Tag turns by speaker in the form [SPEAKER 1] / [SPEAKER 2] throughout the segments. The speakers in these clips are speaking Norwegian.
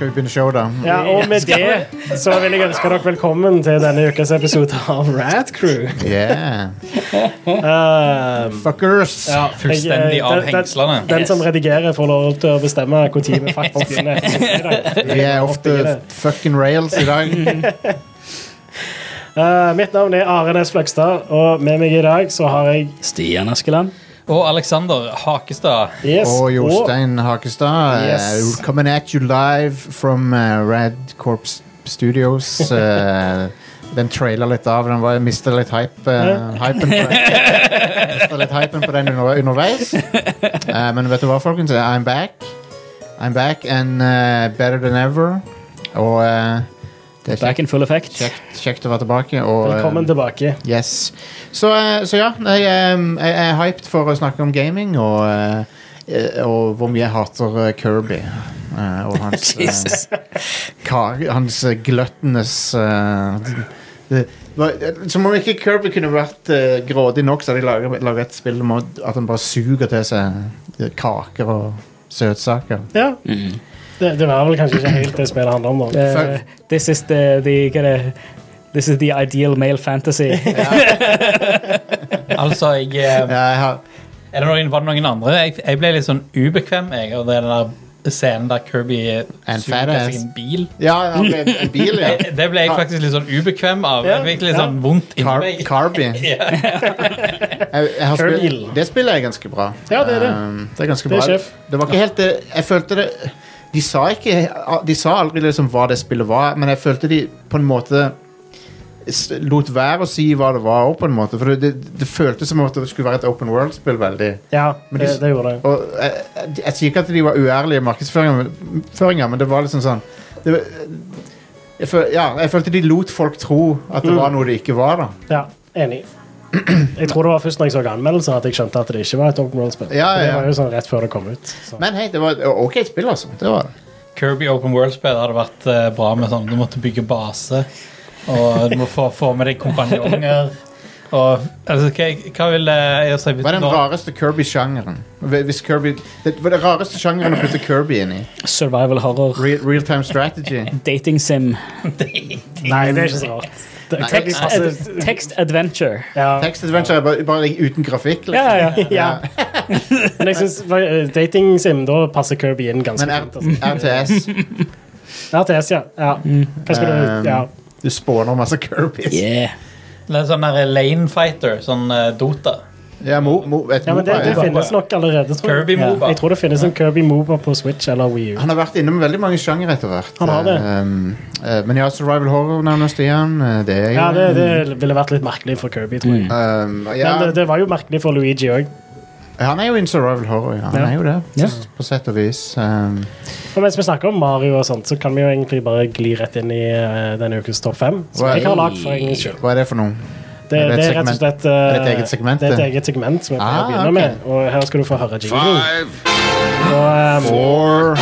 [SPEAKER 1] vi begynner showet, da.
[SPEAKER 2] Ja, og med det så vil jeg ønske dere velkommen til denne ukens episode av Rat Crew.
[SPEAKER 1] Yeah.
[SPEAKER 2] Um,
[SPEAKER 1] Fuckers!
[SPEAKER 2] ja, jeg-
[SPEAKER 3] Fullstendig
[SPEAKER 2] eh,
[SPEAKER 3] av
[SPEAKER 2] den- den-
[SPEAKER 3] hengslene.
[SPEAKER 2] Den som redigerer, får lov til å bestemme når vi faktisk begynner.
[SPEAKER 1] Vi er ofte fucking rails i dag.
[SPEAKER 2] Eh, mitt navn er Are Næss Fløgstad, og med meg i dag så har jeg
[SPEAKER 4] Stian Askeland.
[SPEAKER 3] Og Alexander Hakestad.
[SPEAKER 2] yes,
[SPEAKER 1] Og Jostein Hakestad.
[SPEAKER 2] Yes.
[SPEAKER 1] eh, Coming at you live from eh, Rad Corps Studios. eh, den traila litt av. Den var, mista litt hype, eh, hypen på den. Mistet litt hypen på den under, underveis. Eh, men vet du hva, folkens? I'm back. I'm back and eh, better than ever. Og eh, det er
[SPEAKER 4] Back
[SPEAKER 1] kjekt,
[SPEAKER 4] in full effect.
[SPEAKER 1] kjekt, kjekt å være tilbake. Og, eh,
[SPEAKER 2] velkommen tilbake.
[SPEAKER 1] Yes. Så, eh, så ja, jeg, em, jeg er hyped for å snakke om gaming og, eh, eh, og hvor mye jeg hater eh, Kirby. eh, Og hans, eh,
[SPEAKER 4] Jesus.
[SPEAKER 1] ka, hans eh, gluttonous eh, d- det var- eh, Som om ikke Kirby kunne vært eh, grådig nok, så hadde de laget, laget et spill om at at han bare suger til seg eh, kaker og søtsaker.
[SPEAKER 2] Ja,
[SPEAKER 4] Mm.
[SPEAKER 2] det, det var vel kanskje ikke helt det spillet handler om, da.
[SPEAKER 4] Uh, this is the, the hva er det? This is the ideal male fantasy.
[SPEAKER 3] Altså, jeg, eh,
[SPEAKER 1] Ja, jeg har,
[SPEAKER 3] er det noen, var det noen andre? Jeg, jeg ble litt sånn ubekvem jeg, av den der scenen der Kirby eh,
[SPEAKER 1] And
[SPEAKER 3] suger
[SPEAKER 1] fat
[SPEAKER 3] til
[SPEAKER 1] ass.
[SPEAKER 3] seg en bil.
[SPEAKER 1] ja, han ble en bil, ja.
[SPEAKER 3] Eh, Det ble jeg faktisk litt sånn ubekvem av.
[SPEAKER 2] Ja,
[SPEAKER 3] Jeg fikk litt
[SPEAKER 2] ja.
[SPEAKER 3] sånn vondt inni
[SPEAKER 1] Car
[SPEAKER 3] meg.
[SPEAKER 1] Carby. jeg, jeg har
[SPEAKER 2] Carbil.
[SPEAKER 1] spilt, det spillet er ganske bra.
[SPEAKER 2] Ja, det er det.
[SPEAKER 1] Um, det er ganske
[SPEAKER 2] Det er
[SPEAKER 1] bra.
[SPEAKER 2] sjef.
[SPEAKER 1] Det var ikke helt det Jeg følte det De sa ikke De sa aldri liksom hva det spillet var, men jeg følte de på en måte s- lot være å si hva det var, på en måte. For det, det, det føltes som om det skulle være et Open World-spill. veldig
[SPEAKER 2] Ja,
[SPEAKER 1] Men
[SPEAKER 2] det,
[SPEAKER 1] de-
[SPEAKER 2] det gjorde det.
[SPEAKER 1] og jeg, jeg, jeg sier ikke at de var uærlige i markedsføringer, men det var liksom sånn det, var- jeg, føl, ja, jeg følte de lot folk tro at det var noe det ikke var. da
[SPEAKER 2] Ja, enig. Jeg tror det var først når jeg så anmeldelser at jeg skjønte at det ikke var et Open World-spill.
[SPEAKER 1] Ja, ja,
[SPEAKER 2] Det
[SPEAKER 1] ja.
[SPEAKER 2] var jo sånn rett før det kom ut. Så.
[SPEAKER 1] Men hei, det var et ok spill, altså. Det var det.
[SPEAKER 3] Kirby Open World-spill hadde vært eh, bra med sånn Du måtte bygge base, og du må få, få med deg kompanjonger. Og altså, hva, hva vil eh, det gjøre seg
[SPEAKER 1] Hva er den
[SPEAKER 3] nå?
[SPEAKER 1] rareste Kirby-sjangeren? Hv- Hvis Kirby Det var den rareste sjangeren å putte Kirby inn i.
[SPEAKER 4] Survival horror.
[SPEAKER 1] Real, real time strategy.
[SPEAKER 4] Dating sim.
[SPEAKER 2] Nei, det er ikke så rart. Det,
[SPEAKER 1] Nei,
[SPEAKER 2] kan de
[SPEAKER 4] Text,
[SPEAKER 2] passe-
[SPEAKER 4] ad, text adventure.
[SPEAKER 2] ja.
[SPEAKER 1] Text adventure er bare, bare uten grafikk. Liksom.
[SPEAKER 4] Ja, ja.
[SPEAKER 2] ja. Men jeg syns dating sim, da passer Kirby inn ganske
[SPEAKER 1] Men
[SPEAKER 2] fint. Altså.
[SPEAKER 1] R RTS
[SPEAKER 2] RTS, ja. ja. Hva skal
[SPEAKER 1] Um,
[SPEAKER 2] du Ja.
[SPEAKER 1] Du spawner masse Kirbys.
[SPEAKER 4] Yeah.
[SPEAKER 3] Det er Sånn der lane fighter, sånn eh, Dota.
[SPEAKER 1] Ja, mo, mo, et
[SPEAKER 2] ja men det,
[SPEAKER 1] MOBA,
[SPEAKER 2] det
[SPEAKER 1] ja.
[SPEAKER 2] finnes nok allerede, tror jeg.
[SPEAKER 3] Kirby
[SPEAKER 4] Ja,
[SPEAKER 3] Moba.
[SPEAKER 2] Jeg tror det finnes en Kirby Mover på Switch eller Wii U.
[SPEAKER 1] Han har vært innom veldig mange sjangere etter hvert.
[SPEAKER 2] Han har det.
[SPEAKER 1] Um, eh, men ja, Survival Horror nevner Stian. eh, Det er jo
[SPEAKER 2] Ja, det, det ville vært litt merkelig for Kirby, tror jeg.
[SPEAKER 1] um, ja,
[SPEAKER 2] Men det, det var jo merkelig for Luigi òg.
[SPEAKER 1] Han er jo in Survival Horror, ja. Han
[SPEAKER 2] Ja.
[SPEAKER 1] er jo det,
[SPEAKER 4] Ja.
[SPEAKER 1] på sett og vis. Um,
[SPEAKER 2] Og mens vi snakker om Mario og sånt, så kan vi jo egentlig bare gli rett inn i eh, denne ukens topp fem. Som
[SPEAKER 1] Wow.
[SPEAKER 2] jeg har lagd for egen skyld.
[SPEAKER 1] hva er det for noe?
[SPEAKER 2] Det,
[SPEAKER 1] Er det et
[SPEAKER 2] det er rett og
[SPEAKER 1] segment?
[SPEAKER 2] slett
[SPEAKER 1] Er det
[SPEAKER 2] eh,
[SPEAKER 1] et eget segment,
[SPEAKER 2] Det er et
[SPEAKER 1] det?
[SPEAKER 2] eget segment som jeg pleier
[SPEAKER 1] Ah,
[SPEAKER 2] å begynne
[SPEAKER 1] ok.
[SPEAKER 2] med. Og her skal du få høre jinglen.
[SPEAKER 5] Five,
[SPEAKER 2] Og, eh,
[SPEAKER 1] Or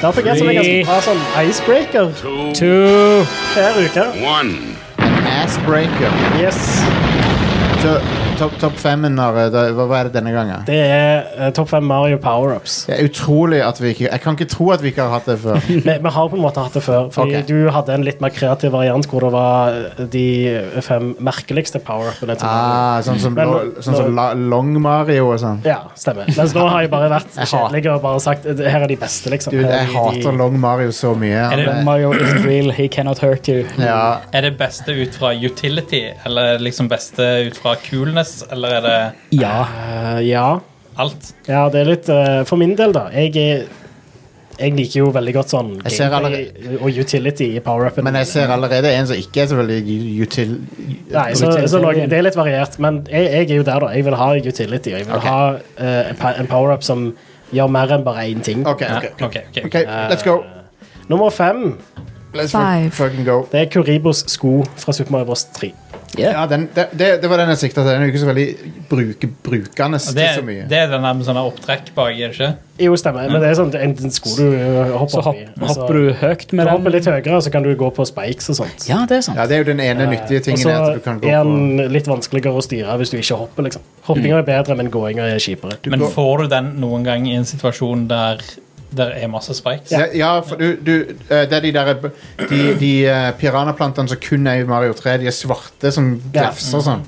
[SPEAKER 2] Der fikk jeg som en ganske bra sånn icebreaker
[SPEAKER 4] Two.
[SPEAKER 2] hver uke.
[SPEAKER 5] one.
[SPEAKER 1] Assbreaker.
[SPEAKER 2] Yes.
[SPEAKER 1] Så topp top femmen har eh, da- hva, hva er det denne gangen?
[SPEAKER 2] Det er eh, topp fem Mario powerups.
[SPEAKER 1] Det er utrolig at vi ikke Jeg kan ikke tro at vi ikke har hatt det før.
[SPEAKER 2] Vi, vi har på en måte hatt det før, fordi
[SPEAKER 1] Ok.
[SPEAKER 2] du hadde en litt mer kreativ variant hvor det var eh, de fem merkeligste powerupene. til Mario.
[SPEAKER 1] Ah, sånn som,
[SPEAKER 2] Men
[SPEAKER 1] lo,
[SPEAKER 2] nå-
[SPEAKER 1] sånn som la, Long Mario og sånn.
[SPEAKER 2] Ja, stemmer. Mens nå har jeg bare vært
[SPEAKER 1] Jeg har-
[SPEAKER 2] kjedelig og bare sagt eh, her er de beste, liksom.
[SPEAKER 1] Dude,
[SPEAKER 2] Her
[SPEAKER 1] jeg
[SPEAKER 2] er de-
[SPEAKER 1] hater
[SPEAKER 2] de-
[SPEAKER 1] Long Mario så mye.
[SPEAKER 3] Er det-
[SPEAKER 1] Han er-
[SPEAKER 4] Mario is real. He cannot hurt you.
[SPEAKER 1] Ja,
[SPEAKER 3] Er det beste ut fra utility, eller er det liksom beste ut fra coolness, eller er det
[SPEAKER 4] Ja.
[SPEAKER 2] Eh, ja.
[SPEAKER 3] alt?
[SPEAKER 2] ja, det er litt eh, For min del, da. Jeg er jeg liker jo veldig godt sånn
[SPEAKER 1] Jeg ser
[SPEAKER 2] gameplay og utility i power-upen.
[SPEAKER 1] men jeg ser allerede en som ikke er så veldig u- util...
[SPEAKER 2] Nei, så, så lå- det er litt variert, men jeg, jeg er jo der, da. Jeg vil ha utility, og jeg vil
[SPEAKER 1] Ok.
[SPEAKER 2] ha eh, en pa- en power-up som gjør mer enn bare én ting.
[SPEAKER 1] OK,
[SPEAKER 3] Ja,
[SPEAKER 1] ok,
[SPEAKER 3] ok, ok.
[SPEAKER 1] ok, let's go.
[SPEAKER 2] Nummer fem
[SPEAKER 1] Let's
[SPEAKER 6] Five.
[SPEAKER 1] fuck- fucking go.
[SPEAKER 2] det er Kuribos sko fra Super Mario Bros. 3.
[SPEAKER 1] Ja, den, det, det- det var den jeg sikta til. Den er jo ikke så veldig bruke, brukende
[SPEAKER 3] Og
[SPEAKER 1] til
[SPEAKER 3] Det,
[SPEAKER 1] så mye.
[SPEAKER 3] det er den der med sånne opptrekk bak, er det ikke?
[SPEAKER 2] Jo, stemmer,
[SPEAKER 1] Mm.
[SPEAKER 2] men det er sånn en en sko du eh, hopper
[SPEAKER 4] Så
[SPEAKER 2] opp
[SPEAKER 4] hopp,
[SPEAKER 2] i. og så-
[SPEAKER 4] hopper du høyt med
[SPEAKER 2] Du hopper
[SPEAKER 4] den.
[SPEAKER 2] litt høyere, og så kan du gå på spikes og sånt.
[SPEAKER 4] Ja, det er sant.
[SPEAKER 1] Ja, det er jo den ene nyttige
[SPEAKER 2] Og
[SPEAKER 1] tingen
[SPEAKER 2] så
[SPEAKER 1] er at du kan gå
[SPEAKER 2] er
[SPEAKER 1] på
[SPEAKER 2] den litt vanskeligere å styre hvis du ikke hopper. liksom. Hoppinga er bedre, men gåinga er kjipere.
[SPEAKER 3] Men får du den noen gang i en situasjon der der er masse spikes.
[SPEAKER 1] Ja, ja for du, du eh, Det er de der eh, De, de eh, piranhaplantene som kun er i Mario 3. De er svarte som
[SPEAKER 2] Ja. Mm.
[SPEAKER 1] glefser sånn.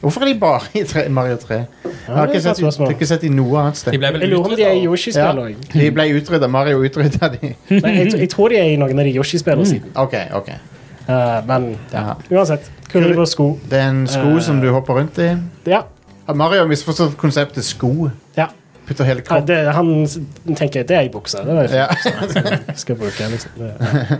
[SPEAKER 1] Hvorfor er de bare i tre, Mario 3? Jeg har
[SPEAKER 2] Ja, det er
[SPEAKER 1] ikke
[SPEAKER 2] et godt
[SPEAKER 1] sett, jeg
[SPEAKER 2] spørsmål.
[SPEAKER 1] har ikke sett de noe annet
[SPEAKER 3] De
[SPEAKER 1] sted.
[SPEAKER 3] ble vel
[SPEAKER 2] Jeg lurer om de er i
[SPEAKER 3] utryddet.
[SPEAKER 1] Ja.
[SPEAKER 2] Yoshi-spillene òg.
[SPEAKER 1] De ble utrydda. Mario utrydda de.
[SPEAKER 2] Jeg, tr- jeg tror de er i noen av de Yoshi-spillene siden.
[SPEAKER 1] OK. ok
[SPEAKER 2] Eh, men
[SPEAKER 1] ja.
[SPEAKER 2] uansett. Kule på sko.
[SPEAKER 1] Det er en sko
[SPEAKER 2] Eh.
[SPEAKER 1] som du hopper rundt i.
[SPEAKER 2] Ja.
[SPEAKER 1] Har Mario misforstått konseptet sko?
[SPEAKER 2] ja.
[SPEAKER 1] Putter hele
[SPEAKER 2] Ja,
[SPEAKER 1] kroppen
[SPEAKER 2] Det, han s- tenker det er ei bukse. Det er det
[SPEAKER 1] ja.
[SPEAKER 2] jeg skal bruke. Liksom. Det-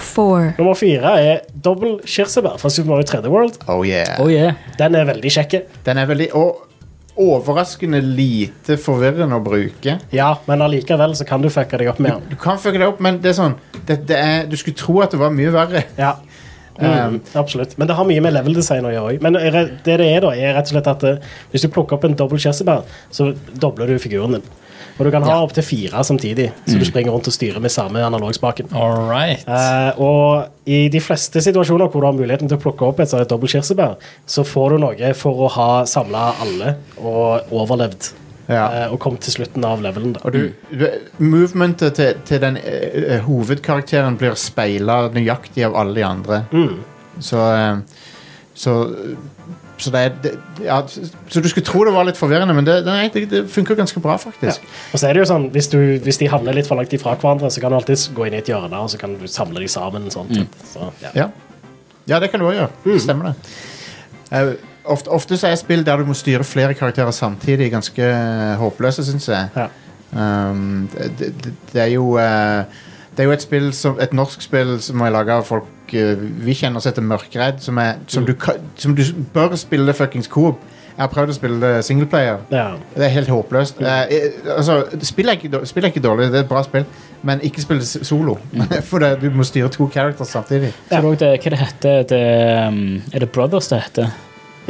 [SPEAKER 5] four,
[SPEAKER 2] Nummer fire er dobbel kirsebær fra Super Mario 3D World.
[SPEAKER 1] Oh yeah.
[SPEAKER 4] Oh yeah.
[SPEAKER 2] Den er veldig kjekk.
[SPEAKER 1] Den er veldig og overraskende lite forvirrende å bruke.
[SPEAKER 2] Ja, men allikevel så kan du fucke deg opp med den.
[SPEAKER 1] Du kan fucke det opp, men det er sånn det, det er, Du skulle tro at det var mye verre.
[SPEAKER 2] Ja. Mm,
[SPEAKER 1] Um,
[SPEAKER 2] absolutt. Men det har mye med level design å gjøre òg. Men er det det det er, da, er rett og slett at eh, hvis du plukker opp en dobbel kirsebær, så dobler du figuren din. Og du kan ha opptil fire samtidig,
[SPEAKER 1] Mm.
[SPEAKER 2] så du springer rundt og styrer med samme analogspaken.
[SPEAKER 3] All right.
[SPEAKER 2] Eh, og i de fleste situasjoner hvor du har muligheten til å plukke opp et sånt dobbelt kirsebær, så får du noe for å ha samla alle og overlevd.
[SPEAKER 1] Ja.
[SPEAKER 2] eh, og kommet til slutten av levelen, da.
[SPEAKER 1] Og du, du Movementet til, til den eh, eh, hovedkarakteren blir speila nøyaktig av alle de andre. Så, eh, så så det er det, ja, Så du skulle tro det var litt forvirrende, men det, nei, det, det funker ganske bra, faktisk.
[SPEAKER 2] Og så er det jo sånn, hvis, du, hvis de havner litt for langt ifra hverandre, så kan du alltid gå inn i et hjørne og så kan du samle dem sammen.
[SPEAKER 4] Mm.
[SPEAKER 2] Sånn, så, ja.
[SPEAKER 1] Ja, ja det kan du òg gjøre. Det Stemmer det. Eh, ofte, ofte så er spill der du må styre flere karakterer samtidig, ganske eh, håpløse, syns jeg.
[SPEAKER 2] Ja.
[SPEAKER 1] Um, det, det, det er jo eh, Det er jo et spill som, et norsk spill som er laga av folk eh, vi kjenner som heter Mørkredd, som, er, som, du, ka- som du bør spille fuckings coop. Jeg har prøvd å spille det singleplayer.
[SPEAKER 2] Ja.
[SPEAKER 1] Det er helt håpløst. Eh, eh, altså, spill er, ikke, dår- spill er ikke dårlig, det er et bra spill, men ikke spill det s- solo. For det, du må styre to characters samtidig.
[SPEAKER 4] Så det, hva det heter det? um, Er det Brothers det heter?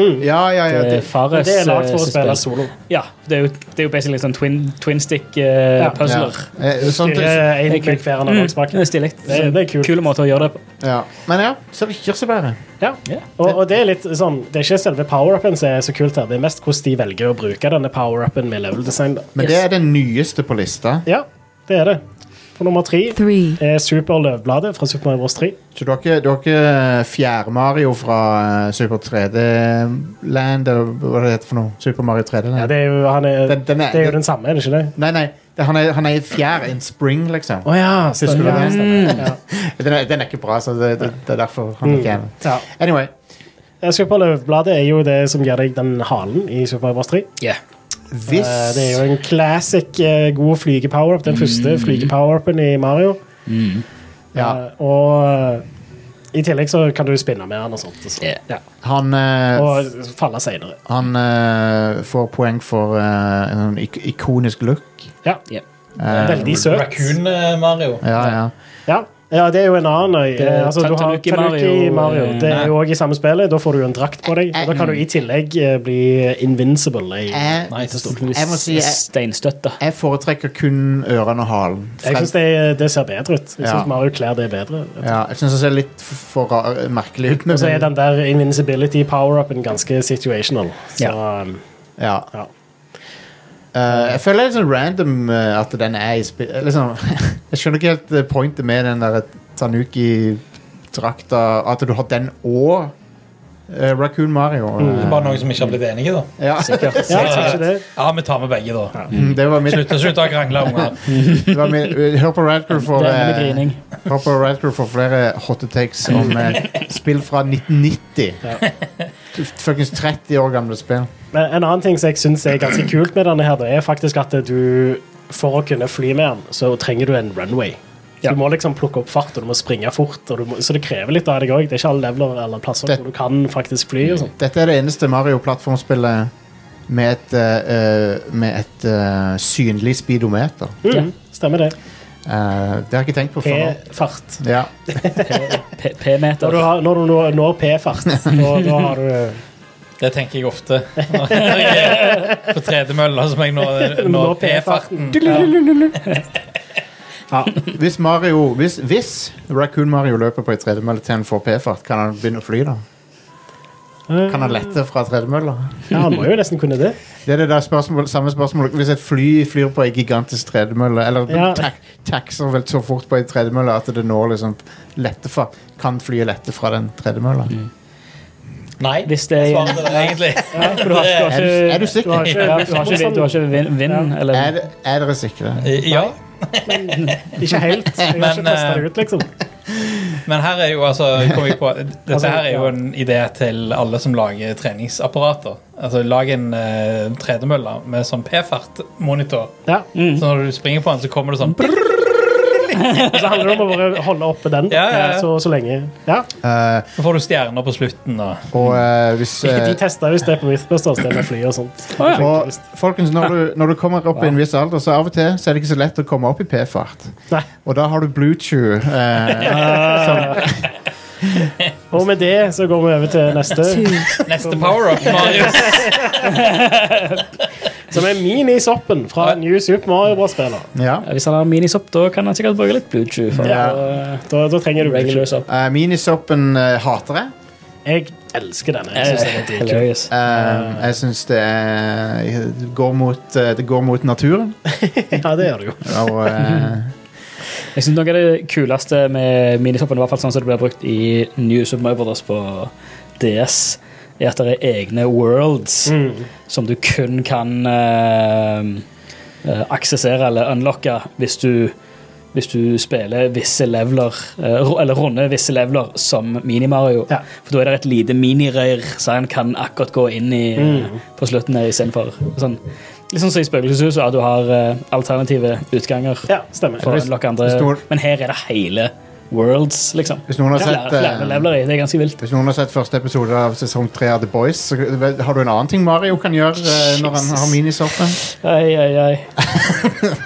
[SPEAKER 1] Ja, ja, ja.
[SPEAKER 4] Det
[SPEAKER 1] Det,
[SPEAKER 4] er Fares
[SPEAKER 2] Men det er lagd for
[SPEAKER 4] eh,
[SPEAKER 2] å spille
[SPEAKER 4] spill.
[SPEAKER 2] solo.
[SPEAKER 4] Ja, det er jo, det er jo basically sånn twin, twin stick uh,
[SPEAKER 2] Ja.
[SPEAKER 1] ja.
[SPEAKER 4] puzzler.
[SPEAKER 1] Eh, sånt-
[SPEAKER 2] Det er en
[SPEAKER 4] Det er Sånn
[SPEAKER 2] med
[SPEAKER 4] kult. Mm,
[SPEAKER 2] hver
[SPEAKER 4] Det
[SPEAKER 2] analogspake.
[SPEAKER 4] er stilig.
[SPEAKER 2] Det, det er kult.
[SPEAKER 4] Kule måter å gjøre det på.
[SPEAKER 1] ja. Men ja, så er det kirsebæret.
[SPEAKER 2] Ja.
[SPEAKER 4] Ja.
[SPEAKER 2] Og, og det er litt sånn Det er ikke selve power-upen som er så kult her, det er mest hvordan de velger å bruke denne power-upen med level design. Da.
[SPEAKER 1] Men
[SPEAKER 4] Yes.
[SPEAKER 1] det er den nyeste på lista.
[SPEAKER 2] Ja, det er det. På nummer tre
[SPEAKER 5] three,
[SPEAKER 2] er Super Løvbladet fra Super Mario Bros. 3.
[SPEAKER 1] Så du har ikke, du har ikke Fjær-Mario fra eh, Super 3D-land, eller hva det heter for noe? Super Mario 3D-land?
[SPEAKER 2] Ja, det er jo, han er,
[SPEAKER 1] Den- den er-
[SPEAKER 2] det er jo den samme, er det ikke det?
[SPEAKER 1] Nei, nei, det, han, er, han er i fjær, en spring, liksom.
[SPEAKER 2] Å ja,
[SPEAKER 1] Husker du
[SPEAKER 2] stemmer.
[SPEAKER 1] det?
[SPEAKER 2] Stemmer. Ja.
[SPEAKER 1] Den er, den er ikke bra, så det, det, det er derfor han
[SPEAKER 2] Mm.
[SPEAKER 1] ikke er med.
[SPEAKER 2] Ja.
[SPEAKER 1] Anyway,
[SPEAKER 2] Eh, Super Løvbladet er jo det som gir deg den halen i Super Mario Bros. 3.
[SPEAKER 1] hvis
[SPEAKER 2] Eh, Det er jo en classic eh, god flygepower-up. Den første flygepower-upen i Mario.
[SPEAKER 1] ja,
[SPEAKER 2] Eh, Og eh, i tillegg så kan du spinne med den og sånt. Og, så.
[SPEAKER 4] Ja.
[SPEAKER 2] ja.
[SPEAKER 1] han, eh,
[SPEAKER 2] og falle seinere.
[SPEAKER 1] han eh, får poeng for eh, en sånn ik ikonisk look.
[SPEAKER 2] Ja.
[SPEAKER 4] Ja.
[SPEAKER 1] Eh,
[SPEAKER 2] Veldig søt.
[SPEAKER 3] Raccoon eh, Mario.
[SPEAKER 1] Ja, ja.
[SPEAKER 2] Ja. ja, det er jo en annen øy.
[SPEAKER 4] Det er
[SPEAKER 2] Eh, Altså, du har
[SPEAKER 4] Tanuki
[SPEAKER 2] Tanuki
[SPEAKER 4] Mario.
[SPEAKER 2] Mario. Det
[SPEAKER 3] Nei.
[SPEAKER 2] er jo òg i samme spillet. Da får du jo en drakt på deg. Og da kan du i tillegg eh, bli invincible. i-
[SPEAKER 1] Jeg,
[SPEAKER 3] Nei, det står
[SPEAKER 1] Jeg må si-
[SPEAKER 4] Steinstøtte.
[SPEAKER 1] jeg foretrekker kun ørene og halen.
[SPEAKER 2] Jeg syns det, det ser bedre ut. Jeg
[SPEAKER 1] Eh, Ja.
[SPEAKER 2] syns Mario kler det bedre.
[SPEAKER 1] Ja, jeg syns det ser litt f- for rar- merkelig ut. men-
[SPEAKER 2] Og så er
[SPEAKER 4] Eh.
[SPEAKER 2] den der invincibility power-upen ganske situational. Så um,
[SPEAKER 1] Ja.
[SPEAKER 2] ja.
[SPEAKER 1] Eh, jeg føler det er litt sånn random eh, at den er i spill... Liksom, jeg skjønner ikke helt eh, pointet med den der Tanuki-drakta. At du har den og eh, Raccoon Mario.
[SPEAKER 3] Det er
[SPEAKER 1] Eh,
[SPEAKER 3] bare noen som ikke har blitt enige, da.
[SPEAKER 1] ja.
[SPEAKER 2] ja, jeg tror ikke det.
[SPEAKER 3] Ja, vi tar med begge, da.
[SPEAKER 1] Mm, det var mitt,
[SPEAKER 3] Slutt, slutt å krangle, unger.
[SPEAKER 1] det var mitt eh, Hør på Radcrew for,
[SPEAKER 4] Det er med
[SPEAKER 1] eh,
[SPEAKER 4] grining.
[SPEAKER 1] hør på Radcrew for flere hot takes om eh, spill fra 1990. Fuckings 30 år gamle spill.
[SPEAKER 2] Men en annen ting som jeg syns er ganske kult med denne, her, det er faktisk at du for å kunne fly med den, så trenger du en runway. Du må liksom plukke opp fart, og du må springe fort. Og du må, så det krever litt av deg òg. Det er ikke alle leveler eller plasser
[SPEAKER 1] Det-
[SPEAKER 2] hvor du kan faktisk fly. og sånn.
[SPEAKER 1] Dette er det eneste Mario-plattformspillet med et, eh, eh, med et eh, synlig speedometer.
[SPEAKER 2] Mm, stemmer det.
[SPEAKER 1] Eh, det har jeg ikke tenkt på før. nå.
[SPEAKER 2] P-fart.
[SPEAKER 1] Ja.
[SPEAKER 4] P-
[SPEAKER 2] Når
[SPEAKER 4] P-meter.
[SPEAKER 2] du, har, når du når- når P-fart, da, da har du
[SPEAKER 3] Det tenker jeg ofte. Når jeg er På tredemølla som jeg nå Når P-farten.
[SPEAKER 1] Ja. Hvis Mario hvis, hvis Raccoon Mario løper på ei tredemølle til han får p-fart, kan han begynne å fly, da? Kan han lette fra tredemøller?
[SPEAKER 2] Ja, han må jo nesten kunne det.
[SPEAKER 1] Det er det der spørsmål, samme spørsmål Hvis et fly flyr på ei gigantisk tredemølle, eller
[SPEAKER 2] Ja.
[SPEAKER 1] tak, takser vel så fort på ei tredemølle at det når liksom lette fra, kan flyet lette fra den tredemølla?
[SPEAKER 3] Nei,
[SPEAKER 4] Hvis det er-
[SPEAKER 3] jeg svarte det egentlig.
[SPEAKER 4] Ja, for du har,
[SPEAKER 1] Er
[SPEAKER 4] du har
[SPEAKER 1] du-
[SPEAKER 4] ikke,
[SPEAKER 1] er
[SPEAKER 2] Altså,
[SPEAKER 1] du sikker?
[SPEAKER 4] Du har ikke, du har ikke, du har ikke vind, vind eller
[SPEAKER 1] Er, det- er dere sikre?
[SPEAKER 3] Ja,
[SPEAKER 2] Ikke helt. Jeg har ikke
[SPEAKER 3] Men,
[SPEAKER 2] testa
[SPEAKER 3] eh,
[SPEAKER 2] det ut, liksom.
[SPEAKER 3] men her er jo altså kom jeg på, Dette her er jo en idé til alle som lager treningsapparater. Altså Lag en eh, tredemølle med sånn P-fart-monitor.
[SPEAKER 2] Ja.
[SPEAKER 4] mm.
[SPEAKER 3] Så når du springer på den, så kommer det sånn
[SPEAKER 2] Og så handler det om å bare holde oppe den eh,
[SPEAKER 3] Ja, ja, ja.
[SPEAKER 2] Så, så lenge. Ja.
[SPEAKER 1] Eh,
[SPEAKER 3] Så får du stjerner på slutten. Og,
[SPEAKER 1] og eh, hvis
[SPEAKER 2] Ikke
[SPEAKER 1] eh,
[SPEAKER 2] de testa hvis det er på Mythbusters, det med fly og sånt.
[SPEAKER 4] Å, ja.
[SPEAKER 1] og, Folkens, når du, når du kommer opp i en viss alder, så av og til så er det ikke så lett å komme opp i P-fart.
[SPEAKER 2] Nei.
[SPEAKER 1] Og da har du Bluetooth. eh,
[SPEAKER 2] Og med det så går vi over til neste,
[SPEAKER 5] two,
[SPEAKER 3] neste power-up, Marius.
[SPEAKER 2] som er Minisoppen fra New Super Mario Bros-spiller.
[SPEAKER 1] ja.
[SPEAKER 4] Hvis han har minisopp, da kan han sikkert bruke litt Bluetooth. For
[SPEAKER 1] Ja.
[SPEAKER 4] å,
[SPEAKER 2] Da, da trenger
[SPEAKER 4] eh,
[SPEAKER 2] du
[SPEAKER 4] regular
[SPEAKER 2] ikke
[SPEAKER 4] sopp.
[SPEAKER 1] Eh, minisoppen eh, hater jeg.
[SPEAKER 2] Jeg elsker denne. Jeg synes den er dritkult.
[SPEAKER 4] Hilarious.
[SPEAKER 1] Eh, jeg syns det, er- det går mot eh, Det går mot naturen.
[SPEAKER 2] Ja, det gjør det jo.
[SPEAKER 1] Og eh,
[SPEAKER 4] Jeg synes noe av det kuleste med minisoppen, i hvert fall sånn som det ble brukt i New Super Mario Brothers på DS, er at det er egne worlds
[SPEAKER 2] Mm.
[SPEAKER 4] som du kun kan eh, eh, aksessere eller unlocke hvis du hvis du spiller visse leveler, eh, ru- eller runder visse leveler som Mini-Mario.
[SPEAKER 2] Ja.
[SPEAKER 4] For da er det et lite minirør, så han kan akkurat gå inn i, eh,
[SPEAKER 1] Mm.
[SPEAKER 4] på slutten her istedenfor. Sånn, litt sånn som i Spøkelseshuset, at du har eh, alternative utganger
[SPEAKER 2] Ja, stemmer.
[SPEAKER 4] for å unlocke andre.
[SPEAKER 1] hvis du-
[SPEAKER 4] Men her er det hele worlds, liksom.
[SPEAKER 1] hvis noen har
[SPEAKER 4] Flere,
[SPEAKER 1] sett
[SPEAKER 4] flere
[SPEAKER 1] eh,
[SPEAKER 4] leveler i. Det er ganske vilt.
[SPEAKER 1] Hvis noen har sett første episode av sesong 3 av The Boys, så har du en annen ting Mario kan gjøre eh, når han
[SPEAKER 4] Jesus.
[SPEAKER 1] har minisoppen.
[SPEAKER 4] Ai, ai, ai.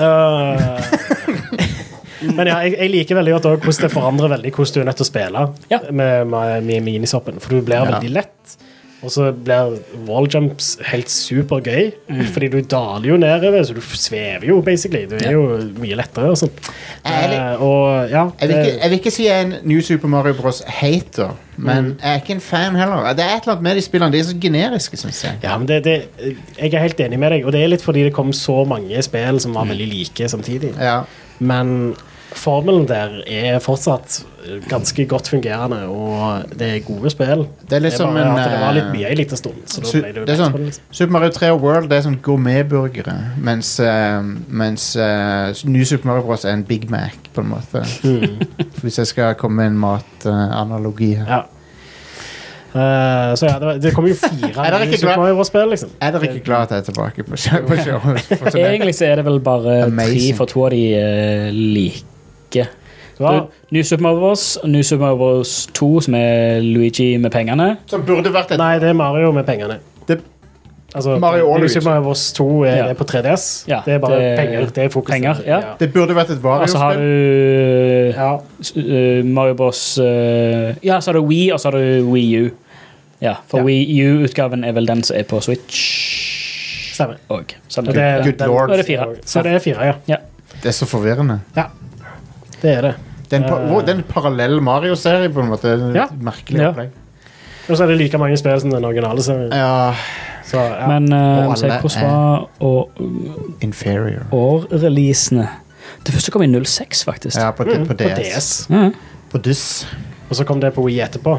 [SPEAKER 2] Øh, Men ja, jeg, jeg liker veldig godt også hvordan det forandrer veldig hvordan du er nødt til å spille
[SPEAKER 4] Ja.
[SPEAKER 2] med, med, med minisoppen. For du blir veldig lett, og så blir walljumps helt supergøy.
[SPEAKER 1] Mm.
[SPEAKER 2] Fordi du daler jo nedover, så du svever jo, basically. Du er jo mye lettere og sånt.
[SPEAKER 1] Er det-
[SPEAKER 2] Eh, og ja
[SPEAKER 1] Jeg vil,
[SPEAKER 2] det-
[SPEAKER 1] ikke, jeg vil ikke si jeg er en New Super Mario Bros.-hater, men
[SPEAKER 2] Mm.
[SPEAKER 1] jeg er ikke en fan heller. Det er et eller annet med de spillene. De er så generiske, syns jeg.
[SPEAKER 2] Ja, men det, det, Jeg er helt enig med deg, og det er litt fordi det kom så mange spill som var
[SPEAKER 1] Mm.
[SPEAKER 2] veldig like samtidig.
[SPEAKER 1] Ja.
[SPEAKER 2] Men formelen der er fortsatt ganske godt fungerende, og det er gode spill.
[SPEAKER 1] Det er litt som
[SPEAKER 2] bare
[SPEAKER 1] en,
[SPEAKER 2] at det var litt
[SPEAKER 1] eh,
[SPEAKER 2] mye en liten stund. Så da
[SPEAKER 1] Su
[SPEAKER 2] ble det, jo
[SPEAKER 1] det er
[SPEAKER 2] lett
[SPEAKER 1] sånn,
[SPEAKER 2] for det, liksom.
[SPEAKER 1] Super Mario 3 og World det er sånn gourmetburgere, mens, eh, mens eh, New Super Mario Bros. er en Big Mac, på en måte.
[SPEAKER 2] Mm.
[SPEAKER 1] Hvis jeg skal komme med en matanalogi her.
[SPEAKER 2] Ja. Eh, så ja, det, var, det kom jo fire
[SPEAKER 1] Er dere
[SPEAKER 2] nye
[SPEAKER 1] ikke
[SPEAKER 2] Super
[SPEAKER 1] glad-
[SPEAKER 2] Mario-spill, liksom.
[SPEAKER 1] Er dere ikke glad at jeg er tilbake på show- på showet? For så lenge.
[SPEAKER 4] Egentlig så er det vel bare
[SPEAKER 1] Amazing.
[SPEAKER 4] tre for to av de eh, like.
[SPEAKER 2] Det var,
[SPEAKER 4] Du, New Super Mario Bros. New Super Mario Bros. 2, som er Luigi med pengene.
[SPEAKER 1] Som burde vært et
[SPEAKER 2] nei, det er Mario med pengene.
[SPEAKER 1] Det-
[SPEAKER 2] altså,
[SPEAKER 1] Mario og
[SPEAKER 2] New
[SPEAKER 1] Luigi.
[SPEAKER 2] Super Mario Bros. 2 er,
[SPEAKER 4] Ja.
[SPEAKER 2] det er på 3DS.
[SPEAKER 4] Ja,
[SPEAKER 2] det er bare
[SPEAKER 4] det-
[SPEAKER 2] penger. Det er fokuset.
[SPEAKER 4] penger, ja.
[SPEAKER 1] Det burde vært et
[SPEAKER 4] Og
[SPEAKER 2] Altså,
[SPEAKER 4] så har
[SPEAKER 1] Wario-spill.
[SPEAKER 4] du
[SPEAKER 2] ja.
[SPEAKER 4] s- eh, Mario Bros. eh, ja, så har du Wii, og så har du Wii U. Ja, for
[SPEAKER 2] Ja.
[SPEAKER 4] Wii U-utgaven er vel den som er på Switch.
[SPEAKER 2] Stemmer.
[SPEAKER 4] Og, sånn,
[SPEAKER 2] Og det er-
[SPEAKER 1] Good
[SPEAKER 2] den-
[SPEAKER 1] lord.
[SPEAKER 4] Da er det fire.
[SPEAKER 2] Så det er fire, ja.
[SPEAKER 1] Det er så forvirrende.
[SPEAKER 2] Det er det.
[SPEAKER 1] Det er en, pa
[SPEAKER 2] Eh.
[SPEAKER 1] wow, det er en parallell Mario-serie, på en måte. Det er
[SPEAKER 2] Ja.
[SPEAKER 1] et Merkelig
[SPEAKER 4] Ja.
[SPEAKER 1] opplegg.
[SPEAKER 2] Og så er det like mange spill som den originale serien.
[SPEAKER 1] Ja,
[SPEAKER 2] Så, ja.
[SPEAKER 4] Men eh,
[SPEAKER 1] Og
[SPEAKER 4] må se,
[SPEAKER 1] alle
[SPEAKER 4] hvordan
[SPEAKER 1] er-
[SPEAKER 4] var å-
[SPEAKER 1] inferior.
[SPEAKER 4] år-releasene? Det første kom i 06, faktisk.
[SPEAKER 1] Ja, på, d- på
[SPEAKER 2] Mm,
[SPEAKER 1] DS.
[SPEAKER 2] på DS.
[SPEAKER 4] Mhm.
[SPEAKER 1] På DUS.
[SPEAKER 2] Og så kom det på Wii etterpå.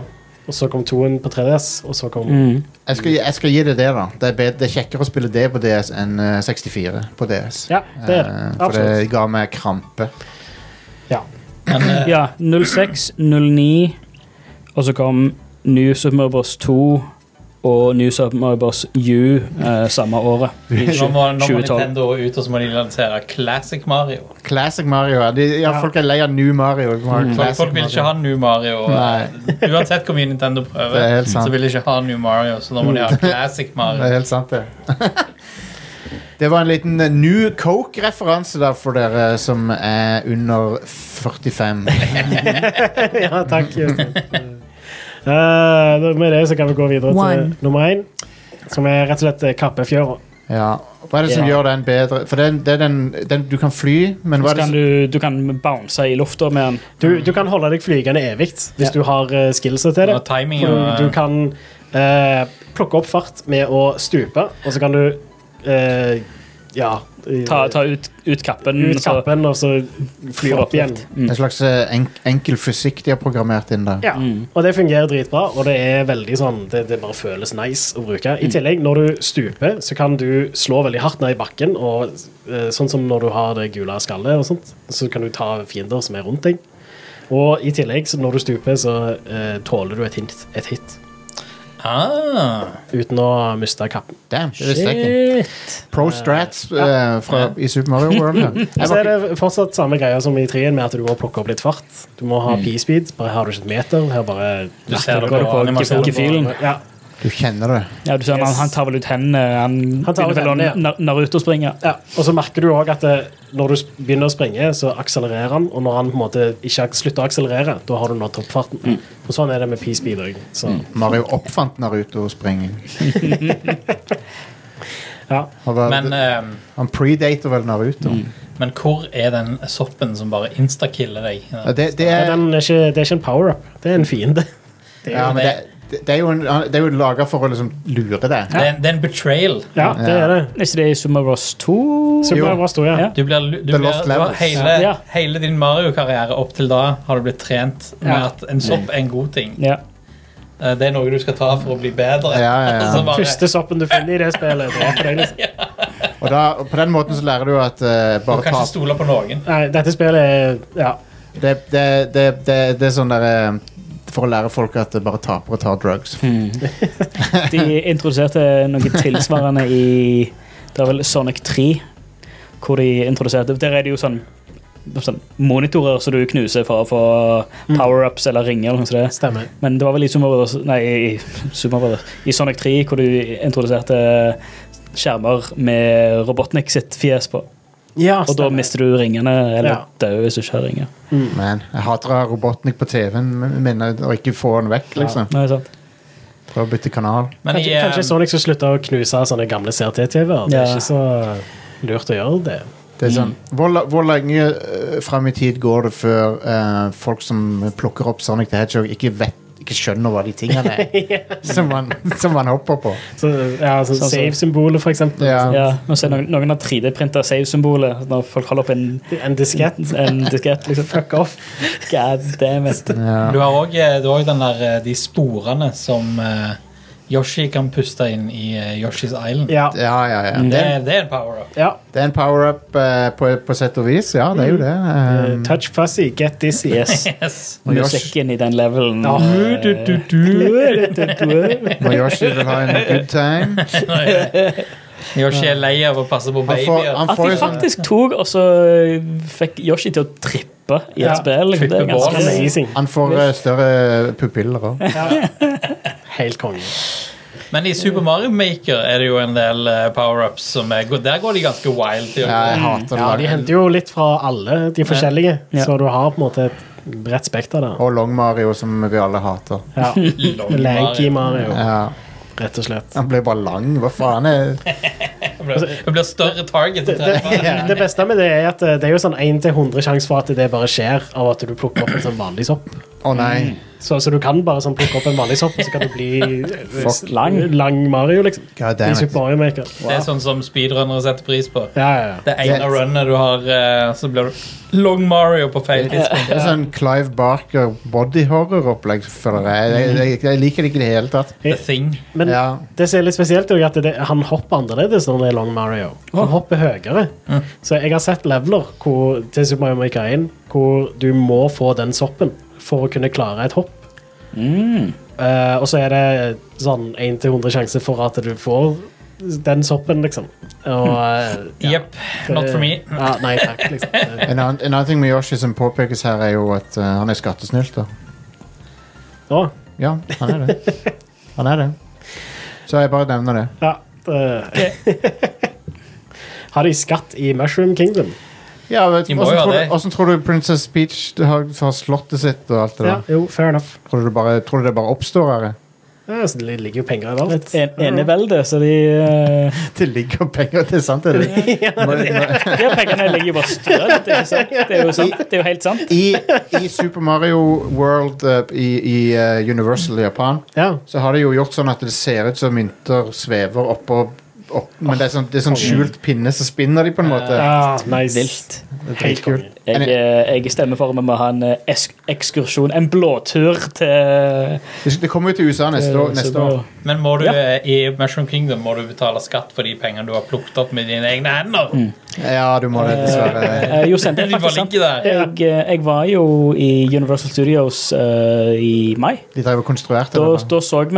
[SPEAKER 2] Og så kom toen på 3DS, og så kom
[SPEAKER 4] Mm.
[SPEAKER 1] Jeg skal, gi- jeg skal gi det det, da. Det er, bed- det er kjekkere å spille det på DS enn eh, 64 på DS.
[SPEAKER 2] Ja, det er det.
[SPEAKER 1] Eh, for
[SPEAKER 2] Absolutt.
[SPEAKER 1] det ga meg krampe.
[SPEAKER 2] Ja.
[SPEAKER 1] eh,
[SPEAKER 4] Ja, 06, 09, og så kom New Super Mario Bros. 2 og New Super Mario Bros. U eh, samme året. I
[SPEAKER 3] Nå må, nå må
[SPEAKER 4] 2012.
[SPEAKER 3] Nintendo ut, og så må de lansere Classic Mario.
[SPEAKER 1] Classic Mario. ja. De, ja,
[SPEAKER 2] Ja. Mm.
[SPEAKER 1] Folk er lei av New Mario. Mario
[SPEAKER 3] Folk, folk vil ikke ha New Mario.
[SPEAKER 1] Nei.
[SPEAKER 3] Uansett hvor mye Nintendo
[SPEAKER 1] Det er
[SPEAKER 3] prøver,
[SPEAKER 1] helt sant. Mm.
[SPEAKER 3] så vil de ikke ha New Mario, så da må de ha Classic
[SPEAKER 1] Det er
[SPEAKER 3] Mario.
[SPEAKER 1] helt sant, det. det var en liten eh, New Coke-referanse der for dere som er under 45.
[SPEAKER 2] ja, takk. Justin. Eh, da- med det så kan vi gå videre
[SPEAKER 5] One.
[SPEAKER 2] til nummer én, som er rett og slett eh, Kappefjøra.
[SPEAKER 1] Ja. Hva er det som
[SPEAKER 4] Ja.
[SPEAKER 1] gjør den bedre? For den, det er den, den, du kan fly, men hva
[SPEAKER 4] Så
[SPEAKER 1] er det
[SPEAKER 4] kan
[SPEAKER 1] som
[SPEAKER 4] du, du kan bounce i lufta med den.
[SPEAKER 2] Du, du kan holde deg flygende evig hvis
[SPEAKER 4] Mm. Ja.
[SPEAKER 2] du har eh, skillset til det.
[SPEAKER 3] Og timing
[SPEAKER 2] For
[SPEAKER 3] og-
[SPEAKER 2] Du kan eh, plukke opp fart med å stupe, og så kan du eh, ja
[SPEAKER 4] Ta, ta ut, ut kappen.
[SPEAKER 2] ut
[SPEAKER 4] så-
[SPEAKER 2] kappen, og så fly
[SPEAKER 4] Få
[SPEAKER 2] opp igjen.
[SPEAKER 1] En slags eh, enk, enkel fysikk de har programmert inn der.
[SPEAKER 2] Ja, og det fungerer dritbra, og det er veldig sånn Det, det bare føles nice å bruke. I tillegg, når du stuper, så kan du slå veldig hardt ned i bakken, og eh, sånn som når du har det gule skallet og sånt, så kan du ta fiender som er rundt deg. Og i tillegg, så når du stuper, så eh, tåler du et hint, et hit
[SPEAKER 3] Ah,
[SPEAKER 2] uten å miste kappen.
[SPEAKER 1] Damn, det visste jeg ikke.
[SPEAKER 4] Shit.
[SPEAKER 1] Pro Strats eh, fra, i Super Mario World. Ja. Jeg
[SPEAKER 2] Så
[SPEAKER 1] var
[SPEAKER 2] er det fortsatt samme greia som i treen, med at du må plukke opp litt fart. Du må ha p-speed. Bare har du ikke et meter, her bare
[SPEAKER 3] du ser det
[SPEAKER 4] går det på
[SPEAKER 3] på animasjonen.
[SPEAKER 4] gefilen.
[SPEAKER 2] Ja.
[SPEAKER 1] ikke- Du kjenner det.
[SPEAKER 4] Ja, du ser han,
[SPEAKER 2] Yes.
[SPEAKER 4] han tar vel ut hendene. Han,
[SPEAKER 2] Han tar
[SPEAKER 4] begynner
[SPEAKER 2] ut
[SPEAKER 4] vel å
[SPEAKER 2] hendene, ja.
[SPEAKER 4] Na- Naruto-springe.
[SPEAKER 2] Ja, og så merker du òg at eh, når du s- begynner å springe, så akselererer han. Og når han på en måte ikke ak- slutter å akselerere, da har du nådd toppfarten. Og sånn er det med P-speed òg. Så
[SPEAKER 1] Mario oppfant Naruto-springing.
[SPEAKER 2] ja.
[SPEAKER 1] Han, var-
[SPEAKER 3] Men, eh,
[SPEAKER 1] han predater vel Naruto.
[SPEAKER 3] men hvor er den soppen som bare instakiller deg?
[SPEAKER 1] Ja, det, det
[SPEAKER 2] Ja,
[SPEAKER 1] er
[SPEAKER 2] den er ikke, det er ikke en power-up, det er en fiende. Det er,
[SPEAKER 1] Ja, men det, det, det er jo, en- det er jo laga for å liksom lure deg.
[SPEAKER 3] Det, er, en- det er en betrayal.
[SPEAKER 2] ja, det er det.
[SPEAKER 4] Er ikke det i Summer Ross 2?
[SPEAKER 2] Så bra, bra historie.
[SPEAKER 4] Ja.
[SPEAKER 3] Du blir, lu- du
[SPEAKER 1] The
[SPEAKER 3] blir,
[SPEAKER 1] Lost
[SPEAKER 3] du har
[SPEAKER 1] Levels.
[SPEAKER 3] hele,
[SPEAKER 4] Ja.
[SPEAKER 3] hele din Mario-karriere opp til da har du blitt trent med
[SPEAKER 4] Ja.
[SPEAKER 3] at en sopp er en god ting.
[SPEAKER 4] Ja.
[SPEAKER 3] Eh, Det er noe du skal ta for å bli
[SPEAKER 1] Ja,
[SPEAKER 3] bedre.
[SPEAKER 1] ja, ja.
[SPEAKER 3] Og så bare-
[SPEAKER 2] Første soppen du finner i det spillet. dreper deg, liksom.
[SPEAKER 1] Og da, og på den måten så lærer du at eh,
[SPEAKER 3] du
[SPEAKER 1] bare
[SPEAKER 3] kan
[SPEAKER 1] ta
[SPEAKER 3] ikke stole på noen.
[SPEAKER 2] Nei, dette spillet er ja.
[SPEAKER 1] det, det, det, det, det er sånn der eh, For å lære folk at eh, bare tapere tar drugs.
[SPEAKER 4] Mm. De introduserte noe tilsvarende i Det er vel Sonic 3, hvor de introduserte Der er det jo sånn, sånn monitorer som du knuser for å få
[SPEAKER 2] Mm.
[SPEAKER 4] power-ups eller ringer. eller noe sånt. som det.
[SPEAKER 2] Stemmer.
[SPEAKER 4] Men det var vel i, Super Mario Bros. nei, i, Super Mario Bros. i Sonic 3 hvor du introduserte skjermer med Robotnik sitt fjes på.
[SPEAKER 2] Ja,
[SPEAKER 4] Og da mister du ringene, eller
[SPEAKER 2] Ah, Ja.
[SPEAKER 4] dør hvis du ikke har ringer.
[SPEAKER 2] Mm.
[SPEAKER 1] Man, jeg hater å ha Robotnik på TV-en min og ikke få den vekk. liksom
[SPEAKER 4] Nei, sant?
[SPEAKER 1] Prøv å bytte kanal.
[SPEAKER 3] Men
[SPEAKER 2] Kanskje,
[SPEAKER 3] i, eh,
[SPEAKER 2] kanskje Sonic skal slutte å knuse sånne gamle CRT-TV-er. Det
[SPEAKER 4] Ja.
[SPEAKER 2] er ikke så lurt å gjøre det.
[SPEAKER 1] Det er sånn,
[SPEAKER 4] Mm.
[SPEAKER 1] hvor, la- hvor lenge uh, fram i tid går det før eh, folk som plukker opp Sonic the Hedgehog, ikke vet ikke skjønner hva de tingene er som, man, som man hopper på?
[SPEAKER 2] Så, ja, sånn
[SPEAKER 4] Sånn som-
[SPEAKER 2] Save-symbolet, for eksempel.
[SPEAKER 1] Ja.
[SPEAKER 4] Ja, nå ser noen, noen har 3D-printa save-symbolet når folk holder opp en,
[SPEAKER 2] En diskett.
[SPEAKER 4] en diskett. Liksom. Fuck off. God damn it.
[SPEAKER 1] Ja.
[SPEAKER 3] Du har òg den der eh, de sporene som eh, Yoshi kan puste inn i eh, Yoshi's Island.
[SPEAKER 2] Ja.
[SPEAKER 1] Ja, ja, ja.
[SPEAKER 4] Mm.
[SPEAKER 3] Det,
[SPEAKER 1] Det,
[SPEAKER 3] er- det er en power-up.
[SPEAKER 2] ja.
[SPEAKER 1] det er en power-up eh, på, på sett og vis. Ja, det er
[SPEAKER 4] Mm.
[SPEAKER 1] jo det.
[SPEAKER 2] Eh,
[SPEAKER 1] Um,
[SPEAKER 2] touch fuzzy, get dizzy.
[SPEAKER 4] Yes.
[SPEAKER 3] Yes.
[SPEAKER 1] Og Yoshi-
[SPEAKER 4] Musikken i den levelen
[SPEAKER 2] Ja.
[SPEAKER 4] eh,
[SPEAKER 2] Du, du, du,
[SPEAKER 1] Når Yoshi vil ha en good time
[SPEAKER 3] Yoshi er lei av å passe på
[SPEAKER 1] Han får,
[SPEAKER 3] babyer.
[SPEAKER 1] han
[SPEAKER 4] At
[SPEAKER 1] får
[SPEAKER 4] de
[SPEAKER 1] jo sånn
[SPEAKER 4] faktisk tok og så fikk Yoshi til å trippe i et
[SPEAKER 2] Ja,
[SPEAKER 4] spill. Liksom. Det er
[SPEAKER 3] trippe ballen.
[SPEAKER 4] ganske
[SPEAKER 2] Amazing.
[SPEAKER 1] han får eh, større pupiller òg.
[SPEAKER 2] Helt konge.
[SPEAKER 3] Men i Super Mario Maker er det jo en del eh, power-ups som er go- Der går de ganske wild. til å-
[SPEAKER 1] Ja, jeg hater
[SPEAKER 2] Ja, de
[SPEAKER 1] det.
[SPEAKER 2] henter jo litt fra alle de forskjellige,
[SPEAKER 4] Ja.
[SPEAKER 2] så du har på en måte et bredt spekter der.
[SPEAKER 1] Og Long-Mario, som vi alle hater.
[SPEAKER 2] Ja.
[SPEAKER 3] Long
[SPEAKER 2] Lanky Mario,
[SPEAKER 1] Ja,
[SPEAKER 2] rett og slett.
[SPEAKER 1] han blir bare lang. Hva faen er
[SPEAKER 3] Det
[SPEAKER 4] Altså,
[SPEAKER 3] blir- Det blir større target. til
[SPEAKER 2] Det,
[SPEAKER 3] treffer.
[SPEAKER 2] det beste med det er at det er jo sånn 1-100 sjanse for at det bare skjer av at du plukker opp en sånn vanlig sopp.
[SPEAKER 1] Å nei.
[SPEAKER 2] Så, så du kan bare sånn plukke opp en vanlig sopp, og så kan du bli
[SPEAKER 1] Fuck.
[SPEAKER 2] lang, lang Mario, liksom.
[SPEAKER 1] God
[SPEAKER 2] I
[SPEAKER 1] damn it.
[SPEAKER 2] Super Mario Maker.
[SPEAKER 3] Det er sånn som speedrunnere setter pris på.
[SPEAKER 2] Ja, ja, ja.
[SPEAKER 3] Det ene
[SPEAKER 1] Det-
[SPEAKER 3] runnet du har, eh, så blir du Long Mario på feil tidspunkt.
[SPEAKER 1] Det er sånn Clive Barker bodyhorror-opplegg, føler jeg. Jeg, jeg. jeg liker det ikke i det hele tatt.
[SPEAKER 3] The Thing.
[SPEAKER 2] Men
[SPEAKER 1] Ja.
[SPEAKER 2] det som er litt spesielt, er jo at det, han hopper annerledes når det er Long Mario. Han hopper høyere. Så jeg har sett leveler hvor, til Super Mario Maker 1 hvor du må få den soppen for å kunne klare et hopp.
[SPEAKER 3] Mm.
[SPEAKER 2] Eh, og så er det sånn 1-100 sjanse for at du får den soppen, liksom. Og eh, ja.
[SPEAKER 3] Jepp. Hm. Not for me.
[SPEAKER 2] Ja, nei takk, liksom. Det-
[SPEAKER 1] En annen, en annen ting med Yoshi som påpekes her, er jo at eh, han er skattesnylter.
[SPEAKER 2] Å,
[SPEAKER 1] Ja, han er det. Han er det. Så jeg bare nevner det.
[SPEAKER 2] ja, det- Har de skatt i Mushroom Kingdom?
[SPEAKER 1] Ja, vet,
[SPEAKER 3] De må
[SPEAKER 1] hvordan,
[SPEAKER 3] jo ha
[SPEAKER 1] tror
[SPEAKER 3] det.
[SPEAKER 1] du, hvordan tror du Princess Peach har, har slottet sitt og alt det
[SPEAKER 2] Ja,
[SPEAKER 1] der?
[SPEAKER 2] jo, fair enough.
[SPEAKER 1] Tror du, det bare, tror du det bare oppstår her?
[SPEAKER 2] Ja, så det ligger jo penger i alt.
[SPEAKER 4] En, enevelde, så de eh,
[SPEAKER 1] Det ligger jo penger til, sant? Er det? Når, når,
[SPEAKER 4] De her pengene ligger jo bare strødd. Det er jo sant. Det er jo, sant. Det er jo helt sant.
[SPEAKER 1] i, I Super Mario World eh, i, i eh, Universal i Japan
[SPEAKER 2] Ja.
[SPEAKER 1] så har de jo gjort sånn at det ser ut som mynter svever oppå opp, men det er sånn, det er sånn skjult pinne, så spinner de på en måte.
[SPEAKER 2] Ja, nice.
[SPEAKER 4] Vilt.
[SPEAKER 1] Det er
[SPEAKER 2] Helt
[SPEAKER 1] dritkult.
[SPEAKER 2] konge.
[SPEAKER 4] Jeg, eh, jeg stemmer for at vi må ha en eh, esk ekskursjon, en blåtur til eh,
[SPEAKER 1] Det det kommer jo til USA neste år. Neste år.
[SPEAKER 3] Men må du,
[SPEAKER 4] Ja.
[SPEAKER 3] eh, i Mushroom Kingdom må du betale skatt for de pengene du har plukket opp med dine egne hender.
[SPEAKER 1] Mm. Ja, du må det, dessverre.
[SPEAKER 4] Eh, jo, sendte
[SPEAKER 3] De
[SPEAKER 4] jeg
[SPEAKER 3] bare
[SPEAKER 4] faktisk sant.
[SPEAKER 3] ligger der.
[SPEAKER 4] Jeg, eh, jeg var jo i Universal Studios eh, i mai.
[SPEAKER 1] De drev og konstruerte
[SPEAKER 4] Da,
[SPEAKER 1] det. da.
[SPEAKER 4] da så vi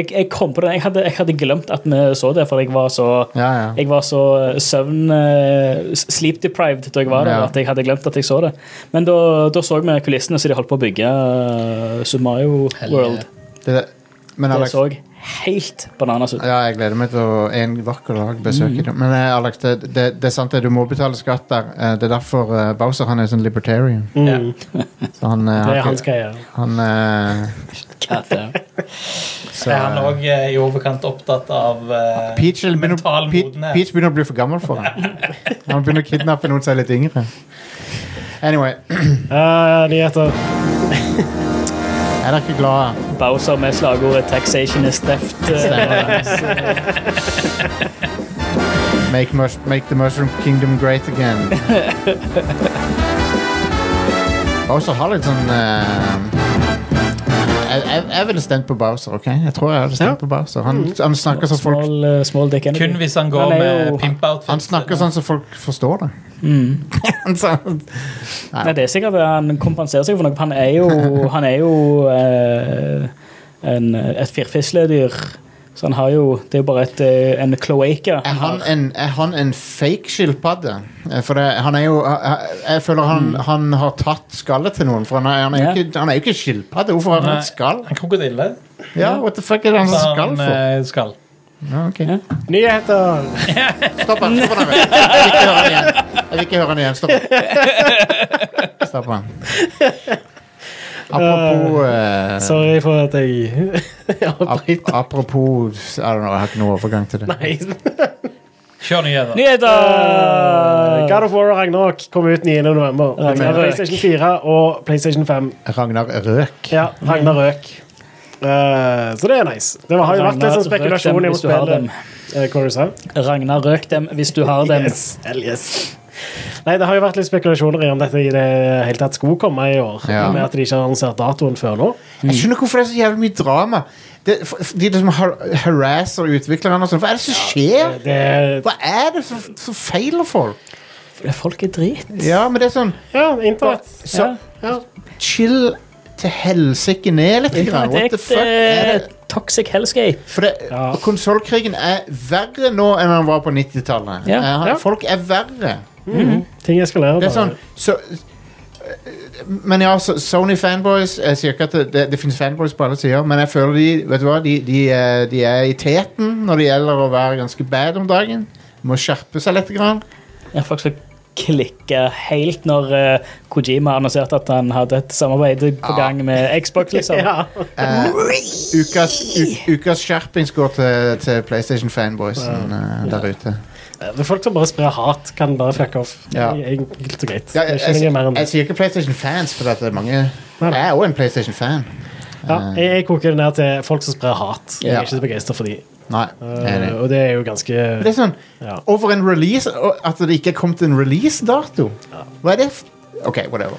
[SPEAKER 4] jeg, jeg kom på det. Jeg hadde, jeg hadde glemt at vi så det, for jeg var så
[SPEAKER 1] Ja, ja.
[SPEAKER 4] jeg var så eh, søvn eh, s- sleep deprived da jeg var der
[SPEAKER 1] Ja.
[SPEAKER 4] at jeg hadde glemt at jeg så det. Men da, da så vi kulissene som de holdt på å bygge eh, Super Mario World.
[SPEAKER 1] Det, men
[SPEAKER 4] Det
[SPEAKER 1] Alex,
[SPEAKER 4] så helt bananas ut.
[SPEAKER 1] Ja, jeg gleder meg til å en vakker dag
[SPEAKER 3] Mhm.
[SPEAKER 1] besøke dem. Men eh, Alex, det, det, det er sant det, du må betale skatt der. Eh, Det er derfor eh, Bowser han er sånn libertarian.
[SPEAKER 2] Mm.
[SPEAKER 1] Så han, eh,
[SPEAKER 2] Det
[SPEAKER 1] har
[SPEAKER 2] er
[SPEAKER 1] ikke-
[SPEAKER 2] hans greie.
[SPEAKER 1] han, eh,
[SPEAKER 4] God damn.
[SPEAKER 1] så,
[SPEAKER 3] Er han òg i overkant opptatt av eh,
[SPEAKER 1] Peach, eller begynner,
[SPEAKER 3] mental
[SPEAKER 1] Peach,
[SPEAKER 3] modenhet?
[SPEAKER 1] Peach begynner å bli for gammel for ham. Han begynner å kidnappe noen som er litt yngre. Anyway,
[SPEAKER 2] Eh, nyheter.
[SPEAKER 1] jeg er ikke glad.
[SPEAKER 4] Bowser med slagordet 'Taxation is theft'. eh,
[SPEAKER 1] Make, mush, make the Mushroom Kingdom great again. Bowser har litt sånn eh, jeg, jeg, jeg ville stemt på Bowser, OK? Jeg tror jeg hadde stemt på Bowser. Han, han, snakker som folk,
[SPEAKER 4] Small, eh, small dick energy.
[SPEAKER 3] Kun hvis han går
[SPEAKER 4] Han er jo-
[SPEAKER 3] med pimp-outfit.
[SPEAKER 1] han snakker sånn som folk forstår det.
[SPEAKER 4] Mm.
[SPEAKER 1] Han sa-
[SPEAKER 4] Nei, det er sikkert at han kompenserer seg for noe. for Han er jo, han er jo eh, en, et firfisledyr. Så han har jo Det er jo bare et, eh, en kloake.
[SPEAKER 1] er han en, er han en fake skilpadde? Eh, For det, han er jo Jeg, jeg føler han, han har tatt skallet til noen, for han er, han er, jo,
[SPEAKER 4] Ja.
[SPEAKER 1] ikke, han er jo ikke skilpadde. Hvorfor har han
[SPEAKER 3] Nei.
[SPEAKER 1] et skall?
[SPEAKER 3] En krokodille.
[SPEAKER 1] Ja, what the fuck er det han har
[SPEAKER 3] Så
[SPEAKER 1] skall
[SPEAKER 3] han
[SPEAKER 1] for?
[SPEAKER 3] eh, skal.
[SPEAKER 1] Ja, ok.
[SPEAKER 2] Nyheter!
[SPEAKER 1] Stopp han, stopp han. Jeg vil ikke høre han igjen. Jeg vil ikke høre han igjen. Stopp han. Stopp han. Apropos eh,
[SPEAKER 2] Sorry for at jeg
[SPEAKER 1] ap Apropos I don't know, Jeg har ikke noe overgang til det.
[SPEAKER 2] Nei.
[SPEAKER 3] Kjør nyheter.
[SPEAKER 2] Eh,
[SPEAKER 4] Nyheter!
[SPEAKER 2] God of War og Ragnarok kom ut 9. november. Det er
[SPEAKER 4] Ragnarok.
[SPEAKER 2] PlayStation 4 og PlayStation 5.
[SPEAKER 1] Ragnar Røk.
[SPEAKER 2] Ja, Ragnarøk. Eh, så det er nice. Det har jo vært litt sånn spekulasjon i
[SPEAKER 4] Ragnar, røk dem hvis du
[SPEAKER 2] spillet. Eh, Hva var
[SPEAKER 4] har dem.
[SPEAKER 2] det du sa du?
[SPEAKER 4] Ragnar røk dem hvis du har dem.
[SPEAKER 2] Yes. Hell yes. Nei, det har jo vært litt spekulasjoner i om dette i det hele tatt skulle komme i år.
[SPEAKER 1] Ja.
[SPEAKER 2] Med at de ikke har annonsert datoen før nå.
[SPEAKER 1] Jeg skjønner ikke hvorfor det er så jævlig mye drama. Det, for- for de liksom har, harasser utviklerne og sånn. Hva er det som skjer?
[SPEAKER 2] Det,
[SPEAKER 1] Hva er det som som feiler folk?
[SPEAKER 4] Folk er drit.
[SPEAKER 1] Ja, men det er sånn
[SPEAKER 2] ja, internett.
[SPEAKER 1] så,
[SPEAKER 2] Ja.
[SPEAKER 1] Chill til helsike ned litt. Grann. What the fuck? Er det?
[SPEAKER 4] Internett er eh, toxic hellscape.
[SPEAKER 1] For det,
[SPEAKER 2] Ja.
[SPEAKER 1] konsollkrigen er verre nå enn den var på 90-tallet.
[SPEAKER 4] Ja,
[SPEAKER 1] Eh, han-
[SPEAKER 2] ja.
[SPEAKER 1] Folk er verre.
[SPEAKER 2] Ting
[SPEAKER 1] Mhm.
[SPEAKER 2] eskalerer
[SPEAKER 1] Det er
[SPEAKER 2] bare.
[SPEAKER 1] sånn så, eh, Men ja, så, Sony fanboys Jeg sier ikke at det, det, det finnes fanboys på alle sider, men jeg føler de Vet du hva, de, de, eh, de er i teten når det gjelder å være ganske bad om dagen. Må skjerpe seg litt. Grann.
[SPEAKER 4] Ja, folk som klikker helt når eh, Kojima annonserte at han hadde et samarbeid på gang med Xbox. liksom.
[SPEAKER 2] Ja.
[SPEAKER 1] Eh, ukas, u, ukas skjerpings går til, til PlayStation-fanboysen eh, der ute.
[SPEAKER 2] Det er Folk som bare sprer hat, kan bare fuck off.
[SPEAKER 1] Ja.
[SPEAKER 2] Det er Enkelt og greit.
[SPEAKER 1] Ja,
[SPEAKER 2] Det er
[SPEAKER 1] jeg,
[SPEAKER 2] ikke
[SPEAKER 1] jeg,
[SPEAKER 2] noe mer enn det.
[SPEAKER 1] jeg sier ikke PlayStation-fans, for at det er mange
[SPEAKER 2] Nei,
[SPEAKER 1] Jeg
[SPEAKER 2] nei.
[SPEAKER 1] er òg en PlayStation-fan.
[SPEAKER 2] Ja, jeg, jeg koker det ned til folk som sprer hat. Jeg
[SPEAKER 1] Ja.
[SPEAKER 2] er ikke så begeistra for de.
[SPEAKER 1] Nei, enig.
[SPEAKER 2] Eh, og det er jo ganske
[SPEAKER 1] Men Det er sånn
[SPEAKER 2] ja.
[SPEAKER 1] over en release og At det ikke er kommet en release-dato. Hva er det f... OK, whatever.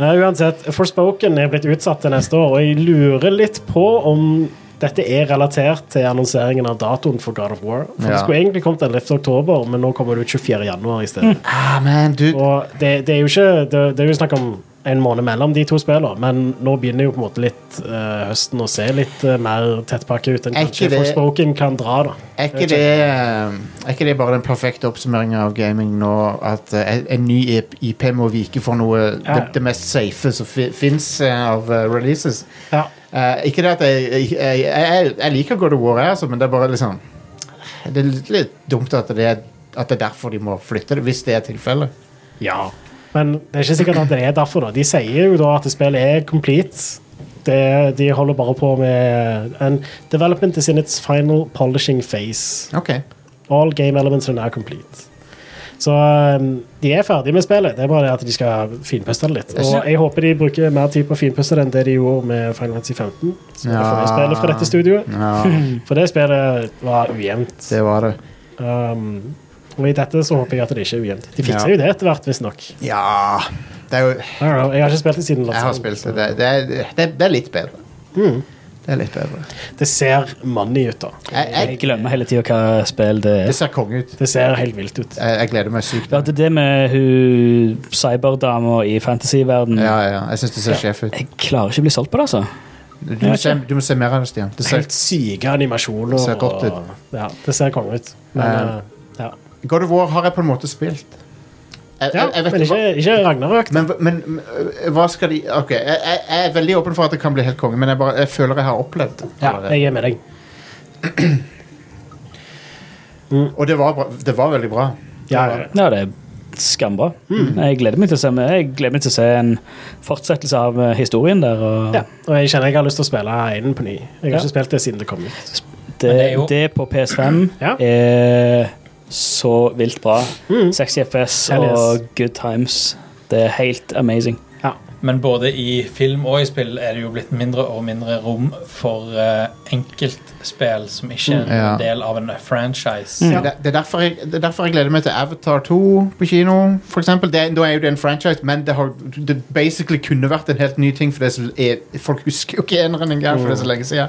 [SPEAKER 2] Nei, uansett, Forspoken er blitt utsatt til neste år, og jeg lurer litt på om dette er relatert til annonseringen av datoen for God of War. For
[SPEAKER 1] Ja.
[SPEAKER 2] Det skulle egentlig kommet den 11. oktober, men nå kommer det ut 24. januar i stedet.
[SPEAKER 1] Ah, man, dude.
[SPEAKER 2] Og det, det er jo ikke det, det er jo snakk om en måned mellom de to spillene, men nå begynner jo på en måte litt eh, høsten å se litt eh, mer tettpakke ut enn
[SPEAKER 1] Er ikke
[SPEAKER 2] kanskje
[SPEAKER 1] det-
[SPEAKER 2] Forspoken kan dra, da.
[SPEAKER 1] Er ikke, det, eh, er ikke det bare den perfekte oppsummeringen av gaming nå? At eh, en- en ny IP IP må vike for noe
[SPEAKER 2] Ja.
[SPEAKER 1] Det, det mest safe som fi, fins av eh, releases?
[SPEAKER 2] Ja.
[SPEAKER 1] Eh, ikke det at jeg jeg, jeg, jeg jeg liker God of War, jeg, altså, men det er bare liksom Det er litt, litt dumt at det er, at det er derfor de må flytte det, hvis det er tilfellet.
[SPEAKER 2] Ja. Men det er ikke sikkert at det er derfor. da. De sier jo da at spillet er complete Det, er- de holder bare på med And development is in its final polishing phase.
[SPEAKER 1] OK.
[SPEAKER 2] All game elements are now complete. Så um, de er ferdige med spillet. Det er bare det at de skal finpuste det litt. Og jeg håper de bruker mer tid på å finpuste det enn det de gjorde med Final Fantasy 15. Som er det
[SPEAKER 1] Ja. Mm.
[SPEAKER 2] forrige spillet fra dette studioet.
[SPEAKER 1] Ja,
[SPEAKER 2] For det spillet var ujevnt.
[SPEAKER 1] det var det.
[SPEAKER 2] Um, og i dette så håper jeg at det ikke er ujevnt. De
[SPEAKER 1] Ja.
[SPEAKER 2] fikser jo det etter hvert, visstnok.
[SPEAKER 1] Ja Det er jo
[SPEAKER 2] I don't know, Jeg har ikke spilt det siden.
[SPEAKER 1] Jeg har
[SPEAKER 2] lansering,
[SPEAKER 1] spilt
[SPEAKER 2] så-
[SPEAKER 1] det. Det, det, er, det, er- det er litt bedre. Det er litt bedre.
[SPEAKER 2] Det ser money ut, da.
[SPEAKER 1] Jeg,
[SPEAKER 4] Jeg
[SPEAKER 1] jeg,
[SPEAKER 4] glemmer hele tida hva spill det
[SPEAKER 1] det
[SPEAKER 4] er.
[SPEAKER 1] ser konge ut.
[SPEAKER 2] Det ser helt vilt ut.
[SPEAKER 1] Jeg, jeg gleder meg sykt.
[SPEAKER 4] Ja, det er det med hun cyberdama i fantasyverdenen.
[SPEAKER 1] Ja, ja. Jeg syns det ser sjef ut.
[SPEAKER 4] Jeg klarer ikke å bli solgt på det, altså.
[SPEAKER 1] Du må, se, du må se mer av det, Stian. Det ser,
[SPEAKER 2] Helt syke animasjoner.
[SPEAKER 1] Det ser godt ut.
[SPEAKER 2] og- Ja, det ser konge ut. Men
[SPEAKER 1] Eh,
[SPEAKER 2] uh, ja.
[SPEAKER 1] God of War har jeg på en måte spilt. Jeg,
[SPEAKER 2] ja
[SPEAKER 1] jeg, jeg vet
[SPEAKER 2] men
[SPEAKER 1] ikke hva
[SPEAKER 2] ikke, ikke Ragnarøk.
[SPEAKER 1] men, men øh, hva skal de Ok, jeg, jeg jeg er veldig åpen for at det kan bli helt konge, men jeg, bare, jeg føler jeg har opplevd det.
[SPEAKER 2] Ja,
[SPEAKER 1] allerede.
[SPEAKER 2] jeg er med deg.
[SPEAKER 1] Og det var, bra, det var veldig bra.
[SPEAKER 2] Ja, ja.
[SPEAKER 4] Ja, det er skambra. Jeg gleder meg til å se, jeg gleder meg til å se en fortsettelse av eh, historien der. Og
[SPEAKER 2] ja. Og jeg kjenner jeg har lyst til å spille Einen på ny. Jeg har
[SPEAKER 4] Ja.
[SPEAKER 2] ikke spilt det siden det kom ut.
[SPEAKER 4] det,
[SPEAKER 3] Men det er jo-
[SPEAKER 4] det på PS5
[SPEAKER 2] Ja.
[SPEAKER 4] er så vilt bra. 60 FPS
[SPEAKER 2] Hell yes.
[SPEAKER 4] og good times. Det er helt amazing.
[SPEAKER 2] Ja.
[SPEAKER 3] Men både i film og i spill er det jo blitt mindre og mindre rom for eh, enkeltspill som ikke er en
[SPEAKER 1] Mm. Ja.
[SPEAKER 3] del av en franchise.
[SPEAKER 4] Mm.
[SPEAKER 1] Det, det, er derfor jeg, det er derfor jeg gleder meg til Avatar 2 på kino. For eksempel. det, da er jo det en franchise, men det, har, det basically kunne vært en helt ny ting. For det er, så- er, folk husker jo ikke eneren engang, for det er så lenge siden.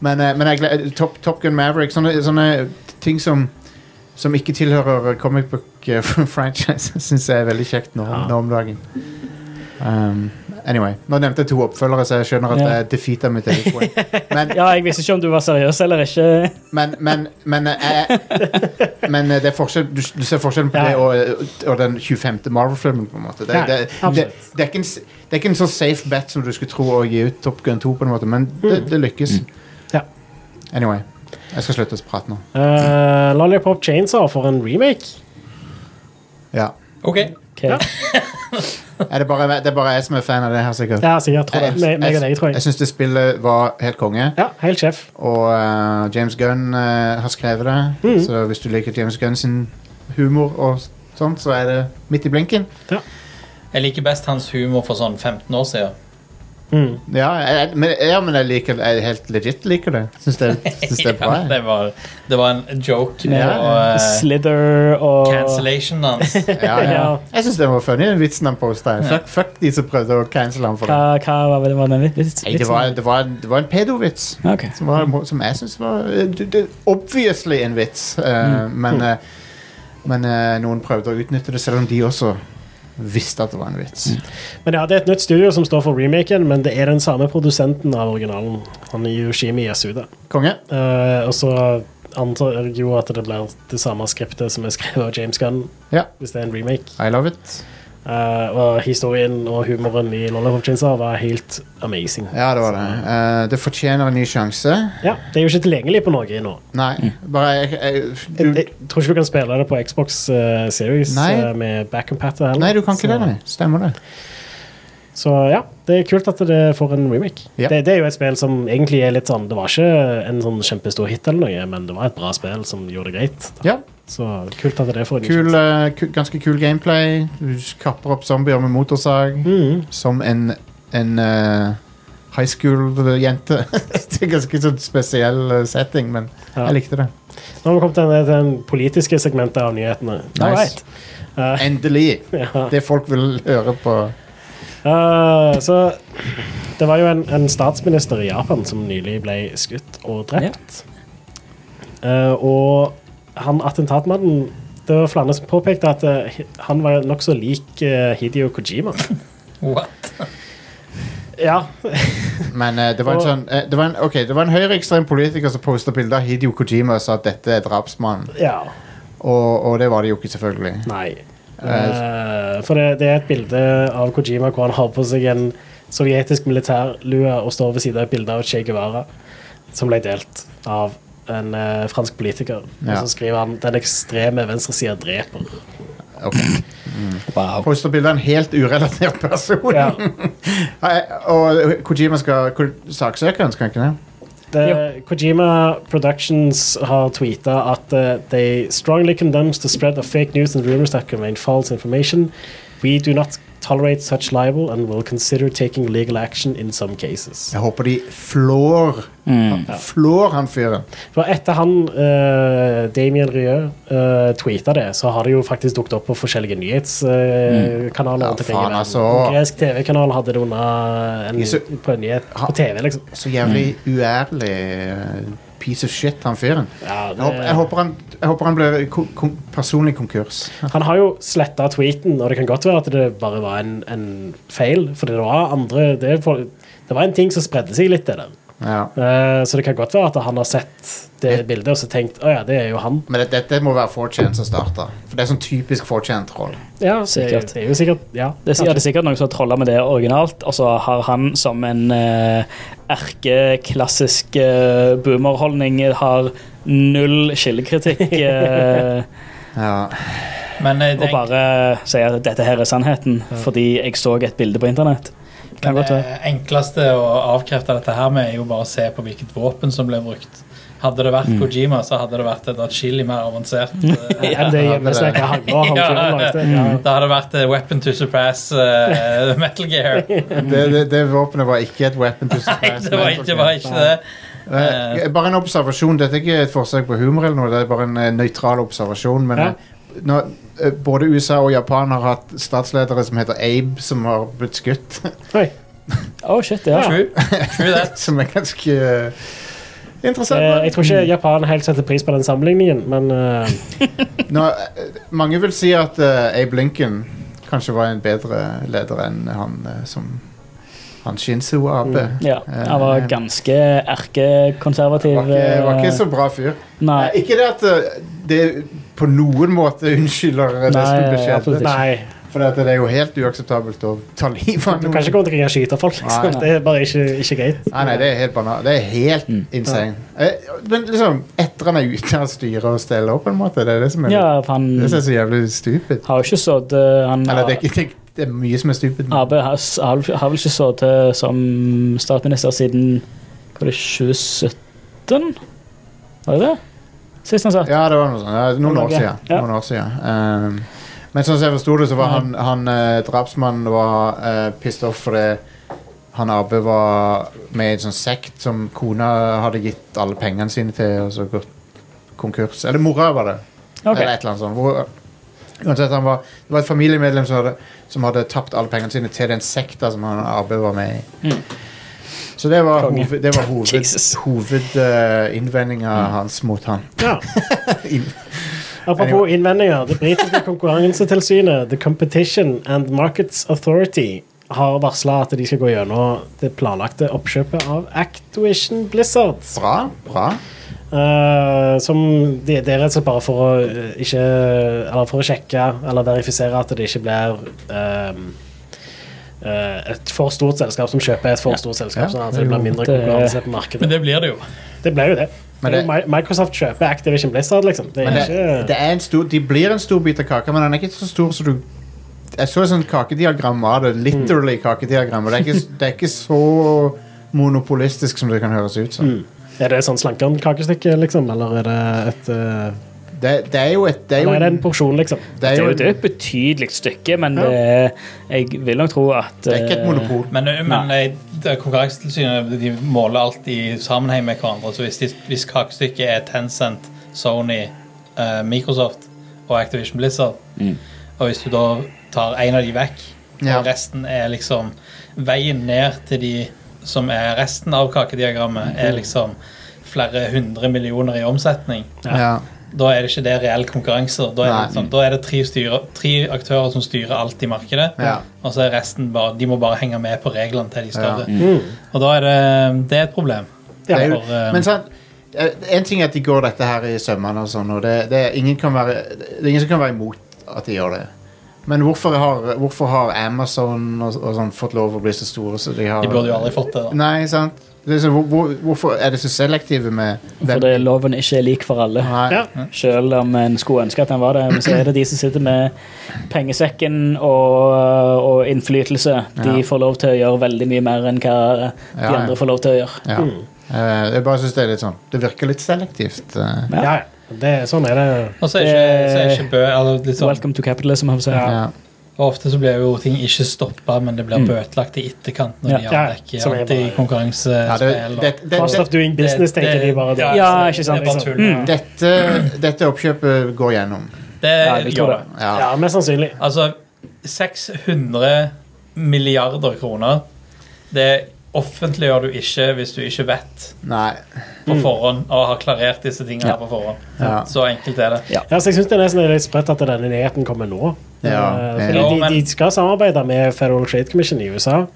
[SPEAKER 1] Men, eh, men jeg, gleder- Top, Top Gun Maverick, sånne, sånne ting som som ikke tilhører comic book eh, franchise, syns jeg er veldig kjekt nå,
[SPEAKER 2] Ja.
[SPEAKER 1] nå om dagen. Um, anyway, Nå nevnte jeg to oppfølgere, så jeg skjønner at
[SPEAKER 4] Ja.
[SPEAKER 1] jeg defeater mitt eget poeng. Men
[SPEAKER 4] Ja, jeg visste ikke om du var seriøs eller ikke.
[SPEAKER 1] men, men, men, eh, jeg, men eh, det er forskjell, du, du ser forskjellen på
[SPEAKER 2] Ja.
[SPEAKER 1] det og, og den 25. Marvel-filmen. på en måte det,
[SPEAKER 2] Ja,
[SPEAKER 1] det, det,
[SPEAKER 2] absolutt.
[SPEAKER 1] det, er ikke en, s- det er ikke en så safe bet som du skulle tro å gi ut Top Gun 2, på en måte men det, det lykkes.
[SPEAKER 2] Mm. Ja.
[SPEAKER 1] Anyway. Jeg skal slutte å prate nå.
[SPEAKER 2] Eh, Lollipop Chainsaw for en remake.
[SPEAKER 1] Ja.
[SPEAKER 3] OK.
[SPEAKER 4] Ok.
[SPEAKER 2] Ja.
[SPEAKER 1] Er det, bare, det er bare jeg som er fan av det her, sikkert.
[SPEAKER 2] Ja, sikkert. Tror jeg.
[SPEAKER 1] Jeg,
[SPEAKER 2] Meg, meg og deg, tror
[SPEAKER 1] jeg
[SPEAKER 2] jeg.
[SPEAKER 1] syns det spillet var helt konge.
[SPEAKER 2] Ja, helt sjef.
[SPEAKER 1] Og eh, James Gunn eh, har skrevet det.
[SPEAKER 2] Mm.
[SPEAKER 1] Så hvis du liker James Gunn sin humor, og sånt, så er det midt i blinken.
[SPEAKER 3] Jeg liker best hans humor for sånn 15 år siden.
[SPEAKER 2] Mm.
[SPEAKER 1] Ja, jeg, men, ja, men jeg liker jeg helt legit liker det. Syns det, syns det er bra.
[SPEAKER 3] Ja, det,
[SPEAKER 1] jeg.
[SPEAKER 3] var, det var en joke
[SPEAKER 1] Ja.
[SPEAKER 3] og eh,
[SPEAKER 4] Slither og
[SPEAKER 3] cancellation hans.
[SPEAKER 1] Ja, ja. Jeg syns det var funny, den vitsen han posta. Fuck, fuck de som prøvde å cancele ham for det.
[SPEAKER 4] Hva, hva var det- var den vits- vitsen?
[SPEAKER 1] Nei, det var, det var, en- det var en pedovits.
[SPEAKER 4] Ok.
[SPEAKER 1] Som, var, som jeg syns var det, det, Obviously en vits, eh, men, eh, men eh, noen prøvde å utnytte det, selv om de også visste at det var en vits.
[SPEAKER 2] Men ja, Det er et nytt studio som står for remaken, men det er den samme produsenten av originalen. Han er Yoshimi Yasuda.
[SPEAKER 1] Konge?
[SPEAKER 2] Eh, og så antar jeg jo at det blir det samme skriptet som er skrevet av James Gunn,
[SPEAKER 1] Ja.
[SPEAKER 2] hvis det er en remake.
[SPEAKER 1] I love it.
[SPEAKER 2] Eh, og historien og humoren i Lollipop Chainsaw var helt amazing.
[SPEAKER 1] Ja, det var det. Eh, det fortjener en ny sjanse.
[SPEAKER 2] Ja, Det er jo ikke tilgjengelig på noe nå.
[SPEAKER 1] Nei, bare jeg, jeg,
[SPEAKER 2] Jeg,
[SPEAKER 1] du,
[SPEAKER 2] jeg tror ikke du kan spille det på Xbox eh, Series
[SPEAKER 1] Nei.
[SPEAKER 2] eh, med backcompatter heller.
[SPEAKER 1] Nei, du kan ikke
[SPEAKER 2] så,
[SPEAKER 1] det, nei. Stemmer det.
[SPEAKER 2] Så ja, det er kult at det får en remake.
[SPEAKER 1] Ja.
[SPEAKER 2] Det, det er jo et spill som egentlig er litt sånn Det var ikke en sånn kjempestor hit eller noe, men det var et bra spill som gjorde det greit.
[SPEAKER 1] Ja,
[SPEAKER 2] Så kult at det får en ny
[SPEAKER 1] kul,
[SPEAKER 2] sjanse.
[SPEAKER 1] eh, ku- ganske kul gameplay. Du kapper opp zombier med motorsag
[SPEAKER 2] Mhm.
[SPEAKER 1] som en, en eh, high school-jente. det er ganske sånn spesiell eh, setting, men
[SPEAKER 2] Ja.
[SPEAKER 1] jeg likte det.
[SPEAKER 2] Nå har vi kommet til den, til den politiske segmentet av nyhetene.
[SPEAKER 1] Nice.
[SPEAKER 2] Eh,
[SPEAKER 1] Endelig!
[SPEAKER 2] ja.
[SPEAKER 1] Det folk vil høre på.
[SPEAKER 2] Eh, så det var jo en, en statsminister i Japan som nylig ble skutt og drept. Eh, og han attentatmannen Det var flere som påpekte at eh, hi- han var nokså lik eh, Hideo Kojima.
[SPEAKER 3] What?
[SPEAKER 2] Ja.
[SPEAKER 1] Men eh, det var en
[SPEAKER 2] Og-
[SPEAKER 1] sånn eh, det var en, Ok, det var en høyreekstrem politiker som posta bilde av Hidio Kojima og sa at dette er drapsmannen.
[SPEAKER 2] ja.
[SPEAKER 1] Og, og det var det jo ikke, selvfølgelig.
[SPEAKER 2] Nei. Eh, for det, det er et bilde av Kojima hvor han har på seg en sovjetisk militærlue og står ved siden av et bilde av Che Guevara, som ble delt av en eh, fransk politiker.
[SPEAKER 1] Ja.
[SPEAKER 2] Og så skriver han 'Den ekstreme venstresida dreper'.
[SPEAKER 1] ok.
[SPEAKER 4] Wow.
[SPEAKER 1] Poster bilder av en helt urelatert person.
[SPEAKER 2] Ja.
[SPEAKER 1] Nei, og Kojima skal ko- saksøke han, skal han ikke det?
[SPEAKER 2] The eh, Kojima Productions har tweetet at uh, they strongly condemns the spread of fake news and rumors that contain false information. We do not tolerate such libel and will consider taking legal action in some cases.
[SPEAKER 1] Jeg håper de flår
[SPEAKER 3] Mm.
[SPEAKER 1] Flår han fyren.
[SPEAKER 2] For etter han, eh, Damien Rieu, uh, tweeta det, så har det jo faktisk dukket opp på forskjellige nyhetskanaler.
[SPEAKER 1] Mm. Ja,
[SPEAKER 2] rundt omkring i
[SPEAKER 1] faen,
[SPEAKER 2] verden.
[SPEAKER 1] altså.
[SPEAKER 2] En Gresk TV-kanal hadde det under en,
[SPEAKER 1] Jeg så-
[SPEAKER 2] på en nyhet
[SPEAKER 1] Ha-
[SPEAKER 2] på TV, liksom.
[SPEAKER 1] Så jævlig
[SPEAKER 3] Mm.
[SPEAKER 1] uærlig eh, piece of shit, han fyren.
[SPEAKER 2] Ja,
[SPEAKER 1] Jeg håper, jeg
[SPEAKER 2] det,
[SPEAKER 1] håper, han, jeg håper han blir ko- kon- personlig konkurs.
[SPEAKER 2] han har jo sletta tweeten, og det kan godt være at det bare var en, en feil. For det var andre det, er folk- det var en ting som spredde seg litt, det der.
[SPEAKER 1] Ja.
[SPEAKER 2] Eh, så det kan godt være at han har sett det bildet og så tenkt å ja, det er jo han.
[SPEAKER 1] Men det- dette må være 4chan som starter. For det er sånn typisk 4chan-troll.
[SPEAKER 2] Ja, det,
[SPEAKER 4] Sikkert.
[SPEAKER 2] det er jo sikkert Ja.
[SPEAKER 4] Det er, ja,
[SPEAKER 2] kanskje.
[SPEAKER 4] det er sikkert noen som har trolla med det originalt, og så har han som en eh, erkeklassisk eh, boomerholdning har null kildekritikk eh,
[SPEAKER 1] Ja.
[SPEAKER 3] Men eh,
[SPEAKER 4] og
[SPEAKER 3] det,
[SPEAKER 4] bare sier at dette her er sannheten fordi jeg så et bilde på internett. Kan
[SPEAKER 3] men
[SPEAKER 4] godt være.
[SPEAKER 3] det eh, enkleste å avkrefte dette her med er jo bare å se på hvilket våpen som ble brukt. Hadde det vært
[SPEAKER 4] Mm.
[SPEAKER 3] Kojima, så hadde det vært et atskillig mer avansert eh,
[SPEAKER 2] Ja,
[SPEAKER 1] Ja,
[SPEAKER 2] det er hjemmesnekka hagla han
[SPEAKER 3] Ja.
[SPEAKER 2] fyren lagde. Ja.
[SPEAKER 3] Da hadde det vært eh, Weapon to Surpass eh, Metal Gear.
[SPEAKER 1] Det, det, det våpenet var ikke et weapon to
[SPEAKER 3] Nei,
[SPEAKER 1] surprise.
[SPEAKER 3] det var ikke, det. Var ikke det.
[SPEAKER 1] Eh, Bare en observasjon. Dette er ikke et forsøk på humor, eller noe, det er bare en eh, nøytral observasjon. Men
[SPEAKER 2] Ja.
[SPEAKER 1] eh, når, eh, både USA og Japan har hatt statsledere som heter Abe, som har blitt skutt.
[SPEAKER 2] Oi.
[SPEAKER 4] Å, shit, ja.
[SPEAKER 3] True. True that.
[SPEAKER 1] som er ganske eh, interessant.
[SPEAKER 2] Eh, jeg tror ikke Japan helt setter pris på den sammenligningen, men eh,
[SPEAKER 1] Nå, eh, mange vil si at eh, Abe Lincoln kanskje var en bedre leder enn han eh, som han Shinzo Abe.
[SPEAKER 4] Mm, ja. Han var ganske erkekonservativ.
[SPEAKER 1] Eh, Var ikke, var ikke så bra fyr.
[SPEAKER 4] eh, Nei.
[SPEAKER 1] Eh, Ikke det at eh, det på noen måte unnskylder eh, det
[SPEAKER 4] Nei,
[SPEAKER 1] som
[SPEAKER 4] absolutt
[SPEAKER 1] skjedde.
[SPEAKER 4] ikke.
[SPEAKER 2] nei.
[SPEAKER 1] For det at det er jo helt uakseptabelt å ta livet av
[SPEAKER 2] Du kan
[SPEAKER 1] noen.
[SPEAKER 2] ikke gå rundt og skyte folk, liksom.
[SPEAKER 1] Nei.
[SPEAKER 2] Det er bare ikke, ikke greit.
[SPEAKER 1] Nei, nei, det er helt banal. Det er helt
[SPEAKER 4] Mm.
[SPEAKER 1] insane. Eh, Men liksom, etter han er ute av styret og steller opp, på en måte, det er det som er
[SPEAKER 4] Ja, for han
[SPEAKER 1] Det som er så jævlig stupid.
[SPEAKER 4] har jo ikke sådd eh, Han
[SPEAKER 1] Eller det er, ikke, det, det er mye som er stupid. men-
[SPEAKER 4] Abe har, har, har vel ikke så til som statsminister siden hva var det, 2017? Var det det? Sist han satt?
[SPEAKER 1] Ja, det var noe sånt. Ja, noen år
[SPEAKER 4] Norge.
[SPEAKER 1] siden.
[SPEAKER 4] Ja.
[SPEAKER 1] Noen år siden. Ehm, men sånn som jeg forsto det, så var han, han eh, drapsmannen var eh, pissed off fordi han Abe var med i en sånn sekt som kona hadde gitt alle pengene sine til, og så gått konkurs. Eller mora, var det.
[SPEAKER 4] Ok.
[SPEAKER 1] Eller et eller annet sånt. Hvor, uansett, han var, det var et familiemedlem som hadde, som hadde tapt alle pengene sine til den sekta som han Abe var med i. Så det var,
[SPEAKER 4] Konge.
[SPEAKER 1] hoved, det var hoved,
[SPEAKER 4] Jesus.
[SPEAKER 1] hovedinnvendinga hans mot han.
[SPEAKER 2] Ja.
[SPEAKER 1] In-
[SPEAKER 2] Apropos innvendinger. Det britiske konkurransetilsynet, The Competition and Markets Authority, har varsla at de skal gå gjennom det planlagte oppkjøpet av Actuition Blizzard.
[SPEAKER 1] Bra, bra.
[SPEAKER 2] Eh, som det, det er rett og slett bare for å, eh, ikke, eller for å sjekke eller verifisere at det ikke blir ehm, eh, et for stort selskap som kjøper et for stort selskap,
[SPEAKER 1] Ja,
[SPEAKER 2] sånn at
[SPEAKER 1] det er
[SPEAKER 2] det blir
[SPEAKER 1] jo-
[SPEAKER 2] mindre
[SPEAKER 4] det-
[SPEAKER 2] konkurranse på
[SPEAKER 3] Men
[SPEAKER 2] markedet.
[SPEAKER 3] det blir det jo.
[SPEAKER 2] Det ble jo det.
[SPEAKER 1] Men
[SPEAKER 2] Det er jo Mi- Microsoft kjøper Activision Blizzard, liksom. Det
[SPEAKER 1] Men
[SPEAKER 2] er
[SPEAKER 1] det,
[SPEAKER 2] ikke
[SPEAKER 1] det er en stor, de blir en stor bit av kaka, men den er ikke så stor som du Jeg så et sånt kakediagram av det. Literally kakediagram. Og det er, ikke, det er ikke så monopolistisk som det kan høres ut som.
[SPEAKER 2] Er det sånn slankeren-kakestykke, liksom? Eller er det et eh,
[SPEAKER 1] Det, det er jo et Det er jo,
[SPEAKER 2] Eller er det en porsjon, liksom?
[SPEAKER 1] det er
[SPEAKER 4] Det er
[SPEAKER 1] jo
[SPEAKER 4] jo det er et betydelig stykke, men
[SPEAKER 2] Ja.
[SPEAKER 4] det er- jeg vil nok tro at
[SPEAKER 1] det er ikke et
[SPEAKER 4] eh,
[SPEAKER 1] monopol.
[SPEAKER 3] Men, men eh, det- Konkurransetilsynet de måler alt i sammenheng med hverandre. Så hvis, de, hvis kakestykket er Tencent, Sony, eh, Microsoft og Activision Blizzard, og hvis du da tar en av de vekk,
[SPEAKER 1] Ja.
[SPEAKER 3] og resten er liksom Veien ned til de som er resten av kakediagrammet, er liksom flere hundre millioner i omsetning.
[SPEAKER 1] Ja.
[SPEAKER 3] Da er det ikke det reell konkurranse. Da er det,
[SPEAKER 1] Nei.
[SPEAKER 3] liksom, da er det tre, styre, tre aktører som styrer alt i markedet.
[SPEAKER 1] Ja.
[SPEAKER 3] Og så er resten bare De må bare henge med på reglene til de større.
[SPEAKER 1] Ja.
[SPEAKER 2] Mm.
[SPEAKER 3] Og da er det Det er et problem.
[SPEAKER 1] Det er jo,
[SPEAKER 3] For, eh,
[SPEAKER 1] men sant eh, En ting er at de går dette her i sømmene og sånn, og det, det, er ingen kan være, det er ingen som kan være imot at de gjør det. Men hvorfor har, hvorfor har Amazon og, og sånn fått lov å bli så store? Så de, har,
[SPEAKER 3] De burde jo aldri fått det. da.
[SPEAKER 1] Nei, sant? Det er så, hvor, hvor, hvorfor er de så selektive med hvem-
[SPEAKER 4] Fordi loven ikke er lik for alle.
[SPEAKER 1] Nei.
[SPEAKER 2] Ja.
[SPEAKER 4] Selv om en skulle ønske at den var det, men så er det de som sitter med pengesekken og, eh, og innflytelse. De
[SPEAKER 1] Ja.
[SPEAKER 4] får lov til å gjøre veldig mye mer enn hva de
[SPEAKER 1] Ja, ja.
[SPEAKER 4] andre får lov til å gjøre.
[SPEAKER 1] Ja. Eh, jeg bare syns det er litt sånn Det virker litt selektivt. eh.
[SPEAKER 4] Ja.
[SPEAKER 2] Ja, ja. Det, sånn er det.
[SPEAKER 3] Og så er
[SPEAKER 2] Eh,
[SPEAKER 3] ikke, så er ikke bø, eller litt sånn,
[SPEAKER 4] Welcome to capitalism, har vi sagt.
[SPEAKER 2] Ja.
[SPEAKER 1] Ja.
[SPEAKER 3] og ofte så blir jo ting ikke stoppa, men det blir
[SPEAKER 1] Mm.
[SPEAKER 3] bøtelagt i etterkant når de
[SPEAKER 2] Ja.
[SPEAKER 3] avdekker
[SPEAKER 2] Som er
[SPEAKER 3] alt i
[SPEAKER 2] bare-
[SPEAKER 1] Ja,
[SPEAKER 3] konkurransespill.
[SPEAKER 1] det,
[SPEAKER 3] og-
[SPEAKER 1] det, det,
[SPEAKER 2] Cost of
[SPEAKER 1] det,
[SPEAKER 2] doing business,
[SPEAKER 3] Det-
[SPEAKER 2] tenker de bare.
[SPEAKER 3] det- så
[SPEAKER 4] Ja, ikke sant,
[SPEAKER 3] Det er bare
[SPEAKER 4] liksom.
[SPEAKER 3] tull. ja.
[SPEAKER 1] dette, dette oppkjøpet går gjennom.
[SPEAKER 3] Mm.
[SPEAKER 4] Ja,
[SPEAKER 3] Det
[SPEAKER 4] jeg
[SPEAKER 3] gjør
[SPEAKER 4] tror
[SPEAKER 3] det.
[SPEAKER 4] det.
[SPEAKER 1] Ja.
[SPEAKER 2] Ja, mest sannsynlig.
[SPEAKER 3] Altså, 600 milliarder kroner Det offentliggjør du ikke hvis du ikke vet
[SPEAKER 1] Nei.
[SPEAKER 3] på forhånd og har klarert disse tingene
[SPEAKER 4] Ja.
[SPEAKER 3] her på forhånd.
[SPEAKER 1] Mm. Ja.
[SPEAKER 3] Så enkelt er det.
[SPEAKER 2] Ja, så jeg synes det er nesten litt spredt at denne nyheten kommer nå.
[SPEAKER 1] Ja,
[SPEAKER 2] Eh,
[SPEAKER 1] ja.
[SPEAKER 2] fordi
[SPEAKER 3] Ja, men-
[SPEAKER 2] de, de skal samarbeide med Federal Trade Commission i USA.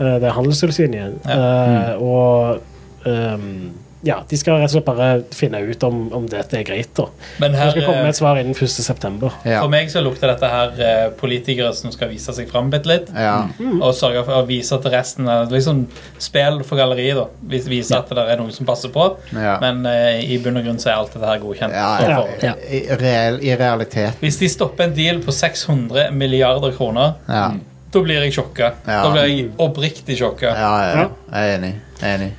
[SPEAKER 2] Eh, det er handelstilsynet. Eh,
[SPEAKER 1] Mm.
[SPEAKER 2] Og ehm, ja, de skal rett og slett bare finne ut om, om dette er greit. da.
[SPEAKER 3] Men
[SPEAKER 2] De
[SPEAKER 3] her, eh,
[SPEAKER 2] skal komme med et svar innen 1. september.
[SPEAKER 1] Ja.
[SPEAKER 3] For meg så lukter dette her eh, politikere som skal vise seg fram bitte litt.
[SPEAKER 1] Ja.
[SPEAKER 2] Mm.
[SPEAKER 3] Og sørge for å vise til resten av liksom spill for galleriet. da Vis- Vise at det er noen som passer på.
[SPEAKER 1] Ja.
[SPEAKER 3] Men eh, i bunn og grunn så er alt dette her godkjent.
[SPEAKER 1] Ja,
[SPEAKER 3] på
[SPEAKER 1] ja.
[SPEAKER 3] forhånd.
[SPEAKER 4] Ja.
[SPEAKER 1] I, reell, I realitet.
[SPEAKER 3] Hvis de stopper en deal på 600 milliarder kroner,
[SPEAKER 1] Ja.
[SPEAKER 2] Mm.
[SPEAKER 3] da blir jeg sjokka.
[SPEAKER 1] Ja.
[SPEAKER 3] Da blir jeg oppriktig sjokka.
[SPEAKER 1] Ja, ja, ja. Jeg er enig. Jeg er enig.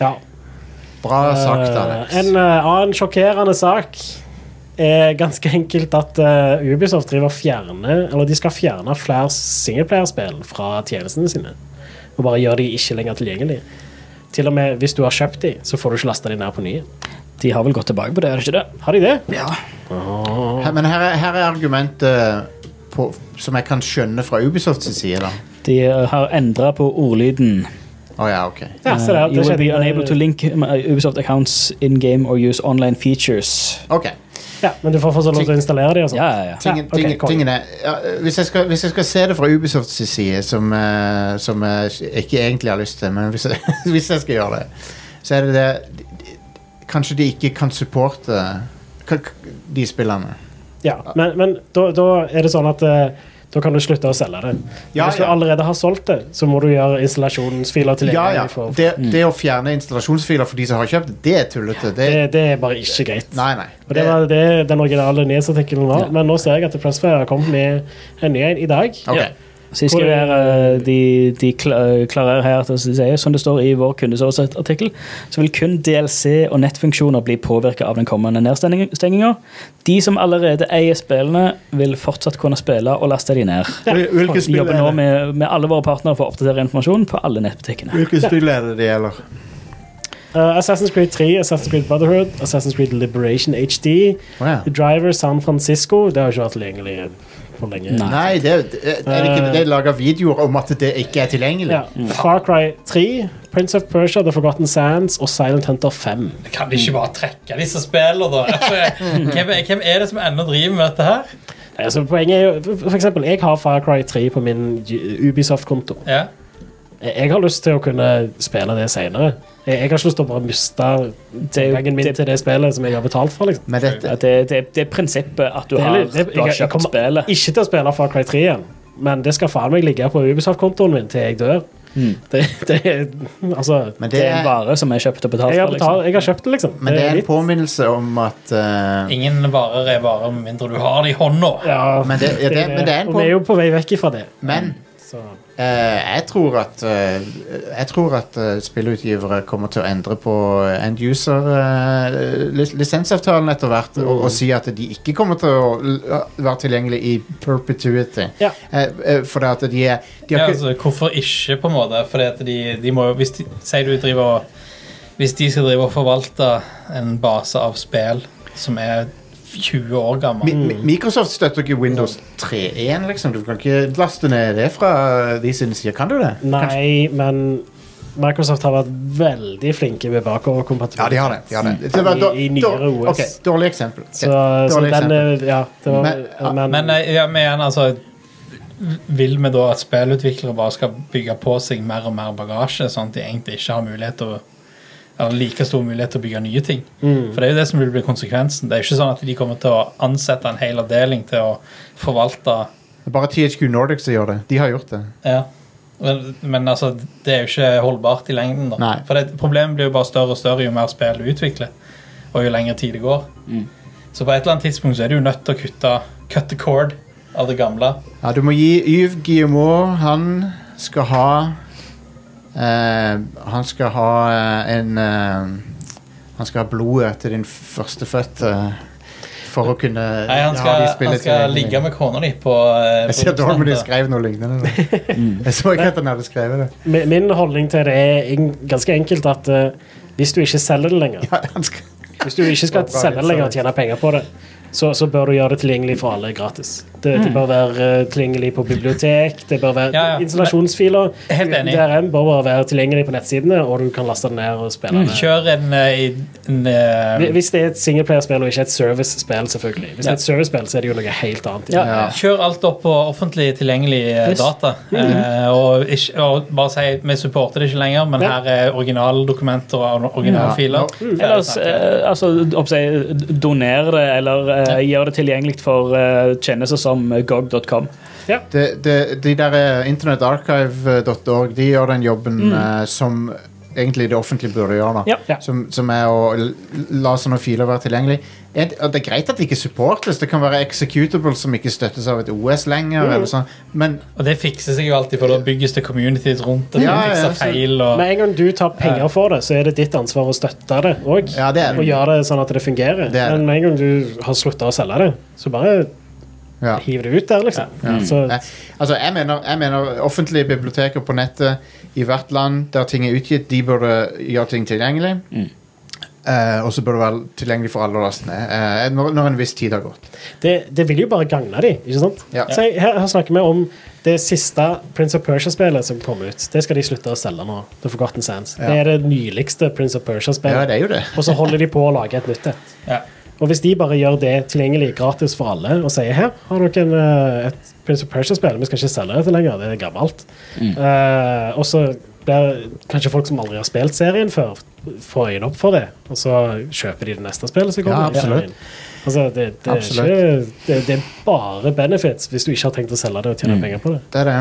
[SPEAKER 2] Ja.
[SPEAKER 1] Bra sagt,
[SPEAKER 2] Eh,
[SPEAKER 1] Alex.
[SPEAKER 2] en eh, annen sjokkerende sak er ganske enkelt at eh, Ubisoft driver og fjerner Eller de skal fjerne flere singleplayerspill fra tjenestene sine. Og bare gjøre de ikke lenger tilgjengelige. Til og med hvis du har kjøpt de, så får du ikke lasta de ned på nye.
[SPEAKER 4] De har vel gått tilbake på det, er det ikke det?
[SPEAKER 2] Har de det?
[SPEAKER 1] Her- Men her er, her er argumentet eh, på, som jeg kan skjønne fra Ubisofts side, da.
[SPEAKER 4] De eh, har endra på ordlyden.
[SPEAKER 1] Å ja, ok.
[SPEAKER 2] Ja, se der,
[SPEAKER 4] Eh, you will be
[SPEAKER 2] skjedde-
[SPEAKER 4] unable to link uh, Ubisoft accounts in game or use online features.
[SPEAKER 1] Ok,
[SPEAKER 2] Ja, men du får fortsatt lov til å installere de og sånn.
[SPEAKER 4] Ja, ja, ja.
[SPEAKER 1] Tingen,
[SPEAKER 2] Ja, ok,
[SPEAKER 1] tingen,
[SPEAKER 2] kom.
[SPEAKER 1] tingen er ja, hvis, jeg skal, hvis jeg skal se det fra Ubisofts side, som, eh, som jeg ikke egentlig har lyst til, men hvis jeg, hvis jeg skal gjøre det, så er det det de- de- Kanskje de ikke kan supporte kan- de spillene.
[SPEAKER 2] Ja, men, men da, da er det sånn at eh, da kan du slutte å selge det. Men
[SPEAKER 1] Ja,
[SPEAKER 2] hvis du
[SPEAKER 1] ja.
[SPEAKER 2] allerede har solgt det, så må du gjøre installasjonsfiler tilgjengelig.
[SPEAKER 1] Ja, ja.
[SPEAKER 2] For, det,
[SPEAKER 1] Det, det å fjerne installasjonsfiler for de som har kjøpt, det er tullete. Det,
[SPEAKER 2] det er bare ikke greit.
[SPEAKER 1] nei, nei.
[SPEAKER 2] Og det var det den originale nyhetsartikkelen var, men nå ser jeg at Pressfair har kommet med en ny en i dag.
[SPEAKER 1] Ok.
[SPEAKER 4] Ja. Så jeg skriver her, eh, de, de kla- eh, klarer her at de sier, som det står i vår kundeserviceartikkel, så vil kun DLC og nettfunksjoner bli påvirket av den kommende nedstenginga. De som allerede eier spillene, vil fortsatt kunne spille og laste de ned.
[SPEAKER 1] Hvil- Hvilke
[SPEAKER 4] Vi
[SPEAKER 1] spill
[SPEAKER 4] jobber
[SPEAKER 1] er
[SPEAKER 4] nå
[SPEAKER 1] det?
[SPEAKER 4] med, med alle våre partnere for å oppdatere informasjon på alle nettbutikkene.
[SPEAKER 1] Hvilke spill er det det gjelder?
[SPEAKER 2] Uh, Assassin's Creed 3, Assassin's Creed Brotherhood, Assassin's Creed Liberation HD,
[SPEAKER 1] Å, ja.
[SPEAKER 2] Driver San Francisco Det har jo ikke vært tilgjengelig på lenge.
[SPEAKER 1] Nei, det, det, er det ikke det lager videoer om at det ikke er tilgjengelig?
[SPEAKER 2] Ja. Far Cry 3, Prince of Persia, The Forgotten Sands og Silent Hunter 5.
[SPEAKER 3] Kan de ikke bare trekke disse spillene, da? Altså, hvem, er- hvem er det som ennå driver med dette her?
[SPEAKER 2] Nei, Altså, poenget er jo For for eksempel, jeg har Far Cry 3 på min Ju- Ubisoft-konto.
[SPEAKER 3] Ja.
[SPEAKER 2] Jeg jeg har lyst til å kunne spille det senere. Jeg jeg har ikke lyst til å bare miste tilgangen min
[SPEAKER 4] det-
[SPEAKER 2] til det spillet som jeg har betalt for. liksom
[SPEAKER 1] Men dette,
[SPEAKER 4] Ja, Det, det, det er prinsippet at du
[SPEAKER 2] Det er
[SPEAKER 4] har,
[SPEAKER 2] litt- det-
[SPEAKER 4] du har
[SPEAKER 2] jeg- jeg
[SPEAKER 4] kjøpt
[SPEAKER 2] kommer-
[SPEAKER 4] spillet.
[SPEAKER 2] ikke til å spille Far Cry 3 igjen, men det skal faen meg ligge på Ubisoft-kontoen min til jeg dør. Det, det er Altså
[SPEAKER 1] Mm. men
[SPEAKER 4] Det
[SPEAKER 1] det
[SPEAKER 4] er en
[SPEAKER 1] er,
[SPEAKER 4] vare som er kjøpt og betalt.
[SPEAKER 2] jeg har,
[SPEAKER 4] for, liksom.
[SPEAKER 2] betalt, jeg har kjøpt det, liksom.
[SPEAKER 1] men det er en
[SPEAKER 2] litt-
[SPEAKER 1] påminnelse om at eh,
[SPEAKER 3] Ingen varer er varer med mindre du har det i hånda.
[SPEAKER 2] ja,
[SPEAKER 1] men det- ja, det- men det er en
[SPEAKER 2] Og vi er jo på vei vekk ifra det.
[SPEAKER 1] Men
[SPEAKER 2] Så.
[SPEAKER 1] eh, jeg tror at eh, Jeg tror at eh, spillutgivere kommer til å endre på eh, end user-lisensavtalen etter hvert, og,
[SPEAKER 2] Mm.
[SPEAKER 1] og si at de ikke kommer til å l- være tilgjengelig i perpetuity.
[SPEAKER 2] Ja.
[SPEAKER 1] Eh, eh, for det at de er de
[SPEAKER 3] Ja,
[SPEAKER 1] har ikke,
[SPEAKER 3] altså, hvorfor ikke, på en måte? Fordi at de, de må jo Hvis de, sier du driver og Hvis de skal drive og forvalte en base av spill som er 20 år
[SPEAKER 1] Mi-
[SPEAKER 3] gammel
[SPEAKER 2] mm.
[SPEAKER 1] Mi- Microsoft støtter ikke Windows 3.1, liksom. Du kan ikke laste ned det fra eh, de sine sider. Kan du det?
[SPEAKER 2] Nei, men Microsoft har vært veldig flinke med bakoverkompatibilitet.
[SPEAKER 1] Ja, de har det. De har det. det var
[SPEAKER 2] Mm. I-
[SPEAKER 1] dår-
[SPEAKER 2] i nyere
[SPEAKER 1] dår-
[SPEAKER 2] OS.
[SPEAKER 1] ok, dårlig eksempel.
[SPEAKER 2] Så,
[SPEAKER 1] Et
[SPEAKER 2] så
[SPEAKER 1] dårlig
[SPEAKER 2] den eh,
[SPEAKER 1] eksempel.
[SPEAKER 2] er- Ja, det var
[SPEAKER 1] Men- ja,
[SPEAKER 2] Men,
[SPEAKER 3] Men eh, ja, men igjen, altså Vil vi da at spillutviklere bare skal bygge på seg mer og mer bagasje, sånn at de egentlig ikke har mulighet til å eller like stor mulighet til å bygge nye ting.
[SPEAKER 2] Mm.
[SPEAKER 3] For det er jo det som vil bli konsekvensen. Det er jo ikke sånn at de kommer til å ansette en hel avdeling til å forvalte
[SPEAKER 1] Det er bare THQ Nordic som gjør det. De har gjort det.
[SPEAKER 3] ja. men, men altså, det er jo ikke holdbart i lengden, da.
[SPEAKER 1] Nei.
[SPEAKER 3] For det, problemet blir jo bare større og større jo mer spill du utvikler, og jo lengre tid det går.
[SPEAKER 4] Mm.
[SPEAKER 3] Så på et eller annet tidspunkt så er du jo nødt til å kutte cut the cord av det gamle.
[SPEAKER 1] Ja, du må gi Yves Guillemot Han skal ha eh, Han skal ha eh, en eh, Han skal ha blodet til din førstefødte eh, for å kunne
[SPEAKER 3] Nei, han skal, han skal ligge med kona di på, eh,
[SPEAKER 1] Jeg
[SPEAKER 3] på
[SPEAKER 1] ser Dormady
[SPEAKER 3] Russland, da.
[SPEAKER 1] skrev noe lignende. da. Jeg så ikke at han hadde skrevet det.
[SPEAKER 2] Min min holdning til det er en- ganske enkelt at eh, hvis du ikke selger det lenger,
[SPEAKER 1] Ja, han skal,
[SPEAKER 2] hvis du ikke skal
[SPEAKER 1] Bra, bra,
[SPEAKER 2] selge det lenger og
[SPEAKER 1] sorry.
[SPEAKER 2] tjene penger på det, så, så bør du gjøre det tilgjengelig for alle gratis. Det, det bør være eh, tilgjengelig på bibliotek, det bør være
[SPEAKER 3] Mm. Ja, ja.
[SPEAKER 2] installasjonsfiler.
[SPEAKER 3] Helt enig.
[SPEAKER 2] DRM bør bare være tilgjengelig på nettsidene, og du kan laste den ned og spille det.
[SPEAKER 3] Mm, Kjør en, eh, en, eh,
[SPEAKER 2] Hvi- Hvis det er et singleplayerspill og ikke et servicespill, selvfølgelig. Hvis det
[SPEAKER 3] Ja.
[SPEAKER 2] er et servicespill, så er det jo noe helt annet.
[SPEAKER 4] Ja.
[SPEAKER 1] ja.
[SPEAKER 3] Kjør alt opp på offentlig tilgjengelig eh,
[SPEAKER 4] Yes.
[SPEAKER 3] data. Eh, og, ikke, og bare si vi supporter det ikke lenger, men
[SPEAKER 2] Ja.
[SPEAKER 3] her er originaldokumenter og Mm. originale
[SPEAKER 1] Ja.
[SPEAKER 3] filer. Ferdig
[SPEAKER 4] Ellers,
[SPEAKER 3] snakket.
[SPEAKER 4] eh, altså, oppsi, doner det, eller eh, gjør det tilgjengelig for eh, tjenester som gog.com.
[SPEAKER 1] de, de, de der eh, internettarchive.org de gjør den jobben eh, som egentlig det offentlige burde gjøre. da.
[SPEAKER 4] Ja.
[SPEAKER 2] Ja.
[SPEAKER 1] Som, som er å l- la sånne filer være tilgjengelig. En- og Det er greit at det ikke supportes. Det kan være executables som ikke støttes av et OS lenger.
[SPEAKER 2] Mm.
[SPEAKER 1] Eller sånn. Men
[SPEAKER 3] og det fikser seg jo alltid, for da bygges det communities rundt det.
[SPEAKER 1] Ja,
[SPEAKER 3] Ja,
[SPEAKER 1] ja,
[SPEAKER 3] fikser
[SPEAKER 1] så-
[SPEAKER 3] feil og
[SPEAKER 2] Med en gang du tar penger for det, så er det ditt ansvar å støtte det òg.
[SPEAKER 1] ja, det er
[SPEAKER 2] Og gjøre det sånn at det fungerer.
[SPEAKER 1] Mm. Det er det.
[SPEAKER 2] Men med en gang du har slutta å selge det, så bare
[SPEAKER 1] ja.
[SPEAKER 2] hiv det ut der, liksom. Så,
[SPEAKER 1] Nei, Altså, jeg mener, jeg mener offentlige biblioteker på nettet i hvert land der ting er utgitt, de burde gjøre ting tilgjengelig.
[SPEAKER 2] Mm.
[SPEAKER 1] Eh, og så burde det være tilgjengelig for alle å laste ned. eh, når, når en viss tid har gått.
[SPEAKER 2] det, det vil jo bare gagne de, ikke sant?
[SPEAKER 1] Ja.
[SPEAKER 2] Så jeg, her, her snakker vi om det siste Prince of Persia-spillet som kom ut. Det skal de slutte å selge nå. The Forgotten Sands.
[SPEAKER 1] Ja.
[SPEAKER 2] Det er det nyligste Prince of
[SPEAKER 1] Ja,
[SPEAKER 2] Persia-spillet.
[SPEAKER 1] det er jo det.
[SPEAKER 2] og så holder de på å lage et nytt et.
[SPEAKER 3] ja.
[SPEAKER 2] Og hvis de bare gjør det tilgjengelig gratis for alle og sier her har dere en, eh, et Prince of Persia-spill, vi skal ikke selge dette lenger, det er gammelt. Eh, og så blir kanskje folk som aldri har spilt serien før, får øynene opp for det, og så kjøper de det neste spillet som
[SPEAKER 1] Ja,
[SPEAKER 2] kommer. i serien.
[SPEAKER 1] absolutt.
[SPEAKER 2] Altså, det, det, er
[SPEAKER 1] Absolutt.
[SPEAKER 2] ikke, det, det er bare benefits hvis du ikke har tenkt å selge det og tjene penger på det.
[SPEAKER 1] Det er det.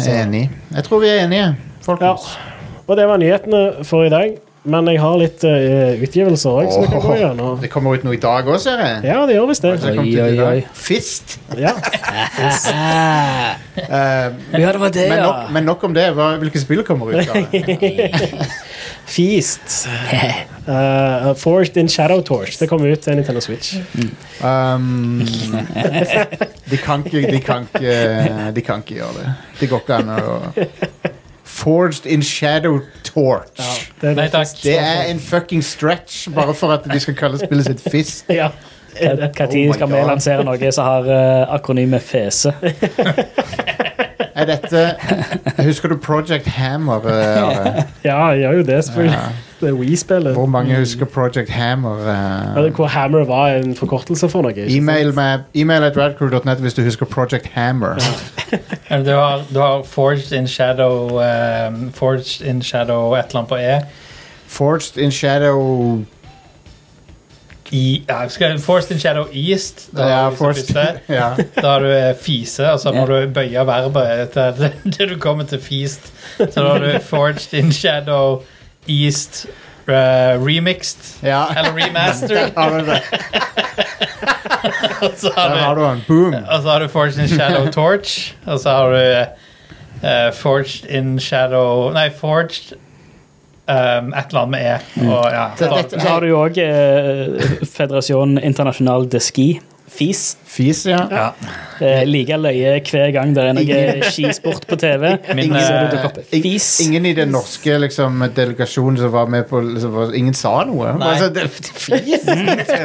[SPEAKER 1] Jeg er enig. Jeg tror vi er enige,
[SPEAKER 2] Ja.
[SPEAKER 1] folkens.
[SPEAKER 2] Og det var nyhetene for i dag, men jeg har litt eh, utgivelser òg, som vi kan gå
[SPEAKER 1] Åh,
[SPEAKER 2] gjennom.
[SPEAKER 1] det kommer ut noe i dag òg, ser jeg.
[SPEAKER 2] Ja, det gjør visst det.
[SPEAKER 1] Så det kom
[SPEAKER 4] Oi,
[SPEAKER 1] til i
[SPEAKER 4] oi,
[SPEAKER 1] dag.
[SPEAKER 4] oi.
[SPEAKER 1] Fist!
[SPEAKER 2] Ja.
[SPEAKER 1] Eh,
[SPEAKER 4] Ja, det var det,
[SPEAKER 1] men, nok, men nok om det. Hva, hvilke spill kommer ut av det?
[SPEAKER 2] Feast. Uh, Forged in Shadow Torch. Det kom ut til Nintendo Switch.
[SPEAKER 1] Um, de, kan ikke, de, kan ikke, de kan ikke gjøre det. Det går ikke an å Forged in shadow torch.
[SPEAKER 2] Det,
[SPEAKER 3] Nei takk.
[SPEAKER 1] Det er en fucking stretch, bare for at de skal kalle spillet sitt Fist.
[SPEAKER 2] Ja.
[SPEAKER 4] Når
[SPEAKER 1] Oh my
[SPEAKER 4] Eh, skal vi
[SPEAKER 1] God.
[SPEAKER 4] lansere noe som har eh, akronymet fese?
[SPEAKER 1] Er dette Husker du Project Hammer? eh, Are?
[SPEAKER 2] ja, jeg gjør jo det, selvfølgelig. Det er Wii-spillet.
[SPEAKER 1] Hvor mange husker Project Hammer? eh?
[SPEAKER 2] Ja, det- Hvor Hammer var en forkortelse for noe. ikke sant?
[SPEAKER 1] Email, med, email at radcrew.net hvis du husker Project Hammer.
[SPEAKER 3] Eller Du, har, du har Forged in Shadow eh, Forged in Shadow et eller annet på E.
[SPEAKER 1] Forged in shadow
[SPEAKER 3] I, ja, skal, jeg- Forged in Shadow East. Da,
[SPEAKER 1] Ja,
[SPEAKER 3] har du liksom
[SPEAKER 1] forged,
[SPEAKER 3] første.
[SPEAKER 1] ja.
[SPEAKER 3] da har du eh, fise, og så må du bøye verbet til til du kommer til feast. Så da har du Forged in Shadow East eh, Remixed.
[SPEAKER 1] ja.
[SPEAKER 3] Eller remastered.
[SPEAKER 1] Har du det?
[SPEAKER 3] Og så
[SPEAKER 1] Der har
[SPEAKER 3] har du,
[SPEAKER 1] du den. Boom.
[SPEAKER 3] og så har du Forged in Shadow Torch. Og så har du eh, Forged in Shadow Nei, Forged um, Et eller annet med E. Og, ja,
[SPEAKER 1] Mm. Det-
[SPEAKER 3] da-
[SPEAKER 1] dette-
[SPEAKER 4] Så har du jo òg eh, Federasjon Internasjonal de Ski, FIS.
[SPEAKER 1] Fis, ja.
[SPEAKER 3] ja.
[SPEAKER 4] Det er like løye hver gang det er noe skisport på TV.
[SPEAKER 3] Min,
[SPEAKER 4] Så
[SPEAKER 3] eh,
[SPEAKER 4] det dukker opp
[SPEAKER 1] Ing-
[SPEAKER 4] fis.
[SPEAKER 1] Ingen i den norske liksom, delegasjonen som var med på liksom, var- Ingen sa noe.
[SPEAKER 3] Nei.
[SPEAKER 1] Altså, det, det, fis.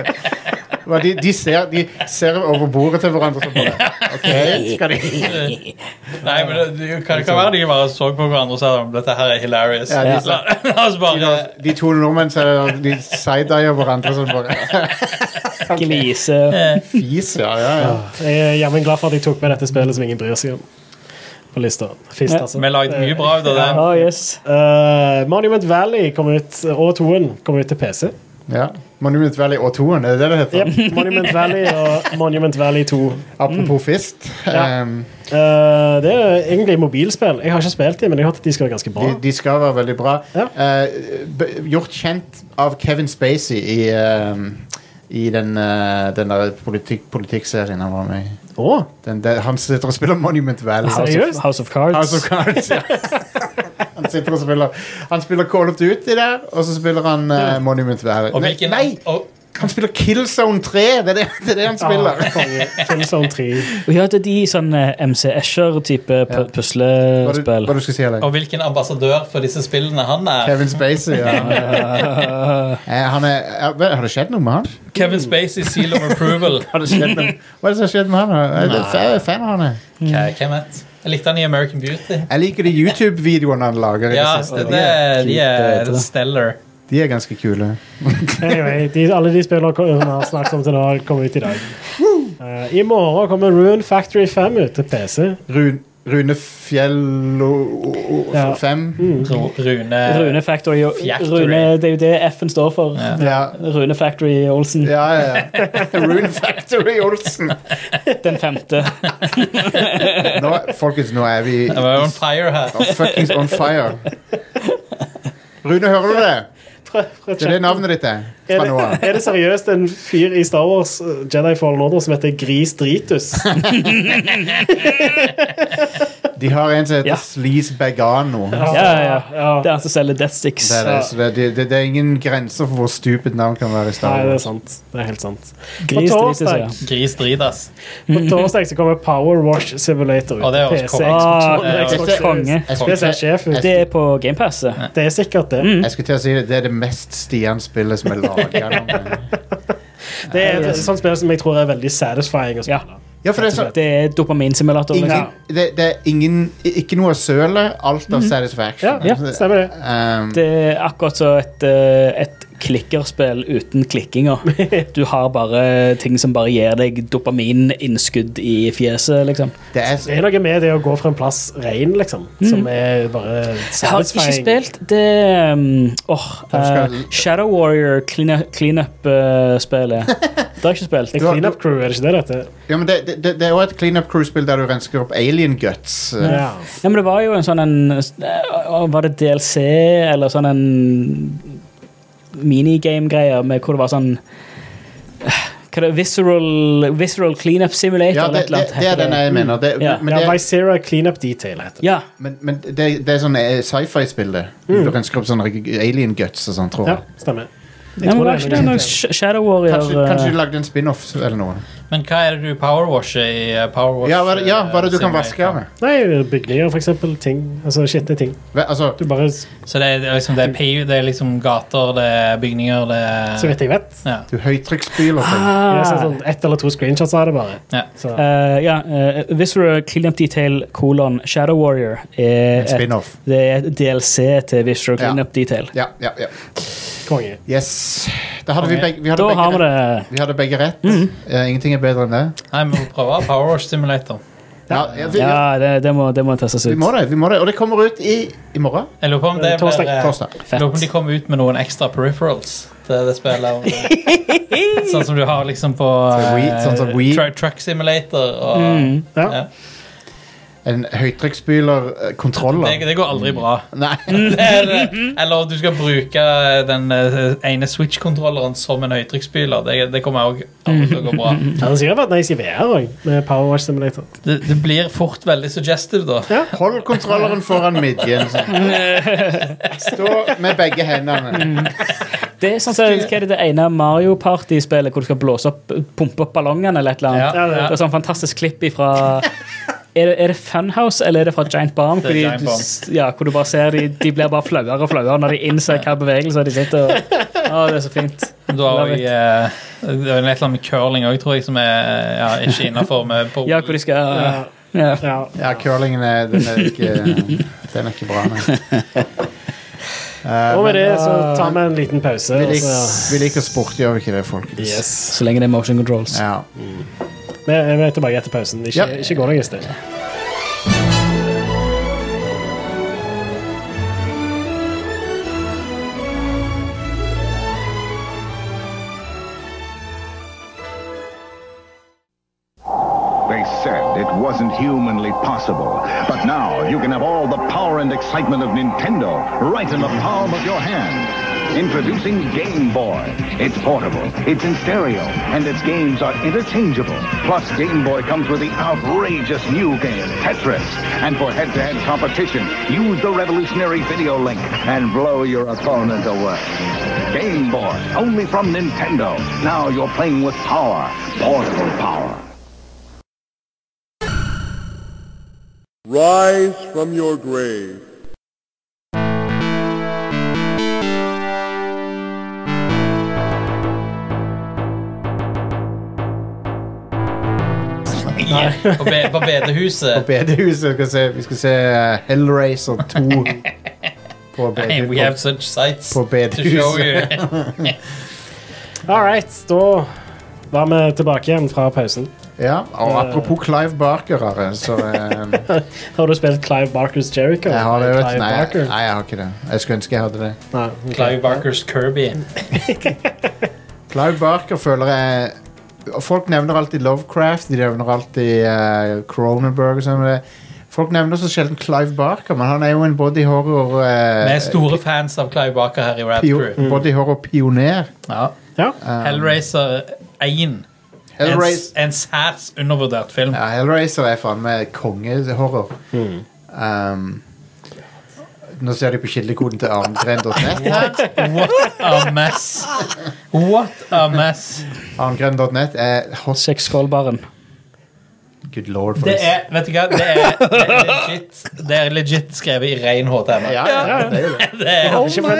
[SPEAKER 1] Hva, de, de, ser, de ser over bordet til hverandre og bare OK, skal de
[SPEAKER 3] Nei, men det, det kan, det kan være de bare så på hverandre og sa at dette her er hilarious.
[SPEAKER 1] Ja, de-
[SPEAKER 3] la, la oss bare
[SPEAKER 1] De to nordmenn ser- de side-dier hverandre som bare
[SPEAKER 4] Glise.
[SPEAKER 1] Fis, ja, ja. ja.
[SPEAKER 2] Ah. Jeg er jammen glad for at jeg tok med dette spillet som ingen bryr seg om. på lista. Fist,
[SPEAKER 4] Ja.
[SPEAKER 2] altså.
[SPEAKER 3] Vi har lagd mye bra ut av det.
[SPEAKER 4] Oh, yes.
[SPEAKER 2] Eh, Monument Valley kom ut, og toen kom ut til PC.
[SPEAKER 1] Ja. Monument Valley og toen, er det det det heter?
[SPEAKER 2] Yep, Monument Valley og Monument Valley 2.
[SPEAKER 1] Apropos Fist.
[SPEAKER 2] Ja.
[SPEAKER 1] ehm,
[SPEAKER 2] Eh, det er egentlig mobilspill. Jeg har ikke spilt dem, men jeg har hørt at de skal være ganske bra.
[SPEAKER 1] de, de skal være veldig bra.
[SPEAKER 2] Ja.
[SPEAKER 1] Eh, b- gjort kjent av Kevin Spacey i, ehm, i den, eh, den der politikk, politikkserien han var med i.
[SPEAKER 2] Å,
[SPEAKER 1] Den, der- han sitter og spiller Monument Valley.
[SPEAKER 4] House, of,
[SPEAKER 2] Seriøst?
[SPEAKER 4] House of Cards.
[SPEAKER 1] House of Cards, ja. Han sitter og spiller Han spiller Call of Duty der, og så spiller han eh, Monument Valley.
[SPEAKER 3] Og
[SPEAKER 1] Nei,
[SPEAKER 3] hvilken
[SPEAKER 1] nei,
[SPEAKER 3] og-
[SPEAKER 1] han spiller Killzone 3! Det er det, det, er det han spiller.
[SPEAKER 2] ah, konge. Killzone 3.
[SPEAKER 4] Og Ja, det er de sånn eh, MC Escher-type
[SPEAKER 1] Ja.
[SPEAKER 4] pu-
[SPEAKER 1] Hva, du,
[SPEAKER 4] puslespill.
[SPEAKER 1] hva du skulle si, Alex?
[SPEAKER 3] Og hvilken ambassadør for disse spillene han er.
[SPEAKER 1] Kevin Spacey, ja. Eh, han er, er- vel, har det skjedd noe med han?
[SPEAKER 3] Kevin Spacey, Seal of Approval.
[SPEAKER 1] Har det skjedd noe? Hva er det som har skjedd med han? da? Jeg er fa- fan av han. jeg.
[SPEAKER 3] Hva- Hvem vet? Jeg likte han i American Beauty.
[SPEAKER 1] Jeg liker de YouTube-videoene han lager. i
[SPEAKER 3] Ja,
[SPEAKER 1] det
[SPEAKER 3] det,
[SPEAKER 1] siste.
[SPEAKER 3] det, er- de er
[SPEAKER 4] Keep det.
[SPEAKER 3] stellar.
[SPEAKER 1] De er ganske kule.
[SPEAKER 2] Anyway, de, alle de spillene kom- vi har snakket om til nå, kom ut i dag. Eh, I morgen kommer Rune Factory 5 ut til PC.
[SPEAKER 1] Rune, Rune Fjello
[SPEAKER 2] Ja.
[SPEAKER 1] 5.
[SPEAKER 3] Ru- Rune
[SPEAKER 4] Rune Factory. og-
[SPEAKER 3] Factory.
[SPEAKER 4] Rune, det er jo det F-en står for.
[SPEAKER 3] Ja.
[SPEAKER 1] Ja.
[SPEAKER 4] Rune Factory Olsen,
[SPEAKER 1] Ja, ja. Rune Factory Olsen.
[SPEAKER 4] den femte.
[SPEAKER 1] Nå, folkens, nå er vi Oh,
[SPEAKER 3] Jeg var on fire her.
[SPEAKER 1] fuckings on fire. Rune, hører du det?
[SPEAKER 2] Prøv- prøv å
[SPEAKER 1] Det er det
[SPEAKER 2] sjekke.
[SPEAKER 1] navnet ditt er.
[SPEAKER 2] Er
[SPEAKER 1] Fra nå
[SPEAKER 2] det,
[SPEAKER 1] av.
[SPEAKER 2] er det seriøst en fyr i Star Wars eh, Jedi Fallen Order som heter Gris Dritus?
[SPEAKER 1] De har en som heter
[SPEAKER 4] Ja.
[SPEAKER 1] Sleaze Begano.
[SPEAKER 4] Ja, ja,
[SPEAKER 2] ja.
[SPEAKER 4] Det er han som selger Death Sticks.
[SPEAKER 1] Det er, det, så det, det, det er ingen grenser for hvor stupid navn kan være i Star
[SPEAKER 2] Nei, det er
[SPEAKER 1] Wars.
[SPEAKER 2] sant. Det er helt sant.
[SPEAKER 4] Gris
[SPEAKER 2] På
[SPEAKER 4] driter seg.
[SPEAKER 2] torsdag.
[SPEAKER 3] Gris drit, ass.
[SPEAKER 2] På torsdag så kommer Power Wash Simulator ut.
[SPEAKER 3] Å, det er også
[SPEAKER 2] PC,
[SPEAKER 3] konge.
[SPEAKER 2] Xbox
[SPEAKER 4] Ah,
[SPEAKER 2] One,
[SPEAKER 1] det er
[SPEAKER 2] Xbox
[SPEAKER 1] også
[SPEAKER 4] konge.
[SPEAKER 2] Series.
[SPEAKER 1] Jeg
[SPEAKER 2] Det
[SPEAKER 1] skulle,
[SPEAKER 2] ser
[SPEAKER 1] til,
[SPEAKER 2] sjef ut.
[SPEAKER 4] Det er på GamePasset.
[SPEAKER 2] Det er sikkert det.
[SPEAKER 4] Mm.
[SPEAKER 1] jeg skulle til å si det, det er det mest Stian-spillet som er eh. laga.
[SPEAKER 2] Det er et sånt spill som jeg tror er veldig satisfying å
[SPEAKER 4] Ja.
[SPEAKER 2] spille.
[SPEAKER 1] Ja, for det er så,
[SPEAKER 4] Det er dopaminsimulator.
[SPEAKER 1] ingen,
[SPEAKER 4] Liksom.
[SPEAKER 1] det, det er ingen Ikke noe av sølet, alt
[SPEAKER 4] Mm.
[SPEAKER 1] av
[SPEAKER 2] Ja,
[SPEAKER 1] satisfaction.
[SPEAKER 2] stemmer det.
[SPEAKER 1] Um,
[SPEAKER 4] Det er akkurat som et, eh, et klikkerspill uten klikkinger. Du har bare ting som bare gir deg dopamininnskudd i fjeset, liksom.
[SPEAKER 1] det er,
[SPEAKER 2] Det er noe med det å gå fra en plass rein, liksom, som er bare
[SPEAKER 4] Mm. Jeg har ikke
[SPEAKER 2] satisfying.
[SPEAKER 4] spilt det um, åh, eh,
[SPEAKER 1] skal-
[SPEAKER 4] Shadow Warrior clean- cleanup-spelet. det har jeg ikke spilt.
[SPEAKER 2] Det er Cleanup Crew, er det ikke det dette?
[SPEAKER 1] ja, men det, det, det det er også et cleanup crew-spill der du rensker opp alien guts. Uh,
[SPEAKER 2] Ja.
[SPEAKER 4] Ja, men det var jo en sånn en eh, Var det DLC eller sånn en minigame-greie med hvor det var sånn eh, hva er det, visceral, visceral cleanup simulator
[SPEAKER 1] Ja,
[SPEAKER 4] eller
[SPEAKER 1] det, det,
[SPEAKER 4] et eller annet.
[SPEAKER 1] det er
[SPEAKER 4] heter Mm.
[SPEAKER 1] den eh, jeg mener. Det,
[SPEAKER 4] Ja.
[SPEAKER 1] men,
[SPEAKER 2] ja,
[SPEAKER 1] det,
[SPEAKER 2] Visera Cleanup Detail heter det.
[SPEAKER 4] Ja,
[SPEAKER 1] men, men det, det er sånn eh, sci-fi-spill, det.
[SPEAKER 4] Mm.
[SPEAKER 1] Du ønsker opp sånne alien guts og sånn, tror
[SPEAKER 2] Ja,
[SPEAKER 1] jeg.
[SPEAKER 2] stemmer. Jeg
[SPEAKER 4] ja men
[SPEAKER 2] tror
[SPEAKER 4] var ikke det noe
[SPEAKER 2] Cleanup Detail.
[SPEAKER 4] Sh- Shadow Warrior
[SPEAKER 1] Kanskje,
[SPEAKER 4] eh,
[SPEAKER 1] kanskje du lagde en spin-off eller noe?
[SPEAKER 3] Men hva er det du powerwasher i eh, Powerwash?
[SPEAKER 1] Ja, hva, er det- ja, hva er det du
[SPEAKER 3] eh,
[SPEAKER 1] kan vaske
[SPEAKER 3] simulator?
[SPEAKER 1] av?
[SPEAKER 2] Nei, bygninger, for eksempel. Ting. Altså skitne ting.
[SPEAKER 1] Hva- Altså,
[SPEAKER 2] Du bare
[SPEAKER 3] Så det er, det er liksom, det er PU, det er liksom gater, det er bygninger, det er
[SPEAKER 2] Så vidt jeg vet.
[SPEAKER 3] Ja.
[SPEAKER 1] du høytrykksspyler ting.
[SPEAKER 2] Jeg har sett
[SPEAKER 4] ah,
[SPEAKER 2] sånn ett eller to screenshots av det, bare.
[SPEAKER 3] Ja.
[SPEAKER 1] sånn.
[SPEAKER 2] Så,
[SPEAKER 4] eh, ja, eh, Visceral Cleanup Detail kolon Shadow Warrior er
[SPEAKER 1] En
[SPEAKER 4] et,
[SPEAKER 1] spin-off.
[SPEAKER 4] det er et DLC til Visceral
[SPEAKER 1] Ja.
[SPEAKER 4] Cleanup Detail.
[SPEAKER 1] Ja, ja, ja.
[SPEAKER 2] konge.
[SPEAKER 1] Yes. Da hadde vi
[SPEAKER 3] Ok.
[SPEAKER 1] begge, vi hadde
[SPEAKER 4] Da har
[SPEAKER 1] begge
[SPEAKER 4] vi
[SPEAKER 1] rett.
[SPEAKER 4] det. Mhm.
[SPEAKER 1] Vi hadde begge rett. Eh, ingenting er bedre enn det.
[SPEAKER 3] Nei, vi må prøve Powerwash Simulator.
[SPEAKER 1] Ja, ja, vi,
[SPEAKER 4] Ja, det, det, må, det må testes
[SPEAKER 1] vi
[SPEAKER 4] ut.
[SPEAKER 1] må det, vi må det. Og det kommer ut i, i morgen.
[SPEAKER 3] Jeg lurer på om det
[SPEAKER 2] Eh, torsdag,
[SPEAKER 3] blir, eh,
[SPEAKER 1] Torsdag.
[SPEAKER 3] Jeg lurer på om de kommer ut med noen ekstra peripherals til det spillet. sånn som du har liksom på
[SPEAKER 1] Sånn Wii-
[SPEAKER 3] eh,
[SPEAKER 1] sånn som Wii.
[SPEAKER 3] Tra Truck Simulator og
[SPEAKER 4] Mm.
[SPEAKER 2] Ja.
[SPEAKER 3] ja.
[SPEAKER 1] En
[SPEAKER 3] det,
[SPEAKER 1] høytrykksspyler-kontroller.
[SPEAKER 3] det går aldri bra.
[SPEAKER 1] Nei.
[SPEAKER 3] Det er det. Eller du skal bruke den eh, ene Switch-kontrolleren som en høytrykksspyler. Det, det kommer også aldri til å gå bra.
[SPEAKER 1] Mm.
[SPEAKER 2] Det hadde sikkert vært nice i VR òg, med Power Wash Simulator.
[SPEAKER 3] Det, det blir fort veldig suggestive, da.
[SPEAKER 1] Hold kontrolleren foran midjen. Stå med begge hendene.
[SPEAKER 4] Det er sånn som hva er det, det ene Mario Party-spillet hvor du skal blåse opp, pumpe opp ballongene eller et eller annet.
[SPEAKER 2] Ja, det
[SPEAKER 4] Det er sånn fantastisk klipp ifra er det, er det Funhouse eller er det fra Giant Bomb?
[SPEAKER 3] Det er
[SPEAKER 4] Hvor, de,
[SPEAKER 3] Giant
[SPEAKER 4] du
[SPEAKER 3] Bomb.
[SPEAKER 4] s- ja, hvor du bare ser de, de blir bare flauere og flauere når de innser hva bevegelser de sitter og Å, det er så fint.
[SPEAKER 3] Du har
[SPEAKER 4] Love
[SPEAKER 3] også,
[SPEAKER 4] it.
[SPEAKER 3] eh, det er jo et eller annet med curling òg, tror jeg, som er eh, ja, ikke innafor.
[SPEAKER 4] Ja, hvor de skal
[SPEAKER 2] Ja.
[SPEAKER 4] ja.
[SPEAKER 2] Ja.
[SPEAKER 1] Ja, curlingen er, den er ikke Den er ikke bra, nei. Eh,
[SPEAKER 2] Og med
[SPEAKER 1] men
[SPEAKER 2] det så tar vi en liten pause.
[SPEAKER 1] vi
[SPEAKER 2] Og så,
[SPEAKER 1] liker, vi liker sport, gjør vi ikke det, folkens?
[SPEAKER 2] yes.
[SPEAKER 4] Så lenge det er motion controls.
[SPEAKER 1] Ja.
[SPEAKER 2] vi, vi er tilbake etter pausen. Ikke,
[SPEAKER 1] Ja.
[SPEAKER 2] ikke gå noe sted.
[SPEAKER 6] I said it wasn't humanly possible. But now you can have all the power and excitement of Nintendo right in the palm of your hand. Introducing Game Boy. It's portable, it's in stereo, and its games are interchangeable. Plus, Game Boy comes with the outrageous new game, Tetris. And for head-to-head competition, use the revolutionary video link and blow your opponent away. Game Boy, only from Nintendo. Now you're playing with power, portable power.
[SPEAKER 7] Rise from your grave.
[SPEAKER 3] På, be på bedehuset.
[SPEAKER 1] bedehuset. Vi skal se, vi skal se eh, Hellraiser 2 på,
[SPEAKER 3] Hey,
[SPEAKER 1] bede,
[SPEAKER 3] we have such sights
[SPEAKER 1] på, på
[SPEAKER 3] to show
[SPEAKER 1] bedehuset.
[SPEAKER 3] you.
[SPEAKER 2] All right, da var vi tilbake igjen fra pausen.
[SPEAKER 1] Ja, og apropos Clive Barker, så eh,
[SPEAKER 2] Har du spilt Clive Barkers Jericho?
[SPEAKER 1] Jeg har det, vet du.
[SPEAKER 2] Clive
[SPEAKER 1] Nei,
[SPEAKER 2] Barker?
[SPEAKER 1] jeg- nei, jeg har ikke det. Jeg skulle ønske jeg hadde det.
[SPEAKER 2] Nei, ok.
[SPEAKER 3] Clive Barkers Kirby.
[SPEAKER 1] Clive Barker føler jeg Folk nevner alltid Lovecraft, de nevner alltid eh, Cronenberg og sånn. men det- Folk nevner så sjelden Clive Barker, men han er jo en body horror
[SPEAKER 3] Vi
[SPEAKER 1] eh,
[SPEAKER 3] er store fans av Clive Barker her i Rad
[SPEAKER 1] pio,
[SPEAKER 3] Crew.
[SPEAKER 1] Body horror pioner.
[SPEAKER 3] Ja.
[SPEAKER 2] Ja.
[SPEAKER 3] Hellraiser 1. En,
[SPEAKER 1] Hellraiser,
[SPEAKER 3] en særs undervurdert film.
[SPEAKER 1] ja, Hellraiser er faen meg kongehorror. Um, nå ser de på kildekoden til arngren.net.
[SPEAKER 3] What, what a mess. What a mess.
[SPEAKER 1] Arngren.net er hot
[SPEAKER 4] Sexskålbaren.
[SPEAKER 1] good lord. For
[SPEAKER 3] Det
[SPEAKER 1] this.
[SPEAKER 3] er, vet du hva, det er, det er legit Det er legit skrevet i ren HTML.
[SPEAKER 1] ja, ja, det er jo det.
[SPEAKER 3] Det er,
[SPEAKER 4] Oh my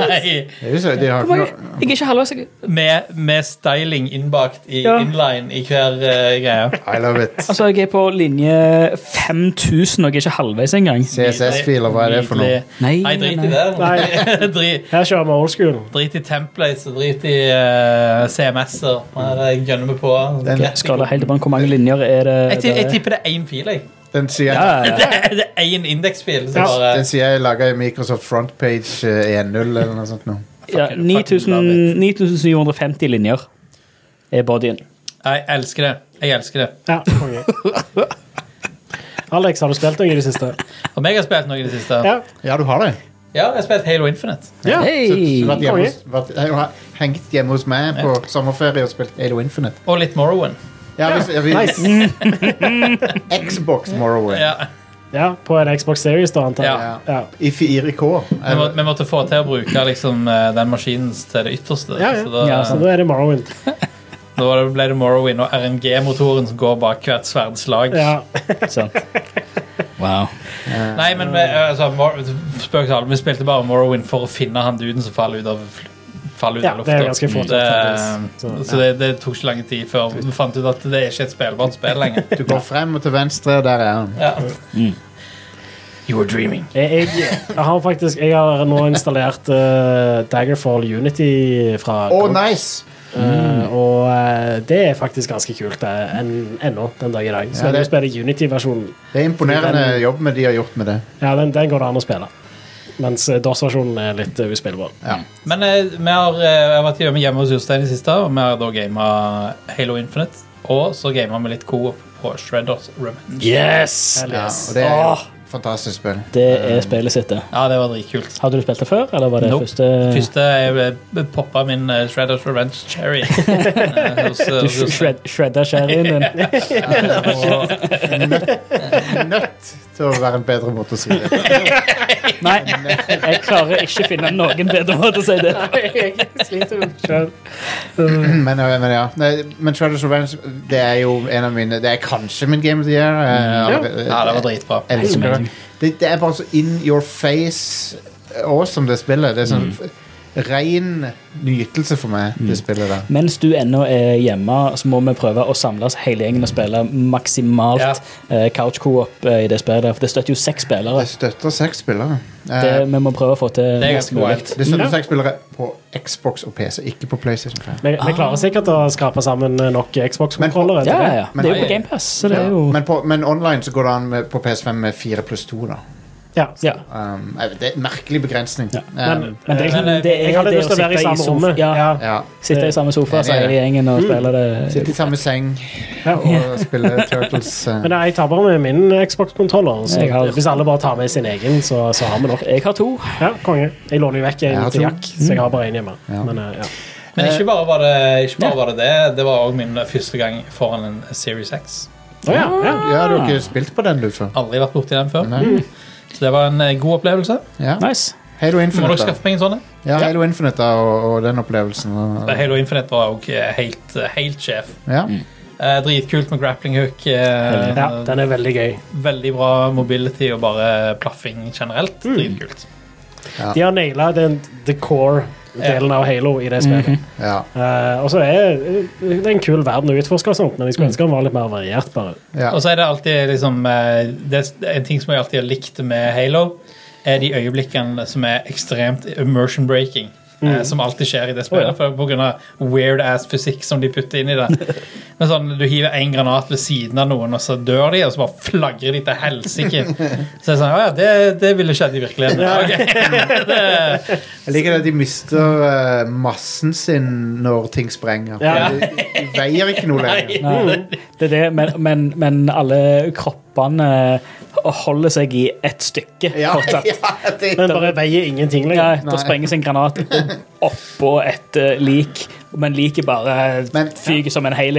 [SPEAKER 3] nei,
[SPEAKER 1] det, er jo så, de har ikke
[SPEAKER 4] Jeg
[SPEAKER 1] noe
[SPEAKER 4] er ikke halvveis. jeg-
[SPEAKER 3] med, med styling innbakt i
[SPEAKER 4] Ja.
[SPEAKER 3] inline i hver eh, greie.
[SPEAKER 1] I love it.
[SPEAKER 4] Altså, jeg er på linje 5000, og jeg er ikke halvveis engang.
[SPEAKER 1] CSS-filer, hva er det for noe?
[SPEAKER 3] Nydelig.
[SPEAKER 4] Nei,
[SPEAKER 3] Nei, drit i
[SPEAKER 2] Nei.
[SPEAKER 3] det. Drit-
[SPEAKER 2] Her kjører vi old school.
[SPEAKER 3] Drit i templates og drit i eh, CMS-er. Nei, Det gønner vi på.
[SPEAKER 1] Den
[SPEAKER 3] Greit.
[SPEAKER 4] Skala helt på hvor mange linjer er
[SPEAKER 3] Jeg,
[SPEAKER 4] det?
[SPEAKER 3] ti- jeg
[SPEAKER 4] det-
[SPEAKER 3] tipper det er én fil. jeg.
[SPEAKER 1] Den sier
[SPEAKER 4] Ja, ja, ja.
[SPEAKER 3] Det er- det er én indeksfil. som
[SPEAKER 2] Ja.
[SPEAKER 3] bare-
[SPEAKER 1] Den sier jeg laga i Microsoft Frontpage eh, 1.0 eller noe sånt. Nå.
[SPEAKER 4] ja,
[SPEAKER 3] fucking-
[SPEAKER 4] 9000 9750 linjer er bodyen.
[SPEAKER 3] Jeg elsker det. Jeg elsker det.
[SPEAKER 2] Ja, konge. Alex, har du spilt noe i det siste?
[SPEAKER 3] Om jeg har spilt noe i det siste? Ja,
[SPEAKER 2] Ja.
[SPEAKER 1] Ja, du har det.
[SPEAKER 3] jeg har spilt Halo Infinite.
[SPEAKER 2] ja.
[SPEAKER 1] Så, så
[SPEAKER 4] Hei!
[SPEAKER 1] vært hjemme hos, vært, jeg har hengt hjemme hos meg på sommerferie og spilt Halo Infinite.
[SPEAKER 3] Og litt Morrowind.
[SPEAKER 1] Ja, hvis, jeg,
[SPEAKER 2] Nice.
[SPEAKER 1] Xbox Morrowind.
[SPEAKER 3] Ja.
[SPEAKER 2] Ja, på en Xbox Series, da, antar jeg.
[SPEAKER 3] Ja.
[SPEAKER 2] Ja.
[SPEAKER 1] I 4K.
[SPEAKER 3] Vi, må, vi måtte få til å bruke liksom, eh, den maskinen til det ytterste.
[SPEAKER 2] Ja, ja. altså.
[SPEAKER 3] Så da,
[SPEAKER 4] Ja,
[SPEAKER 2] Så da er det Morrowind.
[SPEAKER 3] da var det- ble det Morrowind og RNG-motoren som går bak hvert sverdslag.
[SPEAKER 2] Ja.
[SPEAKER 4] Sant. Wow.
[SPEAKER 3] Nei, men vi,
[SPEAKER 2] Eh.
[SPEAKER 3] altså, Mor- spøk til alle, vi spilte bare Morrowind for å finne han duden som faller ut av faller ut
[SPEAKER 2] Ja,
[SPEAKER 3] av
[SPEAKER 2] det
[SPEAKER 3] lufta.
[SPEAKER 2] er ganske fort gjort,
[SPEAKER 3] så
[SPEAKER 2] faktisk. Så,
[SPEAKER 3] det, det tok ikke lang tid før vi fant ut at det er ikke et spillbart spill lenger.
[SPEAKER 1] Du går frem og til venstre, og der er han.
[SPEAKER 3] Ja. You were dreaming.
[SPEAKER 2] Jeg, jeg, jeg har faktisk Jeg har nå installert eh, Daggerfall Unity
[SPEAKER 1] Å,
[SPEAKER 2] fra GOG.
[SPEAKER 1] nice!
[SPEAKER 4] Mm.
[SPEAKER 2] Eh, og eh, det er faktisk ganske kult det, enn- ennå, den dag i dag. Så
[SPEAKER 1] Ja,
[SPEAKER 2] lenge
[SPEAKER 1] det-
[SPEAKER 2] du spiller Unity-versjonen.
[SPEAKER 1] Det er imponerende
[SPEAKER 2] Den-
[SPEAKER 1] jobb med de har gjort med det.
[SPEAKER 2] Ja, den, den går det an å spille. Mens eh, DOS-versjonen er litt eh, uspillbar.
[SPEAKER 3] Men eh, vi har, eh, jeg har vært hjemme- hjemme hos Jostein i siste, og vi har da gama Halo Infinite. Og så gama vi litt co-op på Shredders Revenge.
[SPEAKER 4] Yes!
[SPEAKER 1] Ja,
[SPEAKER 2] Yes.
[SPEAKER 1] og det er
[SPEAKER 4] Åh.
[SPEAKER 1] et fantastisk spill.
[SPEAKER 4] Det er spillet sitt, det.
[SPEAKER 3] Ja, det var dritkult.
[SPEAKER 4] Hadde du spilt det før, eller var det
[SPEAKER 3] Nope.
[SPEAKER 4] første
[SPEAKER 3] Første jeg poppa min eh, Shredders Revenge cherry. eh, hos, eh,
[SPEAKER 4] Du
[SPEAKER 3] hos Jostein.
[SPEAKER 4] shred, shredda sherryen din?
[SPEAKER 1] Og nødt, nødt til å være en bedre måte å si det.
[SPEAKER 4] Nei, jeg klarer ikke å finne noen bedre måte å si det.
[SPEAKER 1] Men, øh, men ja Nei, Men Shadows of Revenge Det er jo en av mine Det er kanskje min Game of the Year Jeg allerede-
[SPEAKER 3] Ja, det var dritbra.
[SPEAKER 1] jeg elsker det. det Det er bare så in your face Awesome det spillet Det er sånn f- Ren nytelse for meg Det spillet der
[SPEAKER 4] Mens du ennå er hjemme, så må vi prøve å samles hele gjengen og spille maksimalt
[SPEAKER 3] Ja.
[SPEAKER 4] eh, couch co-op eh, i det spillet. der, For det støtter jo seks spillere.
[SPEAKER 1] Jeg støtter seks spillere
[SPEAKER 4] Det,
[SPEAKER 1] Eh,
[SPEAKER 4] vi må prøve å få til
[SPEAKER 3] Det er
[SPEAKER 4] mest
[SPEAKER 3] ganske
[SPEAKER 4] mulig.
[SPEAKER 3] wild.
[SPEAKER 1] Det støtter seks spillere på Xbox og PC Ikke på Playstation 5
[SPEAKER 2] Vi, vi klarer sikkert å skrape sammen eh, nok Xbox-kontrollere.
[SPEAKER 4] Ja,
[SPEAKER 2] til
[SPEAKER 4] Ah. ja,
[SPEAKER 2] det.
[SPEAKER 4] ja.
[SPEAKER 1] Men-
[SPEAKER 4] Det er jo på GamePass, så det er jo
[SPEAKER 1] men, på, men online så går det an med, på PS5 med 4 pluss 2 da
[SPEAKER 2] Ja.
[SPEAKER 4] Ja.
[SPEAKER 1] Um, eh, det er en merkelig begrensning.
[SPEAKER 4] Ja.
[SPEAKER 1] Um,
[SPEAKER 2] Men,
[SPEAKER 4] Men det, er
[SPEAKER 3] Men, eh,
[SPEAKER 4] liksom- det er
[SPEAKER 2] jeg hadde
[SPEAKER 4] det
[SPEAKER 2] lyst til å være i
[SPEAKER 4] sitte
[SPEAKER 2] samme
[SPEAKER 4] sofa-
[SPEAKER 2] rommet.
[SPEAKER 4] Ja,
[SPEAKER 1] ja.
[SPEAKER 4] Sitte i samme sofa,
[SPEAKER 1] Enig i
[SPEAKER 4] så hele
[SPEAKER 1] det.
[SPEAKER 4] gjengen og spille
[SPEAKER 1] Sitte i
[SPEAKER 4] det.
[SPEAKER 1] samme seng
[SPEAKER 2] Ja.
[SPEAKER 1] og spille Turtles. eh.
[SPEAKER 2] Men nei, jeg tar bare med min Xbox-kontroller. Så
[SPEAKER 4] Jeg har-
[SPEAKER 2] Hvis alle bare tar med sin egen, så, så har vi nok.
[SPEAKER 4] Jeg har to.
[SPEAKER 2] Ja, konge. Jeg låner jo vekk
[SPEAKER 1] Jeg
[SPEAKER 2] en
[SPEAKER 1] har
[SPEAKER 2] til
[SPEAKER 1] to.
[SPEAKER 2] Jack, så jeg har bare én hjemme. Men, eh, ja.
[SPEAKER 3] Men ikke bare var det ikke bare var det, det, det var òg min første gang foran en Series X.
[SPEAKER 2] Å, ja, ja.
[SPEAKER 1] Ja, du har ikke spilt på den, du, før?
[SPEAKER 3] Aldri vært borti den før.
[SPEAKER 2] Mm.
[SPEAKER 1] Nei.
[SPEAKER 3] Så det var en eh, god opplevelse.
[SPEAKER 1] Ja.
[SPEAKER 4] Nice.
[SPEAKER 1] Halo
[SPEAKER 3] Må
[SPEAKER 1] Infinite,
[SPEAKER 3] dere
[SPEAKER 1] da.
[SPEAKER 3] skaffe meg en sånn en?
[SPEAKER 1] Ja, Halo Infinite da, og, og den opplevelsen. og-
[SPEAKER 3] Men Halo Infinite var òg helt, eh, helt sjef.
[SPEAKER 1] Ja.
[SPEAKER 3] Eh, dritkult med grappling hook. Eh,
[SPEAKER 2] ja, den er veldig gøy.
[SPEAKER 3] Veldig bra mobility og bare plaffing generelt.
[SPEAKER 2] Mm.
[SPEAKER 3] Dritkult.
[SPEAKER 2] De har naila den the core-delen av Halo i det spillet.
[SPEAKER 1] ja.
[SPEAKER 2] Eh, og så er det er en kul verden å utforske, og sånt, men
[SPEAKER 1] Mm.
[SPEAKER 2] jeg skulle ønske den var litt mer variert. bare.
[SPEAKER 1] ja.
[SPEAKER 3] Og så er det alltid liksom eh, det er En ting som jeg alltid har likt med Halo, er de øyeblikkene som er ekstremt immersion breaking. eh, Som alltid skjer i det spillet,
[SPEAKER 4] Mm. Å,
[SPEAKER 3] for på grunn av weird ass fysikk som de putter inn i det. Men sånn, Du hiver en granat ved siden av noen, og så dør de, og så bare flagrer de til helsike. Så det er sånn, «Å ja, det, det ville skjedd i virkeligheten. Ok. det,
[SPEAKER 1] Jeg liker at de mister eh, massen sin når ting sprenger.
[SPEAKER 2] Ja.
[SPEAKER 1] De, de veier ikke noe lenger.
[SPEAKER 4] Nei, det er det, men, men, men alle kroppene eh, holder seg i ett stykke
[SPEAKER 1] Ja,
[SPEAKER 4] fortsatt.
[SPEAKER 1] ja, det,
[SPEAKER 2] Men bare veier ingenting liksom.
[SPEAKER 4] Nei,
[SPEAKER 2] lenger.
[SPEAKER 4] det sprenges en granat oppå et eh, lik, men liket bare eh,
[SPEAKER 1] Men-
[SPEAKER 4] fyker som en hel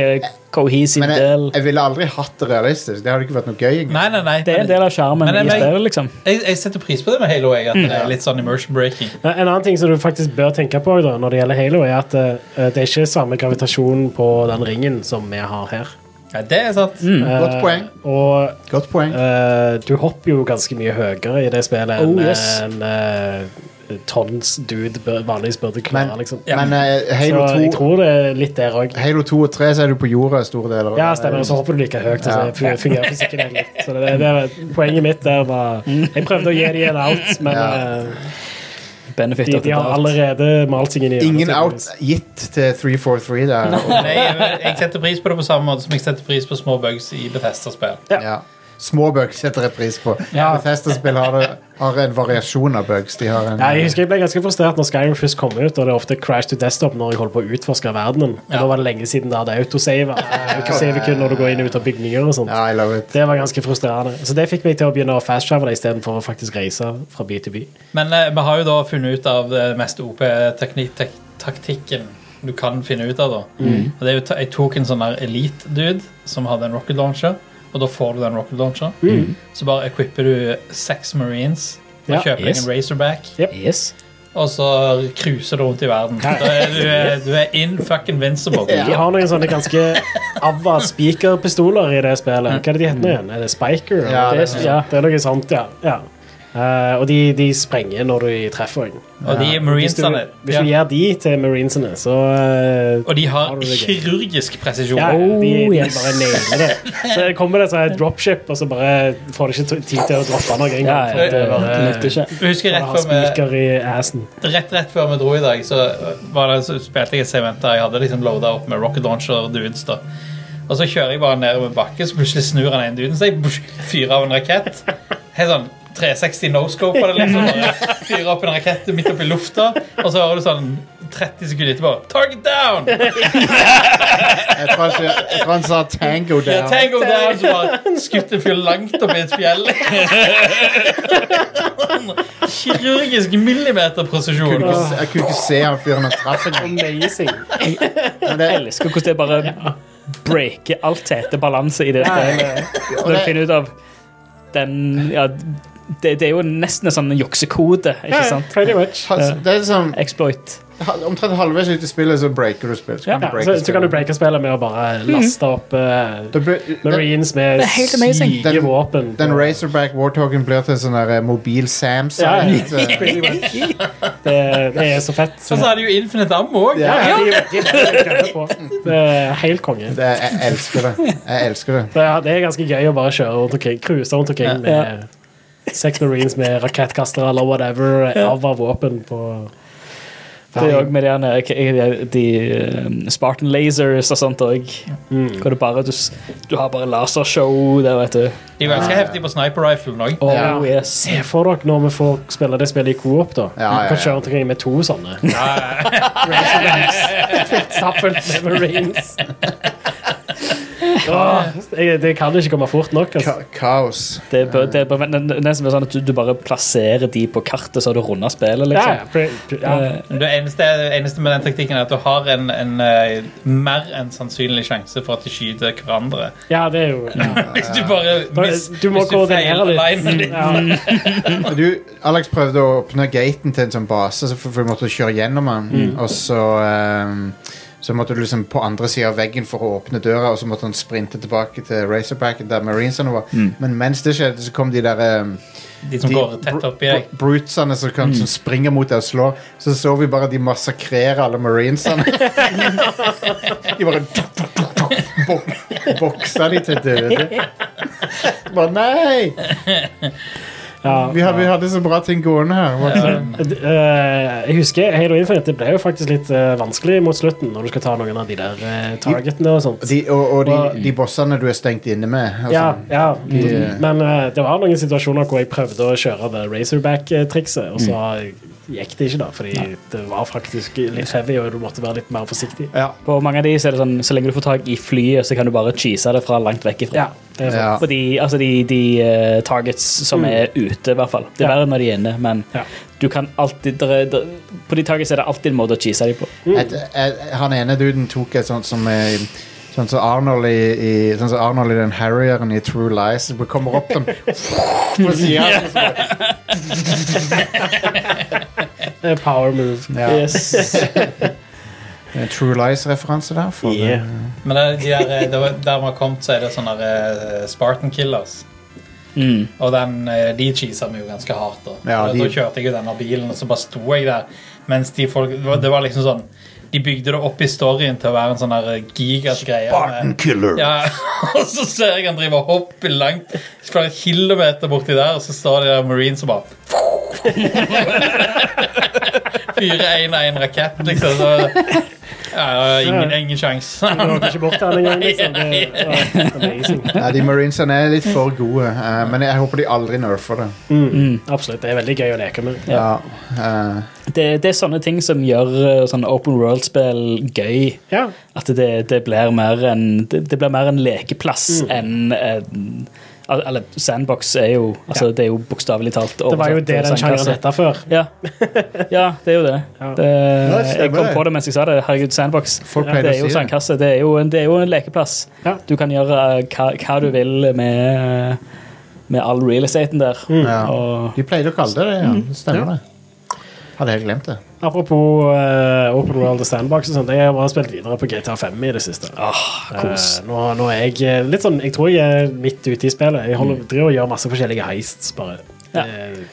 [SPEAKER 4] cohesiv
[SPEAKER 1] men jeg,
[SPEAKER 4] del.
[SPEAKER 1] jeg ville aldri hatt det realistisk. Det hadde ikke vært noe gøy. engang.
[SPEAKER 3] nei, nei, nei.
[SPEAKER 4] Det er en del av skjermen
[SPEAKER 3] Men
[SPEAKER 4] i
[SPEAKER 3] jeg-
[SPEAKER 4] spillet, liksom.
[SPEAKER 3] Jeg, jeg setter pris på det med Halo. Jeg, at
[SPEAKER 4] Mm.
[SPEAKER 3] det er litt sånn immersion breaking.
[SPEAKER 2] Men En annen ting som du faktisk bør tenke på da, når det gjelder Halo, er at eh, det er ikke samme gravitasjon på den ringen som vi har her. Eh,
[SPEAKER 3] Ja, det er sant.
[SPEAKER 4] Mm.
[SPEAKER 1] Godt poeng.
[SPEAKER 2] Og
[SPEAKER 1] Godt poeng.
[SPEAKER 2] eh, du hopper jo ganske mye høyere i det spillet
[SPEAKER 4] Oh,
[SPEAKER 2] enn
[SPEAKER 4] yes.
[SPEAKER 2] en eh, tons dude bør, vanligvis burde klare,
[SPEAKER 1] Men,
[SPEAKER 2] liksom.
[SPEAKER 1] men eh,
[SPEAKER 2] Så
[SPEAKER 1] Halo,
[SPEAKER 2] jeg
[SPEAKER 1] 2,
[SPEAKER 2] tror det er litt der òg.
[SPEAKER 1] Halo 2 og 3 så er du på jorda store deler. av
[SPEAKER 2] Ja,
[SPEAKER 1] det.
[SPEAKER 2] stemmer. Og så hopper du like høyt.
[SPEAKER 1] Ja.
[SPEAKER 2] Altså, det fungerer fysikken egentlig. Så det, det var poenget mitt der var Jeg prøvde å gi dem en out, men
[SPEAKER 1] Mm. Ja.
[SPEAKER 2] eh,
[SPEAKER 4] Benefit
[SPEAKER 2] de,
[SPEAKER 4] of the
[SPEAKER 2] de har
[SPEAKER 4] doubt.
[SPEAKER 2] allerede malt seg inn i
[SPEAKER 1] Ingen
[SPEAKER 2] hjørnet,
[SPEAKER 1] out
[SPEAKER 2] tydeligvis.
[SPEAKER 1] gitt til 343 der. Og,
[SPEAKER 3] Nei, jeg, jeg setter pris på det på samme måte som jeg setter pris på små bugs i Bethesda-spill.
[SPEAKER 2] Ja.
[SPEAKER 1] ja. Små bugs setter jeg pris på. Bethesda-spill har, det- har en variasjon av bugs. De har en,
[SPEAKER 2] Ja, jeg husker jeg ble ganske frustrert når Skyrim først kom ut, og det er ofte crash to desktop når jeg holder på å utforske verdenen. Og
[SPEAKER 3] Ja.
[SPEAKER 2] Da var det lenge siden det hadde autosave. Autosave kun når du går inn og ut av bygninger og sånt.
[SPEAKER 1] ja, I love it.
[SPEAKER 2] Det var ganske frustrerende. Så det fikk meg til å begynne å fast-travele istedenfor å faktisk reise fra by til by.
[SPEAKER 3] Men eh, vi har jo da funnet ut av det mest OP-taktikken du kan finne ut av. da.
[SPEAKER 2] Mm.
[SPEAKER 3] Og det er jo, ta- jeg tok en sånn der elite-dude som hadde en rocket launcher, og da får du den rocket launcher. Så bare equipper du seks marines og
[SPEAKER 2] Mm. Ja.
[SPEAKER 3] kjøper
[SPEAKER 4] Yes.
[SPEAKER 3] en razorback,
[SPEAKER 2] Yep.
[SPEAKER 4] Yes.
[SPEAKER 3] og så cruiser du rundt i verden. Da er du, eh, du er in fucking invincible.
[SPEAKER 2] De har noen sånne ganske avva spikerpistoler i det
[SPEAKER 4] Mm.
[SPEAKER 2] spillet. Hva er det de heter nå igjen? Er det Spiker? eller?
[SPEAKER 1] Ja,
[SPEAKER 4] Det er, sånn. ja.
[SPEAKER 2] Ja, det er noe sånt, ja. ja. Eh, og de, de sprenger når du treffer den.
[SPEAKER 3] Og de
[SPEAKER 2] Hvis du,
[SPEAKER 3] marinesene
[SPEAKER 2] hvis du gir de til marinesene, så eh,
[SPEAKER 3] Og de har
[SPEAKER 2] Har du det gøy?
[SPEAKER 3] kirurgisk presisjon.
[SPEAKER 2] ja,
[SPEAKER 4] Oh,
[SPEAKER 2] de, de
[SPEAKER 4] yes.
[SPEAKER 2] bare nailer det. Så kommer det sånn et sånt dropship, og så bare får du ikke tid til å droppe noe.
[SPEAKER 4] Ja,
[SPEAKER 2] engang, for
[SPEAKER 4] ja,
[SPEAKER 2] at
[SPEAKER 4] det
[SPEAKER 2] det bare-
[SPEAKER 4] nytter ikke.
[SPEAKER 3] Jeg husker
[SPEAKER 2] bare
[SPEAKER 3] rett
[SPEAKER 2] har
[SPEAKER 3] før, vi,
[SPEAKER 2] spiker i assen.
[SPEAKER 3] rett, rett før vi dro i dag, så, var det, så spilte jeg et segment der jeg hadde liksom loada opp med rocket launcher dudes. da. Og så kjører jeg bare nedover bakken, så plutselig snur han en duden seg, bush, fyrer av en rakett. Helt sånn 360 no-scope på det, liksom. bare Fyrer opp en rakett midt oppi lufta, og så hører du sånn 30 sekunder etterpå Target down!
[SPEAKER 1] Jeg tror han, sier- jeg tror han sa tango
[SPEAKER 3] Ja,
[SPEAKER 1] down.
[SPEAKER 3] tango down! Så bare skutt en fyr langt oppi et fjell. Sånn Kirurgisk millimeterpresisjon.
[SPEAKER 1] kunne ikke, se- jeg kunne ikke se han fyren han traff engang.
[SPEAKER 2] Amazing.
[SPEAKER 1] Men det-
[SPEAKER 4] Jeg elsker hvordan det bare breaker alt hete balanse i det spillet.
[SPEAKER 1] og
[SPEAKER 4] Når du
[SPEAKER 1] det-
[SPEAKER 4] finner ut av den ja, det, det er jo nesten en sånn juksekode, ikke sant?
[SPEAKER 2] Pretty much.
[SPEAKER 1] han- det er liksom
[SPEAKER 4] Exploit.
[SPEAKER 1] ha- Omtrent halvveis ut i spillet, så breaker du spillet. Så
[SPEAKER 2] Ja,
[SPEAKER 1] kan du breake
[SPEAKER 2] så, så kan du
[SPEAKER 1] spillet.
[SPEAKER 2] breake spillet med å bare laste opp eh,
[SPEAKER 1] Da blir- den-
[SPEAKER 2] Marines med
[SPEAKER 4] er helt amazing.
[SPEAKER 1] Den-
[SPEAKER 2] syke våpen.
[SPEAKER 1] Den Razorback Warthogen blir til sånn der eh, mobil Samsung.
[SPEAKER 2] Ja, ja.
[SPEAKER 1] eh,
[SPEAKER 2] Pretty much. det, det er så fett.
[SPEAKER 3] Og så har de jo Infinite Ammo òg.
[SPEAKER 1] Ja.
[SPEAKER 2] Ja, de- de- de kødder på. Det er helt konge.
[SPEAKER 1] det, jeg elsker det. Jeg elsker det.
[SPEAKER 2] Det er, det er ganske gøy å bare kjøre rundt omkring, cruise rundt omkring med seks marines med rakettkastere eller whatever, av av våpen på
[SPEAKER 4] Det er òg med de, herne- k- de, de eh, Spartan lasers og sånt òg. Hvor det bare du, s- du har bare lasershow der, vet du.
[SPEAKER 3] De var ganske heftige på sniper rifle òg.
[SPEAKER 4] Oh,
[SPEAKER 1] Ja.
[SPEAKER 4] yes.
[SPEAKER 2] Se for dere når vi får spille det spillet i coop, da.
[SPEAKER 1] Ja, ja, ja.
[SPEAKER 2] Kan kjøre omkring med to sånne. Stappfullt med marines. Åh, jeg- det kan ikke komme fort nok. Altså.
[SPEAKER 1] Ka kaos.
[SPEAKER 4] Det bør, det bør, men det er nesten sånn at du, du bare plasserer de på kartet, så har du runda
[SPEAKER 2] Ja,
[SPEAKER 4] spillet, liksom.
[SPEAKER 2] ja, pre- pre- ja.
[SPEAKER 4] Eh,
[SPEAKER 3] Det eneste, det eneste med den taktikken er at du har en, en eh, mer enn sannsynlig sjanse for at de skyter hverandre.
[SPEAKER 2] ja, det er jo
[SPEAKER 3] Hvis du bare hvis,
[SPEAKER 2] Du må
[SPEAKER 3] hvis du
[SPEAKER 2] koordinere
[SPEAKER 3] feiler
[SPEAKER 2] litt.
[SPEAKER 3] alignment ditt.
[SPEAKER 2] Ja.
[SPEAKER 1] Og Du, Alex prøvde å åpne gaten til en sånn base, så for for vi måtte kjøre gjennom den.
[SPEAKER 3] Mm.
[SPEAKER 1] Og så, ehm, så måtte du liksom på andre siden av veggen for å åpne døra, og så måtte han sprinte tilbake til Razorbacken der Marinesene var. Men mens det skjedde, så kom de der ehm,
[SPEAKER 3] De Mm. som
[SPEAKER 1] de
[SPEAKER 3] går tett
[SPEAKER 1] br-
[SPEAKER 3] oppi deg.
[SPEAKER 1] br- brutesene som,
[SPEAKER 3] Mm.
[SPEAKER 1] kan, som springer mot deg og slår. Så så vi bare de massakrerer alle marinesene. de bare bok, Boksa de til døde. Bare nei!
[SPEAKER 2] Ja.
[SPEAKER 1] Vi, har, vi hadde så bra ting gående her. Hva-
[SPEAKER 2] D- eh, jeg husker Halo Infinite det ble jo faktisk litt eh, vanskelig mot slutten når du skal ta noen av de der eh, targetene og sånt.
[SPEAKER 1] De, og og
[SPEAKER 2] Og-
[SPEAKER 1] de, de bossene du er stengt inne med. og
[SPEAKER 2] Ja,
[SPEAKER 1] sånn.
[SPEAKER 2] ja.
[SPEAKER 1] De-
[SPEAKER 2] Men eh, det var noen situasjoner hvor jeg prøvde å kjøre det Razorback-trikset, og så gikk det ikke, da, fordi det var faktisk litt heavy, og du måtte være litt mer forsiktig.
[SPEAKER 1] ja.
[SPEAKER 4] På mange av de så er det sånn, så lenge du får tak i flyet, så kan du bare cheese det fra langt vekk ifra.
[SPEAKER 2] Ja, det er sant.
[SPEAKER 1] Ja.
[SPEAKER 4] Fordi, altså de, de eh, targets som er ute, i hvert fall. Det er
[SPEAKER 2] Mm. Ja.
[SPEAKER 4] verre når de er inne, men
[SPEAKER 2] Ja.
[SPEAKER 4] du kan alltid der, der, På de targets er det alltid en måte å cheese dem på.
[SPEAKER 1] Et, et, han ene duden tok et sånt som eh, Sånn som Arnold i, i, sånn som Arnold i den Harrieren i True Lies. Det kommer opp sånn på siden.
[SPEAKER 2] Eh, Power move.
[SPEAKER 1] Ja.
[SPEAKER 4] Yes.
[SPEAKER 1] En True Lies-referanse der. For,
[SPEAKER 2] Yeah.
[SPEAKER 3] Men det, de der, eh, det var- der vi har kommet, så er det sånne der, eh, Spartan Killers.
[SPEAKER 4] Mm.
[SPEAKER 3] Og den, eh, de cheesa vi jo ganske hardt. Da.
[SPEAKER 1] Ja,
[SPEAKER 3] Da-
[SPEAKER 1] de-
[SPEAKER 3] da kjørte jeg jo denne bilen, og så bare sto jeg der. Mens de folk, det var- det var liksom sånn De bygde det opp i storyen til å være en sånn der, eh, gigas greie. med-
[SPEAKER 6] killer.
[SPEAKER 3] Ja, og så ser jeg han driver og hopper langt flere kilometer borti der, og så står de der marines og bare Fyrer én og én rakett, liksom. Så, ja, ingen, ingen sjanse.
[SPEAKER 2] Du nådde ikke bort til han engang, liksom. Det var amazing.
[SPEAKER 1] Nei, de Marinesene er litt for gode, eh, men jeg håper de aldri nerfer det.
[SPEAKER 4] mm.
[SPEAKER 2] Absolutt. Det er veldig gøy å leke med.
[SPEAKER 1] Ja, eh,
[SPEAKER 4] Det, det er sånne ting som gjør eh, sånn open world-spill gøy.
[SPEAKER 2] Ja.
[SPEAKER 4] At det, det blir mer en, det, det blir mer en lekeplass
[SPEAKER 2] Mm.
[SPEAKER 4] enn en- al- Eller sandbox er jo altså, Det er jo bokstavelig talt
[SPEAKER 2] Det var jo det
[SPEAKER 4] oversatt
[SPEAKER 2] den
[SPEAKER 4] sandkasse.
[SPEAKER 2] sjangeren hette før.
[SPEAKER 4] Ja. ja, det er jo det.
[SPEAKER 2] Ja.
[SPEAKER 4] det
[SPEAKER 1] Ja, det stemmer
[SPEAKER 4] jeg kom
[SPEAKER 1] det.
[SPEAKER 4] på det mens jeg sa det. Herregud, sandbox.
[SPEAKER 1] Folk
[SPEAKER 4] det
[SPEAKER 1] pleier
[SPEAKER 4] er
[SPEAKER 1] å
[SPEAKER 4] jo
[SPEAKER 1] si det.
[SPEAKER 4] sandkasse. Det er jo en, det er jo en lekeplass.
[SPEAKER 2] Ja.
[SPEAKER 4] Du kan gjøre eh, hva, hva du vil med, med all real estaten der.
[SPEAKER 2] Mm.
[SPEAKER 1] ja.
[SPEAKER 4] Og,
[SPEAKER 1] De pleide å kalle det det, ja. Det stemmer det. Hadde helt glemt det.
[SPEAKER 2] Apropos eh, Open World og Sandbox og sånt, jeg har bare spilt videre på GTA 5 i det siste. Eh,
[SPEAKER 4] Ah, kos.
[SPEAKER 2] nå, nå er jeg eh, litt sånn Jeg tror jeg er midt ute i spillet. Jeg holder, driver og gjør masse forskjellige heists, bare.
[SPEAKER 4] Mm. Ja.
[SPEAKER 2] Eh,
[SPEAKER 1] Legg-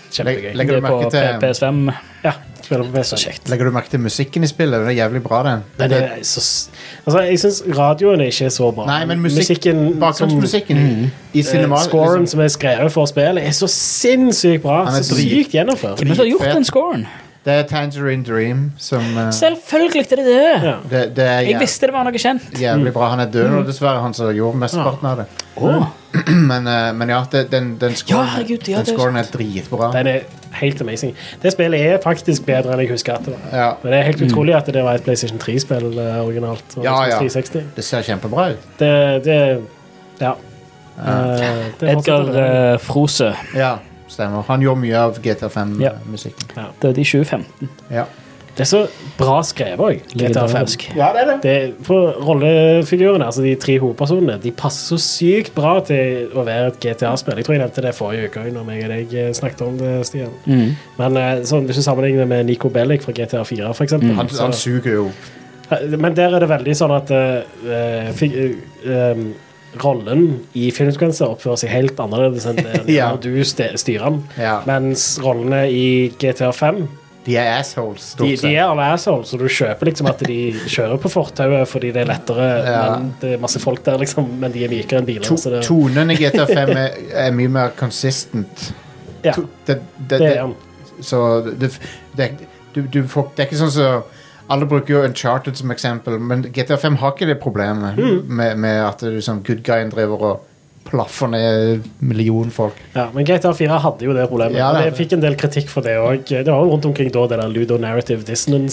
[SPEAKER 1] legger,
[SPEAKER 2] Kjempegøy.
[SPEAKER 4] det
[SPEAKER 1] du
[SPEAKER 4] er på
[SPEAKER 1] merke
[SPEAKER 4] P-
[SPEAKER 1] til,
[SPEAKER 4] PS5.
[SPEAKER 2] Ja, spiller på PC.
[SPEAKER 1] legger du merke til musikken i spillet? Den er jævlig bra, den.
[SPEAKER 2] Nei, det er så, s- altså, jeg syns radioen er ikke så bra.
[SPEAKER 1] Nei, men musikk,
[SPEAKER 2] Musikken
[SPEAKER 1] bakgrunnsmusikken i- i
[SPEAKER 2] som,
[SPEAKER 1] cinema
[SPEAKER 2] eh, Scoren
[SPEAKER 1] liksom,
[SPEAKER 2] som er skrevet for spillet, er så sinnssykt bra.
[SPEAKER 1] Han er
[SPEAKER 2] Så
[SPEAKER 1] drit-
[SPEAKER 2] sykt gjennomført.
[SPEAKER 4] Hvem er det som har
[SPEAKER 1] Dritfet.
[SPEAKER 4] gjort den scoren?
[SPEAKER 1] Det er Tangerine Dream som eh,
[SPEAKER 4] Selvfølgelig er det det!
[SPEAKER 2] Ja.
[SPEAKER 1] det, det er
[SPEAKER 4] Jeg
[SPEAKER 1] jæv,
[SPEAKER 4] visste Mm. det var noe kjent.
[SPEAKER 1] jævlig bra. Han er død nå, dessverre, han som gjorde mesteparten av det. Men, eh, men ja, det, den, den
[SPEAKER 4] Ja,
[SPEAKER 1] scoren,
[SPEAKER 4] herregud, ja,
[SPEAKER 1] den
[SPEAKER 4] det er
[SPEAKER 1] scoren er dritbra.
[SPEAKER 2] Den er helt amazing. Det spillet er faktisk bedre enn jeg husker at det var.
[SPEAKER 1] Ja.
[SPEAKER 2] Men det er helt utrolig at det var et PlayStation 3-spill eh, originalt.
[SPEAKER 1] Mm.
[SPEAKER 2] Og
[SPEAKER 1] Ja,
[SPEAKER 2] Xbox
[SPEAKER 1] ja.
[SPEAKER 2] 360.
[SPEAKER 1] Det ser kjempebra ut.
[SPEAKER 2] Det, det Ja. Eh, det er
[SPEAKER 4] Edgar
[SPEAKER 2] fortsatt det.
[SPEAKER 4] eh, Frose.
[SPEAKER 1] Ja, stemmer. Han gjorde mye av
[SPEAKER 4] Ja.
[SPEAKER 1] GTA5-musikken.
[SPEAKER 4] Døde i 2015.
[SPEAKER 1] eh, Ja.
[SPEAKER 2] Det er så bra skrevet òg. GTA 5.
[SPEAKER 4] Legendarisk.
[SPEAKER 1] ja, det er
[SPEAKER 2] Det, for rollefigurene, altså de tre hovedpersonene, de passer så sykt bra til å være et GTA-spill. Jeg tror jeg nevnte det forrige uke også, når jeg og deg eh, snakket om det, Stian.
[SPEAKER 4] Mm.
[SPEAKER 2] Men eh, sånn, hvis du sammenligner med Nico Bellic fra GTA 4, for eksempel.
[SPEAKER 1] Han,
[SPEAKER 2] så-
[SPEAKER 1] han suger jo.
[SPEAKER 2] Eh, Men der er det veldig sånn at eh, fig, eh, um, rollen i filmsekvenser oppfører seg helt annerledes enn det
[SPEAKER 1] Ja.
[SPEAKER 2] når du ste- styrer den.
[SPEAKER 1] Ja.
[SPEAKER 2] Mens rollene i GTA 5
[SPEAKER 1] De er assholes,
[SPEAKER 2] de,
[SPEAKER 1] stort
[SPEAKER 2] de
[SPEAKER 1] sett.
[SPEAKER 2] er alle assholes, så du kjøper liksom at de kjører på fortauet fordi det er lettere,
[SPEAKER 1] Ja.
[SPEAKER 2] men det er masse folk der, liksom, men de er mykere enn biler.
[SPEAKER 1] To,
[SPEAKER 2] så altså, det,
[SPEAKER 1] tonen i GTA5 er, er mye mer consistent.
[SPEAKER 2] ja,
[SPEAKER 1] To, det, det,
[SPEAKER 2] det er
[SPEAKER 1] det,
[SPEAKER 2] han.
[SPEAKER 1] så det, det, du, du får, Det er ikke sånn som Alle bruker jo Uncharted som eksempel, men GTA5 har ikke det problemet
[SPEAKER 2] Mm.
[SPEAKER 1] med, med at du som good guyen driver og plaffer ned millionfolk.
[SPEAKER 2] Ja, men GTA 4 hadde jo det problemet.
[SPEAKER 1] Ja, det
[SPEAKER 2] og
[SPEAKER 1] hadde
[SPEAKER 2] jeg fikk en del kritikk for det òg. Det var jo rundt omkring da det der ludonarrative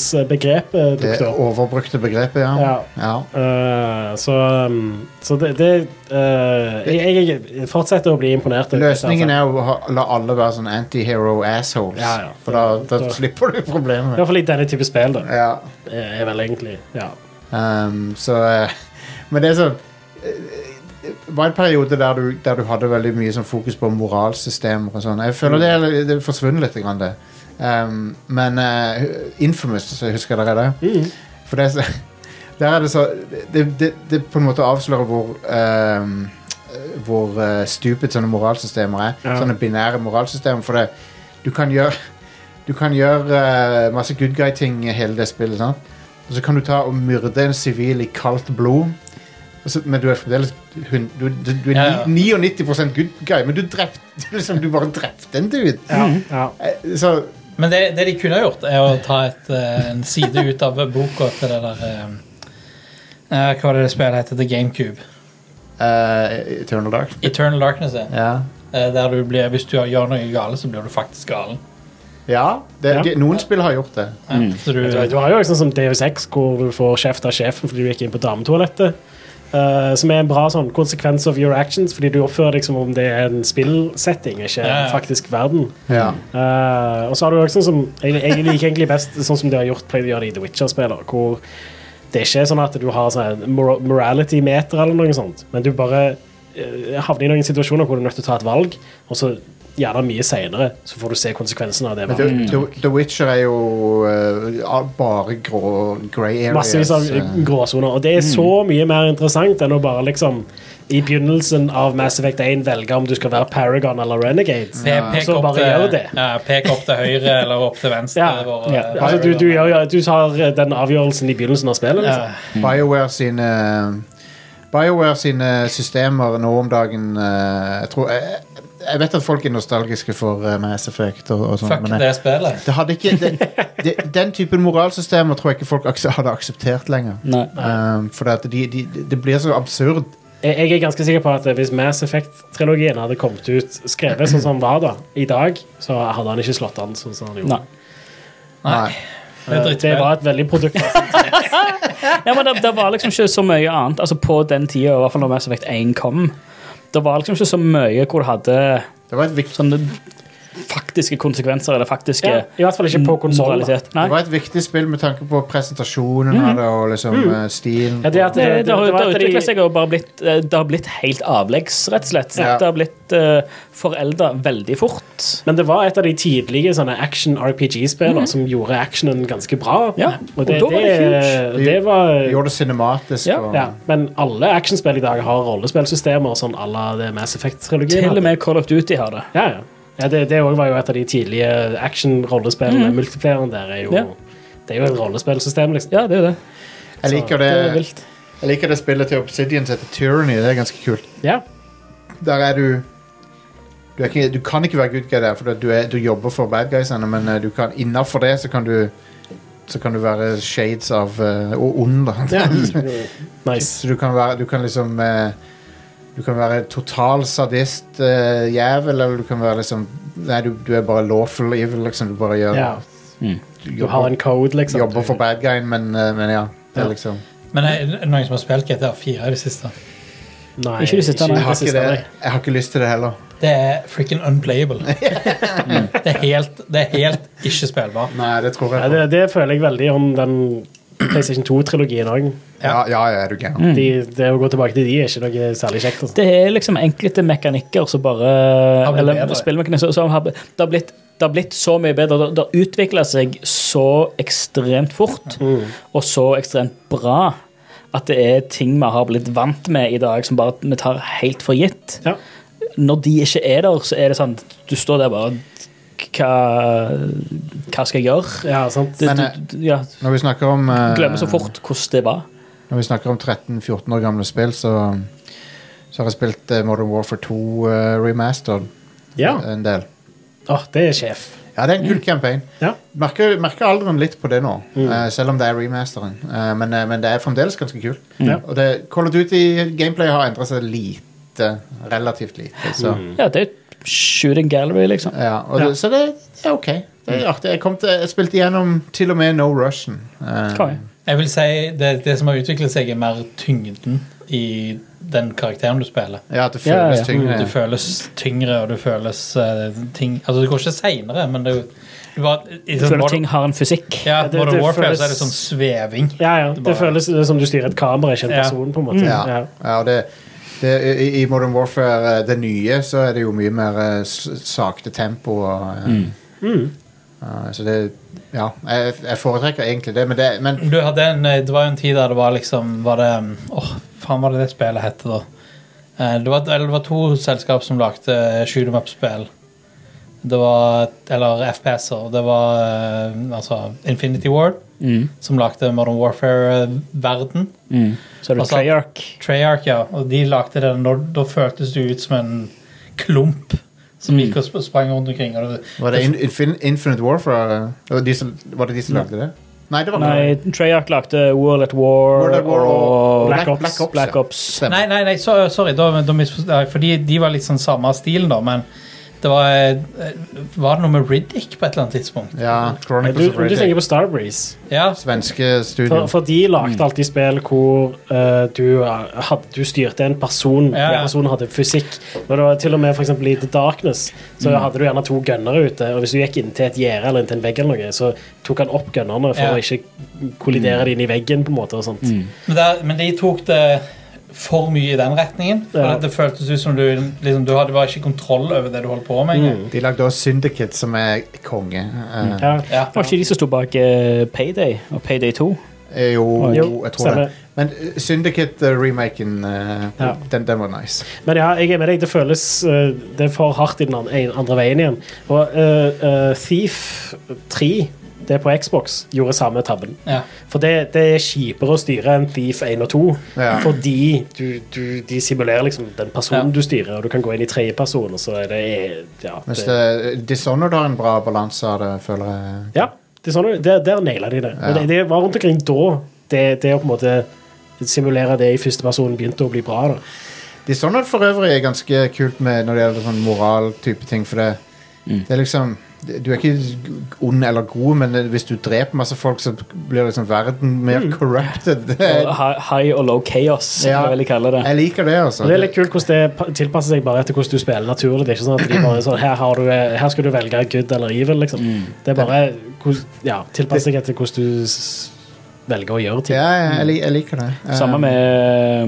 [SPEAKER 2] dissonance-begrepet
[SPEAKER 1] Det
[SPEAKER 2] dukket opp.
[SPEAKER 1] overbrukte begrepet, ja.
[SPEAKER 2] Ja.
[SPEAKER 1] ja.
[SPEAKER 2] Eh, så, um, så det, det eh, jeg, jeg fortsetter å bli imponert. over
[SPEAKER 1] Løsningen
[SPEAKER 2] GTA 5.
[SPEAKER 1] er å ha- la alle være sånn anti-hero assholes.
[SPEAKER 2] Ja, ja.
[SPEAKER 1] For da, da,
[SPEAKER 2] Da-
[SPEAKER 1] slipper du
[SPEAKER 2] I
[SPEAKER 1] problemet.
[SPEAKER 2] hvert fall i denne type spill, da. Eh,
[SPEAKER 1] Ja.
[SPEAKER 2] Er vel egentlig Ja.
[SPEAKER 1] Ehm, så eh, Men det er sånn eh, Det var en periode der du, der du hadde veldig mye sånn fokus på moralsystemer og sånn. Jeg føler det, er- det er forsvunnet litt, grann det. Ehm, men eh, Infamous, så husker dere det? For det er så Der er det så Det, det, det på en måte avslører hvor ehm, Hvor eh, stupid sånne moralsystemer er.
[SPEAKER 2] Ja.
[SPEAKER 1] Sånne binære moralsystemer. For det, du kan gjøre Du kan gjøre eh, masse good guy-ting i hele det spillet. Sant? Og så kan du ta og myrde en sivil i kaldt blod. Og så, men du er fremdeles hun, du, du, du er
[SPEAKER 3] Ja, ja.
[SPEAKER 1] ni- 99 good guy, men du drepte du liksom, du bare drepte en dude.
[SPEAKER 2] ja,
[SPEAKER 3] Mhm.
[SPEAKER 2] ja.
[SPEAKER 1] Eh, Så
[SPEAKER 3] Men det, det de kunne ha gjort, er å ta et, eh, en side ut av boka til det der eh, eh, Hva var det det spillet heter? The GameCube.
[SPEAKER 1] eh, Eternal Dark.
[SPEAKER 3] Eternal Darkness. er,
[SPEAKER 1] Ja.
[SPEAKER 3] eh, der du blir, hvis du gjør noe galt, så blir du faktisk galen.
[SPEAKER 1] ja, det,
[SPEAKER 2] Ja.
[SPEAKER 1] De, noen spill har gjort det.
[SPEAKER 3] Ja, Så du,
[SPEAKER 2] Du, du har jo sånn som DU6, hvor du får kjeft av sjefen fordi du gikk inn på dametoalettet. eh, som er en bra sånn konsekvens of your actions, fordi du oppfører deg som om det er en spillsetting, ikke
[SPEAKER 3] Ja, ja.
[SPEAKER 2] faktisk verden.
[SPEAKER 1] Ja.
[SPEAKER 2] Eh, og så har du også sånn som Jeg, jeg liker egentlig best sånn som de har gjort pleide å gjøre det i The Witcher-spiller, hvor det ikke er sånn at du har sånn en mor morality-meter eller noe sånt, men du bare eh, havner i noen situasjoner hvor du er nødt til å ta et valg, og så gjerne mye seinere, så får du se konsekvensen av det.
[SPEAKER 1] Men
[SPEAKER 2] valget.
[SPEAKER 1] The, The, The Witcher er jo eh, al- bare grå grey areas.
[SPEAKER 2] Massevis av
[SPEAKER 1] eh.
[SPEAKER 2] gråsoner. Og det er så
[SPEAKER 3] Mm.
[SPEAKER 2] mye mer interessant enn å bare liksom i begynnelsen av Mass Effect 1 velge om du skal være Paragon eller Renegade.
[SPEAKER 3] Pe- pek,
[SPEAKER 2] Så
[SPEAKER 3] opp
[SPEAKER 2] bare gjør
[SPEAKER 3] til,
[SPEAKER 2] det.
[SPEAKER 3] ja, pek opp til høyre eller opp til venstre.
[SPEAKER 2] Ja.
[SPEAKER 3] hvor,
[SPEAKER 4] Ja.
[SPEAKER 3] eh,
[SPEAKER 2] Altså, du, du, gjør, jo- du tar den avgjørelsen i begynnelsen av spillet. Liksom.
[SPEAKER 3] Ja.
[SPEAKER 1] BioWare sine BioWare sine systemer nå om dagen eh, Jeg tror jeg, jeg vet at folk er nostalgiske for eh, Mass Effect og, og sånt,
[SPEAKER 3] Fuck
[SPEAKER 1] men jeg-
[SPEAKER 3] det spillet.
[SPEAKER 1] det hadde ikke, det, det, den typen moralsystemer tror jeg ikke folk akse, hadde akseptert lenger.
[SPEAKER 4] Nei.
[SPEAKER 1] Um, for det, at de, de, det blir så absurd.
[SPEAKER 2] Jeg, jeg er ganske sikker på at hvis Mass Effect-trilogien hadde kommet ut skrevet sånn som den var da, i dag, så hadde han ikke slått an sånn som han gjorde.
[SPEAKER 4] Nei.
[SPEAKER 1] Nei.
[SPEAKER 3] Det er et
[SPEAKER 2] Det
[SPEAKER 3] drittspill.
[SPEAKER 2] var et veldig produkt.
[SPEAKER 4] Ja, men det, det var liksom ikke så mye annet. Altså På den tida, i hvert fall når Mass Effect 1 kom, det var liksom ikke så mye hvor det hadde
[SPEAKER 1] Det var et, viktig,
[SPEAKER 4] sånne faktiske konsekvenser, eller faktiske
[SPEAKER 2] Ja, I hvert fall ikke på konsollen. da.
[SPEAKER 4] moralitet. Nei.
[SPEAKER 1] det var et viktig spill med tanke på presentasjonen av det og liksom eh, stilen.
[SPEAKER 2] Ja, det at
[SPEAKER 4] Det, det,
[SPEAKER 2] det
[SPEAKER 4] har,
[SPEAKER 2] var
[SPEAKER 4] det har
[SPEAKER 2] at de-
[SPEAKER 4] utviklet seg og bare blitt eh, Det har blitt helt avleggs, rett og slett.
[SPEAKER 1] Ja.
[SPEAKER 4] Det har blitt uh, forelda veldig fort.
[SPEAKER 2] Men det var et av de tidlige sånne action RPG-spillene som gjorde actionen ganske bra.
[SPEAKER 4] Mhm. Ja,
[SPEAKER 2] Og det,
[SPEAKER 4] og da var det huge.
[SPEAKER 2] det, det var
[SPEAKER 1] Det gjorde det cinematisk.
[SPEAKER 4] Ja,
[SPEAKER 1] og,
[SPEAKER 2] ja, Men alle actionspill i dag har rollespillsystemer sånn à la det Mass Effect-trilogien.
[SPEAKER 4] Til og
[SPEAKER 2] hadde.
[SPEAKER 4] med Call of Duty har det.
[SPEAKER 2] Ja, ja. ja Det, det også var jo et av de tidlige action-rollespillene. Multiplayeren der er jo
[SPEAKER 4] Ja.
[SPEAKER 2] Det er jo et rollespillsystem, liksom.
[SPEAKER 4] Ja, det er jo det.
[SPEAKER 1] Jeg, liker
[SPEAKER 4] Det er
[SPEAKER 1] det,
[SPEAKER 4] vilt.
[SPEAKER 1] jeg liker det spillet til Obsidian som heter Tyranny. Det er ganske kult.
[SPEAKER 2] Ja.
[SPEAKER 1] Der er du Du, er ikke, du kan ikke være good guy der, for du, er, du jobber for bad guys ennå, men eh, du kan innafor det så kan du så kan du være shades av eh, og ond, da.
[SPEAKER 2] Nice.
[SPEAKER 1] Så du kan, være, du kan liksom eh, Du kan være total sadist eh, jævel, eller du kan være liksom Nei, du, du er bare lawful evil, liksom. Du bare gjør
[SPEAKER 2] Ja.
[SPEAKER 1] du
[SPEAKER 2] Du har
[SPEAKER 1] jobber,
[SPEAKER 2] en code, liksom.
[SPEAKER 1] jobber for bad guyen, men, eh, men ja. Det
[SPEAKER 2] Ja.
[SPEAKER 1] er liksom
[SPEAKER 3] Men er det noen som har spilt GTA 4 i det siste?
[SPEAKER 2] Nei,
[SPEAKER 4] Ikke det siste, nei.
[SPEAKER 1] jeg har, ikke
[SPEAKER 2] siste,
[SPEAKER 1] det,
[SPEAKER 2] nei.
[SPEAKER 1] jeg har ikke lyst til det heller.
[SPEAKER 3] Det er freaking unplayable. det, er helt, det er helt ikke spillbart.
[SPEAKER 1] Nei, det tror
[SPEAKER 2] Ja,
[SPEAKER 1] jeg
[SPEAKER 2] det,
[SPEAKER 1] på.
[SPEAKER 2] det føler jeg veldig om den PlayStation 2-trilogien òg.
[SPEAKER 1] Ja, ja, ja, er du gæren.
[SPEAKER 2] de, det å gå tilbake til de er ikke noe særlig kjekt. Altså.
[SPEAKER 4] Det er liksom enkelte mekanikker som bare
[SPEAKER 3] Har blitt
[SPEAKER 4] Eller
[SPEAKER 3] bedre.
[SPEAKER 4] spillmekanikker som har, det, har blitt, det har blitt så mye bedre. Det- Det har utvikla seg så ekstremt fort og så ekstremt bra at det er ting vi har blitt vant med i dag, som bare vi tar helt for gitt.
[SPEAKER 2] Ja.
[SPEAKER 4] Når de ikke er der, så er det sånn Du står der bare Hva, hva skal jeg gjøre?
[SPEAKER 2] Ja, sant.
[SPEAKER 4] Du,
[SPEAKER 1] Men,
[SPEAKER 4] du,
[SPEAKER 1] eh,
[SPEAKER 4] du, ja,
[SPEAKER 1] Når vi snakker om eh,
[SPEAKER 4] glemmer så fort hvordan det var.
[SPEAKER 1] Når vi snakker om 13-14 år gamle spill, så, så har jeg spilt eh, Modern Warfare 2 eh, Remastered
[SPEAKER 2] Ja.
[SPEAKER 1] en del.
[SPEAKER 2] Åh, det er sjef.
[SPEAKER 1] Ja, det er en kul campaign.
[SPEAKER 2] Ja.
[SPEAKER 1] Merker, merker alderen litt på det nå, eh, selv om det er remasteren. Eh, men, eh, men det er fremdeles ganske kult.
[SPEAKER 2] Ja.
[SPEAKER 1] Og det, Call of Duty gameplay har endret seg lite. Relativt lite. Så,
[SPEAKER 4] Ja, det er shooting gallery, liksom.
[SPEAKER 1] ja, og
[SPEAKER 2] Ja.
[SPEAKER 1] Det, så det, det er ok. Det er artig. Jeg, kom til, jeg spilte gjennom til og med No Russian. Eh,
[SPEAKER 4] Konge.
[SPEAKER 3] Jeg vil si det, det som har utviklet seg, er mer tyngden i den karakteren du spiller.
[SPEAKER 1] ja, at det
[SPEAKER 4] Ja, ja,
[SPEAKER 1] føles
[SPEAKER 4] ja.
[SPEAKER 1] tyngre.
[SPEAKER 3] Du føles tyngre, og du føles eh, ting Altså, det går ikke seinere, men det er jo det var- i
[SPEAKER 4] Jeg
[SPEAKER 3] sånn
[SPEAKER 4] føler
[SPEAKER 3] Modern-
[SPEAKER 4] ting har en fysikk.
[SPEAKER 3] Ja,
[SPEAKER 2] det-
[SPEAKER 3] Modern
[SPEAKER 2] det
[SPEAKER 3] Warfare
[SPEAKER 2] føles-
[SPEAKER 3] så er det sånn sveving.
[SPEAKER 2] Ja, ja.
[SPEAKER 3] bare-
[SPEAKER 2] Det føles som du styrer et kamera, ikke en
[SPEAKER 3] Ja.
[SPEAKER 2] person. på en måte.
[SPEAKER 1] Mm. Ja.
[SPEAKER 2] Mm. Ja.
[SPEAKER 1] ja og det, det, i, I Modern Warfare, eh, det nye, så er det jo mye mer eh, s- sakte tempo. Og, eh,
[SPEAKER 2] Mm.
[SPEAKER 1] eh, så det Ja, jeg, jeg foretrekker egentlig det, men det men,
[SPEAKER 3] Du hadde en, eh, det var jo en tid der det var liksom Var det um, Åh, faen var det det spillet hette, da? Eh, Det var, eller det var to selskap som lagde eh, shoot 'em up-spill. Det var Eller FPS-er. Det var eh, altså Infinity Ward,
[SPEAKER 4] Mm.
[SPEAKER 3] som lagde Modern Warfare-verden.
[SPEAKER 4] Så er du
[SPEAKER 3] Altså-
[SPEAKER 4] Treyarch.
[SPEAKER 3] Treyarch, ja. Og de lagde det når Da føltes du ut som en klump som gikk og sp- sprang rundt omkring. Og det,
[SPEAKER 1] Var det in, infin, Infinite Warfare? eh, det Var, de som, var det de som lagde det? Nei, det var
[SPEAKER 4] Nei, Treyarch lagde World at War,
[SPEAKER 1] World at War og
[SPEAKER 4] og
[SPEAKER 1] Black Ops. Black Ops,
[SPEAKER 4] Black
[SPEAKER 1] ja.
[SPEAKER 4] Ops.
[SPEAKER 1] Stemmer.
[SPEAKER 3] Nei, nei, nei, så, sorry, da, da misforstod jeg. Fordi de var litt sånn samme stilen, da, men det var eh, Var det noe med Riddick på et eller annet tidspunkt?
[SPEAKER 1] Ja,
[SPEAKER 2] Men
[SPEAKER 1] Chronicles
[SPEAKER 2] Du,
[SPEAKER 1] of
[SPEAKER 2] men du tenker
[SPEAKER 1] Riddick.
[SPEAKER 2] på Starbreeze.
[SPEAKER 3] Ja,
[SPEAKER 1] Svenske studio.
[SPEAKER 2] For, for de
[SPEAKER 3] Mm.
[SPEAKER 2] lagde alltid spill hvor eh, du, eh, hadde, du styrte en person,
[SPEAKER 3] Ja, ja.
[SPEAKER 2] og personen hadde fysikk. Når det var til og med for eksempel i The Darkness så
[SPEAKER 3] Mm.
[SPEAKER 2] hadde du gjerne to gønnere ute, og hvis du gikk inn til et gjerde eller inn til en vegg, eller noe, så tok han opp gønnerne for
[SPEAKER 3] Ja. Mm.
[SPEAKER 2] å ikke kollidere de inn i veggen. på en måte og sånt.
[SPEAKER 3] men, der, men de tok det for mye i den retningen. For
[SPEAKER 2] Ja.
[SPEAKER 3] at det føltes ut som du liksom, Du hadde bare ikke kontroll over det du holdt på med.
[SPEAKER 2] Mm.
[SPEAKER 3] engang.
[SPEAKER 1] De lagde også Syndicate, som er konge. eh,
[SPEAKER 2] Ja.
[SPEAKER 3] Ja.
[SPEAKER 4] Det var ikke de som sto bak eh, Payday og Payday 2.
[SPEAKER 1] er Jo,
[SPEAKER 2] Jo,
[SPEAKER 1] jeg tror
[SPEAKER 2] stemmer.
[SPEAKER 1] det. Men eh, Syndicate-remaken,
[SPEAKER 2] Ja.
[SPEAKER 1] eh, den, den var nice.
[SPEAKER 2] Men ja, jeg er med deg. Det føles eh, Det er for hardt i den andre, en- andre veien igjen. Og eh, eh, Thief 3, det er på Xbox, gjorde samme tabben.
[SPEAKER 3] Ja.
[SPEAKER 2] For det, det er kjipere å styre enn Thief 1 og 2,
[SPEAKER 1] Ja.
[SPEAKER 2] fordi du, du, de simulerer liksom den personen
[SPEAKER 3] Ja.
[SPEAKER 2] du styrer, og du kan gå inn i tredjeperson, og så er det Ja.
[SPEAKER 1] Mens
[SPEAKER 2] Det,
[SPEAKER 1] det, Dishonored har en bra balanse av det, føler jeg.
[SPEAKER 2] ja det er sånn, der, der naila de det.
[SPEAKER 1] Ja.
[SPEAKER 2] Og det, det var rundt omkring da det, det å på en måte simulere det i førsteperson begynte å bli bra. da.
[SPEAKER 1] Dishonored for øvrig er ganske kult med når det gjelder sånn moral-type ting, for det,
[SPEAKER 2] Mm.
[SPEAKER 1] det er liksom Du er ikke ond eller god, men hvis du dreper masse folk, så blir liksom verden mer
[SPEAKER 2] Mm.
[SPEAKER 1] corrupted. Det
[SPEAKER 4] Og
[SPEAKER 1] er,
[SPEAKER 4] hi- High og low chaos,
[SPEAKER 1] Eh, Ja.
[SPEAKER 4] ja. vil jeg kalle det.
[SPEAKER 1] jeg liker det, altså.
[SPEAKER 2] Og det er litt kult hvordan det pa- tilpasser seg bare etter hvordan du spiller naturlig. Det er ikke sånn at de bare er sånn, her, har du, eh, her skal du velge good eller evil, liksom.
[SPEAKER 1] Mm.
[SPEAKER 2] Det er bare hvordan- ja, tilpasser seg etter hvordan du s- velger å gjøre ting.
[SPEAKER 1] Ja, ja, jeg, lik- jeg liker det.
[SPEAKER 2] Mm.
[SPEAKER 1] Eh,
[SPEAKER 4] Samme med,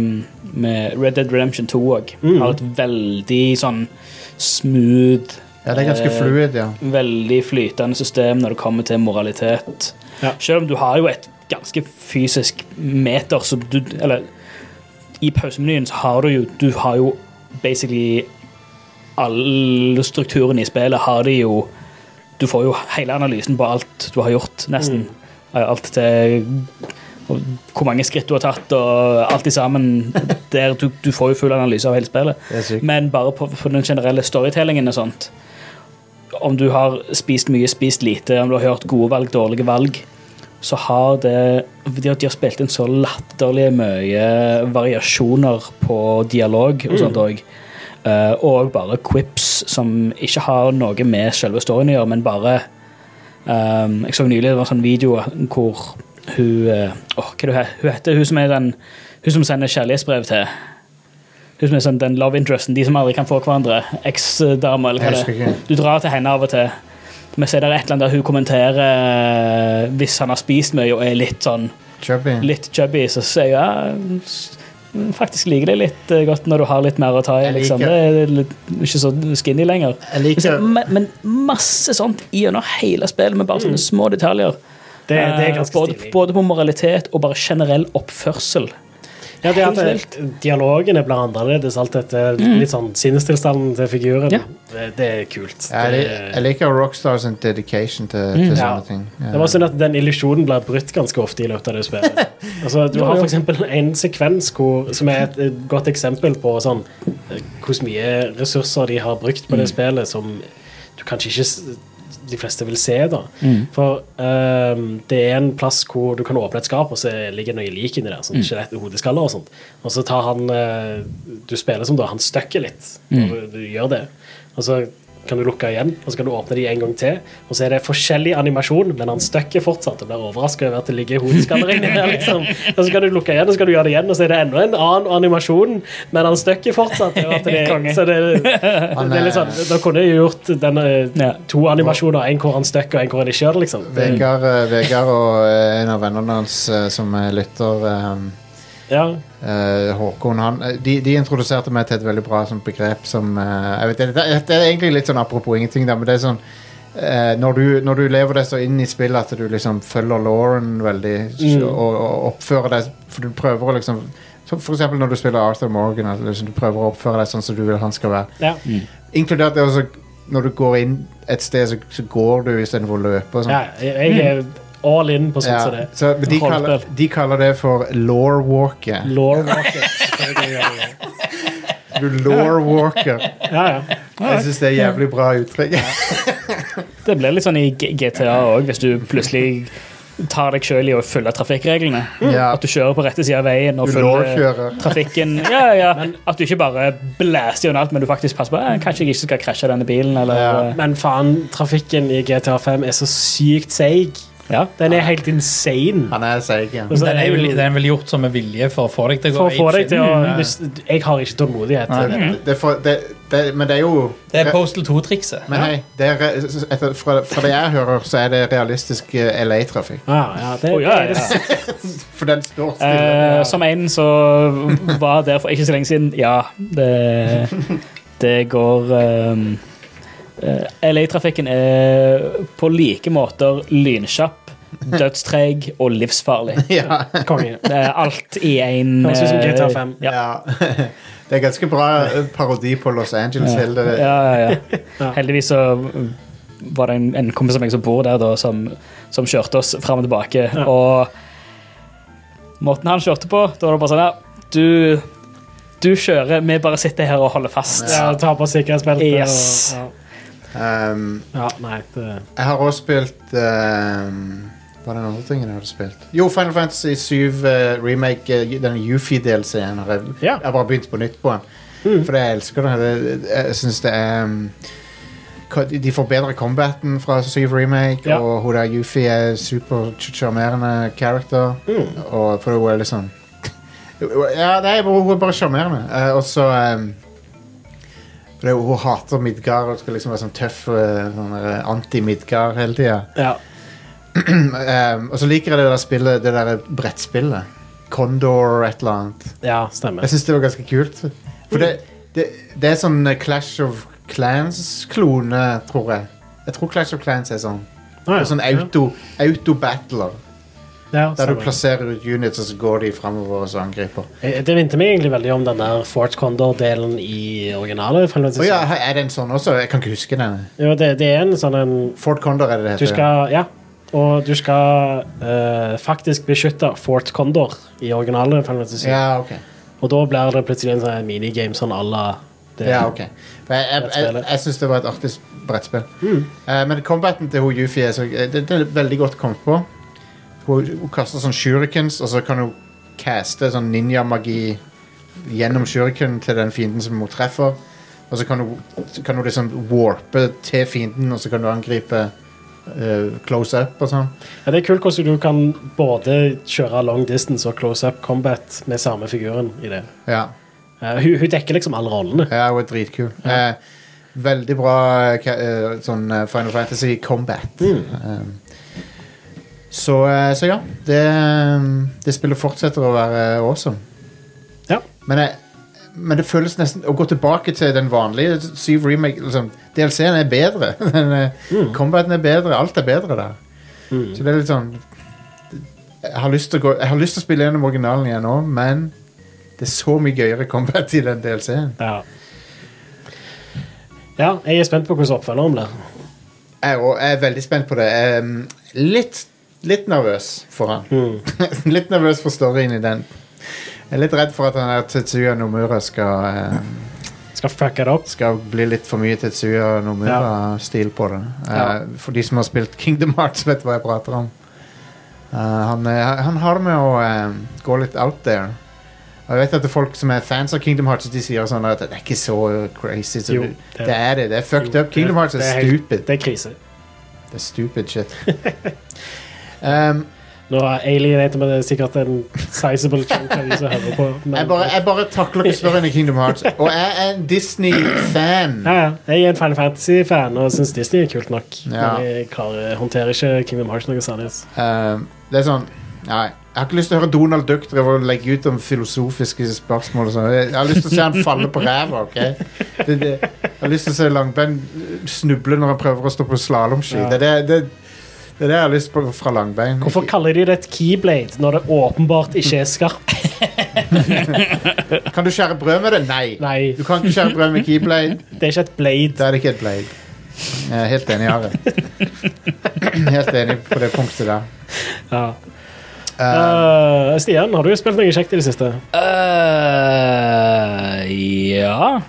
[SPEAKER 4] mm, med Red Dead Redemption 2 òg.
[SPEAKER 1] Mm.
[SPEAKER 4] Har et veldig sånn smooth
[SPEAKER 1] Ja, det er ganske
[SPEAKER 4] eh,
[SPEAKER 1] fluid, ja.
[SPEAKER 4] Veldig flytende system når det kommer til moralitet.
[SPEAKER 2] Ja.
[SPEAKER 4] Selv om du har jo et ganske fysisk meter som du Eller i pausemenyen så har du jo Du har jo basically Alle strukturene i spillet har de jo Du får jo hele analysen på alt du har gjort, nesten.
[SPEAKER 1] Mm.
[SPEAKER 4] Alt til og hvor mange skritt du har tatt, og alt i sammen. Der du, du får jo full analyse av hele spillet.
[SPEAKER 1] Det er sykt.
[SPEAKER 4] Men bare på, på den generelle storytellingen og sånt. Om du har spist mye, spist lite, om du har hørt gode valg, dårlige valg, så har det De har, de har spilt inn så latterlig mye variasjoner på dialog og sånt òg. Eh, og bare quips som ikke har noe med selve storyen å gjøre, men bare Um, jeg så nylig det var en sånn video hvor hun eh, åh, Hva er det hun he- hun heter hun som er den Hun som sender kjærlighetsbrev til Hun som er sånn, den love interesten, de som aldri kan få hverandre. Eks-dame, eller hva
[SPEAKER 1] Jeg
[SPEAKER 4] det
[SPEAKER 1] husker
[SPEAKER 4] er.
[SPEAKER 1] ikke.
[SPEAKER 4] Du drar til henne av og til. Men så er det et eller annet der hun kommenterer eh, hvis han har spist mye og er litt sånn
[SPEAKER 1] Chubby.
[SPEAKER 4] litt chubby, så sier jeg ja, s- faktisk liker det litt eh, godt når du har litt mer å ta i.
[SPEAKER 1] Jeg liker-
[SPEAKER 4] Liksom. Det er litt, ikke så skinny lenger.
[SPEAKER 1] Jeg liker-
[SPEAKER 4] men, men masse sånt gjennom hele spillet, med bare sånne små detaljer.
[SPEAKER 2] Det, det er
[SPEAKER 4] Eh,
[SPEAKER 2] ganske
[SPEAKER 4] både,
[SPEAKER 2] stilig.
[SPEAKER 4] både på moralitet og bare generell oppførsel.
[SPEAKER 2] Ja, det er at
[SPEAKER 4] helt
[SPEAKER 2] eh, dialogene blir annerledes. Alt dette litt sånn sinnestilstanden til figuren.
[SPEAKER 4] Mm. Ja.
[SPEAKER 2] Det, det er kult.
[SPEAKER 1] Jeg, li- jeg
[SPEAKER 2] Det,
[SPEAKER 1] liker Rockstar sin dedication til, til
[SPEAKER 2] eh, Mm. Ja.
[SPEAKER 1] sånne ting. Eh,
[SPEAKER 2] det var synd at den illusjonen blir brutt ganske ofte i løpet av det spillet. Altså, du har for eksempel en sekvens hvor, som er et et godt eksempel på sånn, eh, hvor mye ressurser de har brukt på det spillet som du kanskje ikke s- de fleste vil se. da. For ehm, det er en plass hvor du kan åpne et skap, og så ligger det noe lik inni der. sånn skjelett- Hodeskaller og sånt. Og så tar han eh, Du spiller som da han støkker litt når du, du gjør det. Og så kan du lukke igjen, og så kan du åpne de en gang til. Og så er det forskjellig animasjon, men han støkker fortsatt og blir overraska over at det ligger hodeskaller inni der. liksom. Og så kan du lukke igjen, og så kan du gjøre det igjen, og så er det enda en annen animasjon, men han støkker fortsatt. over At det,
[SPEAKER 4] Konge.
[SPEAKER 2] så det, det er litt sånn, Da kunne jeg jo gjort denne,
[SPEAKER 4] Ja.
[SPEAKER 2] to animasjoner, en hvor han støkker, og en hvor han ikke gjør det. liksom. Det,
[SPEAKER 1] Vegard, eh, Vegard og eh, en av vennene hans eh, som eh, lytter eh,
[SPEAKER 2] ja.
[SPEAKER 1] Eh, Håkon, han eh, de, de introduserte meg til et veldig bra sånt begrep som eh, jeg vet, det, det er egentlig litt sånn apropos ingenting, da, men det er sånn eh, når, du, når du lever deg så inn i spillet at du liksom følger Lauren veldig
[SPEAKER 2] Mm.
[SPEAKER 1] og, og oppfører deg For du prøver å liksom så For eksempel når du spiller Arthur Morgan, at liksom, du prøver å oppføre deg sånn som du vil han skal være.
[SPEAKER 2] Ja.
[SPEAKER 1] Inkludert det også når du går inn et sted, så, så går du istedenfor å løpe. og sånn.
[SPEAKER 2] ja, jeg jeg er all in på sånn som det.
[SPEAKER 1] så, men de, kaller, de kaller det for law-walket.
[SPEAKER 2] Law Walker. selvfølgelig gjør det.
[SPEAKER 1] Du law-walker.
[SPEAKER 2] Ja, ja.
[SPEAKER 1] Jeg syns det er jævlig bra uttrykk.
[SPEAKER 4] Det blir litt sånn i G- GTA òg, hvis du plutselig tar deg sjøl i å følge trafikkreglene.
[SPEAKER 1] Ja.
[SPEAKER 4] At du kjører på rette side av veien og
[SPEAKER 1] Du
[SPEAKER 4] følger
[SPEAKER 1] lårkjører.
[SPEAKER 4] trafikken. Ja, ja. At du ikke bare blaster gjennom alt, men du faktisk passer på eh, kanskje jeg ikke skal krasje denne bilen. Eller,
[SPEAKER 2] Men faen, trafikken i GTA 5 er så sykt seig.
[SPEAKER 4] ja.
[SPEAKER 2] Den er helt insane.
[SPEAKER 1] Han er seig, ja.
[SPEAKER 2] Og så
[SPEAKER 3] Den er,
[SPEAKER 2] jeg-
[SPEAKER 3] vel, den er vel gjort som med vilje for å få deg til å gå
[SPEAKER 2] For å få
[SPEAKER 3] apeshit.
[SPEAKER 2] deg til å hvis- Jeg har ikke tålmodighet til det.
[SPEAKER 1] Det, det, er for- det, det, men det er jo
[SPEAKER 3] Det er Postal 2-trikset.
[SPEAKER 1] Men hei, det er, re- etter, fra, fra det jeg hører, så er det realistisk eh, LA-trafikk.
[SPEAKER 2] Ja, ja, Eh, det,
[SPEAKER 4] Å, ja, ja.
[SPEAKER 1] For den står stille.
[SPEAKER 4] Eh, som en som var der for ikke så lenge siden, ja, det, det går ehm, eh, LA-trafikken er på like måter lynkjapp, dødstreg og livsfarlig.
[SPEAKER 1] Ja.
[SPEAKER 2] Konge.
[SPEAKER 4] Det er alt i én
[SPEAKER 2] Høres ut som GTA 5.
[SPEAKER 4] Ja.
[SPEAKER 1] ja. Det er ganske bra eh, parodi på Los Angeles. hele det-
[SPEAKER 4] Ja, ja, ja. Heldigvis så var det en, en kompis av meg som bor der, da, som, som kjørte oss fram og tilbake. Og måten han kjørte på, da var det bare sånn ja, du, du kjører, vi bare sitter her og holder fast.
[SPEAKER 2] Ja, ta på sikkerhetsbeltet.
[SPEAKER 4] Yes.
[SPEAKER 2] Og,
[SPEAKER 1] Um,
[SPEAKER 2] ja. ja, nei, det
[SPEAKER 1] jeg har også spilt eh, um, Hva er den andre tingen jeg hadde spilt? Jo, Final Fantasy 7 eh, remake, eh, den Yufi-delscenen. har Jeg,
[SPEAKER 2] Ja.
[SPEAKER 1] jeg har bare begynt på nytt på den. For jeg elsker den. Det, jeg syns det er um, ka- De forbedrer combaten fra 7 remake,
[SPEAKER 2] Ja.
[SPEAKER 1] og hun der Yufi er super sjarmerende character. Og for hun er liksom Ja, nei, hun er bare sjarmerende. Eh, og så um, for det, er jo- hun hater Midgard og skal liksom være sånn tøff eh, sånn der anti-Midgard hele tida.
[SPEAKER 2] Ja.
[SPEAKER 1] og så liker jeg det der spillet, det der brettspillet. Condor et eller annet.
[SPEAKER 2] ja, stemmer.
[SPEAKER 1] Jeg syns det var ganske kult. For det, det, det er sånn eh, Clash of Clans-klone, tror jeg. Jeg tror Clash of Clans er sånn.
[SPEAKER 2] Ah, ja.
[SPEAKER 1] Det er sånn auto- auto-battler.
[SPEAKER 2] Ja,
[SPEAKER 1] der du
[SPEAKER 2] stemmer.
[SPEAKER 1] plasserer ut units, og så går de framover og så angriper.
[SPEAKER 2] Eh, Det minte meg egentlig veldig om den der Fort Condor-delen i originale. Final Fantasy
[SPEAKER 1] Å ja, her er det en sånn også? Jeg kan ikke huske den.
[SPEAKER 2] Jo, det, det er en sånn en
[SPEAKER 1] Fort Condor er det det
[SPEAKER 2] Du
[SPEAKER 1] heter.
[SPEAKER 2] skal, ja. Og du skal eh, faktisk beskytte Fort Condor i originale Final Fantasy.
[SPEAKER 1] ja, ok.
[SPEAKER 2] Og da blir det plutselig en sånn minigame sånn à la det.
[SPEAKER 1] Ja, ok. For jeg jeg, jeg, jeg,
[SPEAKER 2] Brettspillet. Mm.
[SPEAKER 1] syns det var et artig brettspill. Eh, men combaten til hun Yufi er, så, eh, det, det er veldig godt kommet på. Hun, hun kaster sånn shurikens, og så kan hun caste sånn ninjamagi gjennom shuriken til den fienden som hun treffer. Og så kan hun, så kan hun liksom warpe til fienden, og så kan du angripe eh, close up og sånn.
[SPEAKER 2] Ja, det er kult hvordan du kan både kjøre long distance og close up combat med samme figuren i det.
[SPEAKER 1] Ja.
[SPEAKER 2] Eh, hun, hun dekker liksom alle rollene.
[SPEAKER 1] Ja, hun er dritkul. Eh, veldig bra eh, ka- eh, sånn eh, Final Fantasy Combat. Um, så, eh, så ja. Det, um, det spillet fortsetter å være awesome.
[SPEAKER 2] Ja.
[SPEAKER 1] Men, jeg, men det føles nesten Å gå tilbake til den vanlige syv remake liksom, DLC-en er bedre. Den, eh, Combaten er bedre. Alt er bedre der. Så det er litt sånn jeg har, lyst til å gå, jeg har lyst til å spille gjennom originalen igjen nå, men det er så mye gøyere combat i den DLC-en.
[SPEAKER 2] Ja. ja, jeg er spent på hvordan oppfølgeren blir.
[SPEAKER 1] Jeg, er også- jeg er veldig spent på det. Jeg er litt, litt nervøs for han.
[SPEAKER 2] Hmm.
[SPEAKER 1] litt nervøs for storyen i den. Jeg er litt redd for at han der Tetsuya Nomura skal eh,
[SPEAKER 2] Skal fucke det opp.
[SPEAKER 1] skal bli litt for mye Tetsuya Nomura-stil på det. Eh,
[SPEAKER 2] Ja.
[SPEAKER 1] For de som har spilt Kingdom Hearts, vet hva jeg prater om. Eh, han, eh, han har det med å eh, gå litt out there. Og Jeg vet at det er folk som er fans av Kingdom Hearts, de sier sånn at det er ikke så crazy. Så
[SPEAKER 2] Jo,
[SPEAKER 1] det,
[SPEAKER 2] det-
[SPEAKER 1] det er det. Det er fucked
[SPEAKER 2] Jo,
[SPEAKER 1] up. Kingdom Hearts er,
[SPEAKER 2] det er helt-
[SPEAKER 1] stupid.
[SPEAKER 2] Det er krise.
[SPEAKER 1] Det er stupid shit. um,
[SPEAKER 2] Nå alienater vi det sikkert en sizable chunk av de som hører på. men-
[SPEAKER 1] jeg, bare, jeg bare takler ikke større enn i Kingdom Hearts. Og jeg er en Disney-fan.
[SPEAKER 2] Ja, ja. Jeg er en Final Fantasy-fan og syns Disney er kult nok.
[SPEAKER 1] Ja.
[SPEAKER 2] Men jeg klarer, håndterer ikke Kingdom Hearts noe særlig. altså.
[SPEAKER 1] Ehm, det er sånn Nei, jeg har ikke lyst til å høre Donald Duck drive og legge ut om filosofiske spørsmål. Og sånn. jeg jeg har lyst til å se han falle på ræva. ok? Det, det, jeg har lyst til å se Langbein snuble når han prøver å stå på slalåmski.
[SPEAKER 2] Ja.
[SPEAKER 1] Det, er det, det, det er det jeg har lyst på fra Langbein.
[SPEAKER 2] Hvorfor kaller de det et keyblade når det åpenbart ikke er skarpt?
[SPEAKER 1] Kan du skjære brød med det? Nei.
[SPEAKER 2] Nei,
[SPEAKER 1] Du kan ikke skjære brød med keyblade.
[SPEAKER 2] det er ikke et blade.
[SPEAKER 1] Da er det ikke et blade. Jeg er helt enig, Are. Helt enig på det punktet der.
[SPEAKER 2] Ja.
[SPEAKER 1] Ehm,
[SPEAKER 2] Uh, Stian, har du spilt noe kjekt i det siste?
[SPEAKER 4] Eh, ja.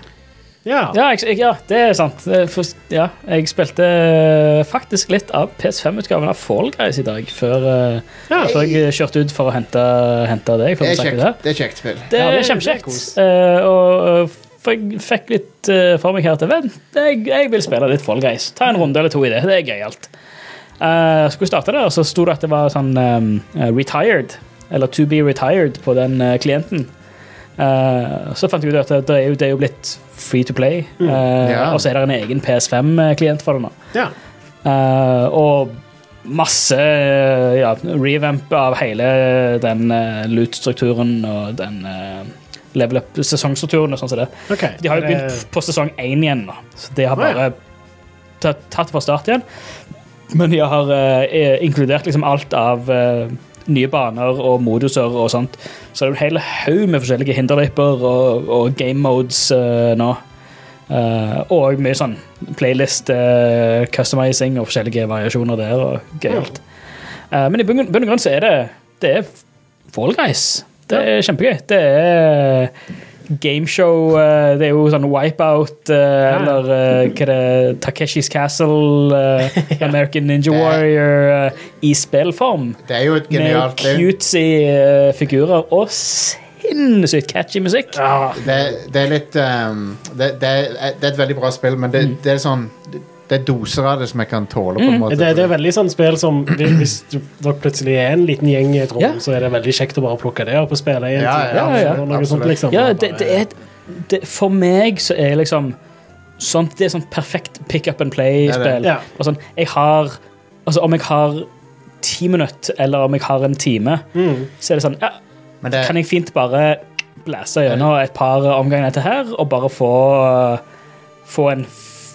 [SPEAKER 2] Ja.
[SPEAKER 4] Ja, jeg, ja, det er sant. Eh, For, ja, jeg spilte eh, faktisk litt av PS5-utgaven av Fall Guys i dag, før, eh,
[SPEAKER 2] Ja.
[SPEAKER 4] før jeg kjørte ut for å hente, hente deg. For
[SPEAKER 1] det,
[SPEAKER 4] å
[SPEAKER 1] er
[SPEAKER 4] snakke
[SPEAKER 1] kjekt,
[SPEAKER 4] der.
[SPEAKER 1] det er kjekt spill.
[SPEAKER 4] Det
[SPEAKER 2] Ja,
[SPEAKER 4] er
[SPEAKER 2] det- det er
[SPEAKER 4] kjempekjekt.
[SPEAKER 2] kos.
[SPEAKER 4] Eh, og, eh, for jeg fikk litt eh, for meg her til Vent, jeg, jeg vil spille litt Fall Guys. Ta en runde eller to i det. Det er gøyalt. Uh, skulle starte det, og så sto det at det var sånn eh, retired, eller to be retired, på den eh, klienten. Eh, så fant jeg ut at det er jo, det er jo blitt free to play, eh,
[SPEAKER 1] Ja.
[SPEAKER 4] og så er det en egen PS5-klient for det nå.
[SPEAKER 2] Ja.
[SPEAKER 4] Eh, og masse eh, ja, revamp av hele den eh, loot-strukturen og den eh, level up-sesongstrukturen og sånn som det.
[SPEAKER 2] OK.
[SPEAKER 4] De har jo
[SPEAKER 2] Det-
[SPEAKER 4] begynt på sesong én igjen nå, så de har
[SPEAKER 2] Å, ja.
[SPEAKER 4] bare tatt, tatt fra start igjen. Men de har eh, eh, inkludert liksom alt av eh, nye baner og moduser og sånt. Så det er en hel haug med forskjellige hinderløyper og, og game modes eh, nå. Eh, og mye sånn playlist eh, customizing og forskjellige variasjoner der og gøyalt. Eh, men i bunn bunn og grunn så er det Det er Fall Guys. Det er kjempegøy. Det er gameshow eh, Det er jo sånn Wipeout eh, eller eh, hva er det Takeshis Castle, eh, American Ninja
[SPEAKER 1] Det-
[SPEAKER 4] Warrior eh, i spillform.
[SPEAKER 1] Det er jo et
[SPEAKER 4] Med
[SPEAKER 1] genialt det er jo-
[SPEAKER 4] cutesy eh, figurer og sinnssykt catchy musikk.
[SPEAKER 2] Ja.
[SPEAKER 1] det, det er litt ehm, det, det, er, eh, det er et veldig bra spill, men
[SPEAKER 4] Mm.
[SPEAKER 1] det, det er sånn Det er doser av det som jeg kan tåle. på en måte
[SPEAKER 2] Det, det er veldig sånn spill som hvis- Hvis du, dere plutselig er en liten gjeng i et rom,
[SPEAKER 4] Ja.
[SPEAKER 2] så er det veldig kjekt å bare plukke det opp og spille i en
[SPEAKER 1] Ja,
[SPEAKER 2] time,
[SPEAKER 1] ja,
[SPEAKER 4] ja,
[SPEAKER 2] eller noe sånt,
[SPEAKER 1] absolutt.
[SPEAKER 2] liksom.
[SPEAKER 4] Ja,
[SPEAKER 2] Bare-
[SPEAKER 4] det, det er et- det, For meg så er liksom sånt, Det er sånn perfekt pick up and
[SPEAKER 1] Det er
[SPEAKER 4] play-spill.
[SPEAKER 2] det. Ja.
[SPEAKER 4] Og sånn, jeg har Altså, om jeg har ti minutter, eller om jeg har en time, så er det sånn ja,
[SPEAKER 1] Men det,
[SPEAKER 4] Kan jeg fint bare blæse gjennom
[SPEAKER 1] Eh.
[SPEAKER 4] et par omganger etter her, og bare få eh, Få en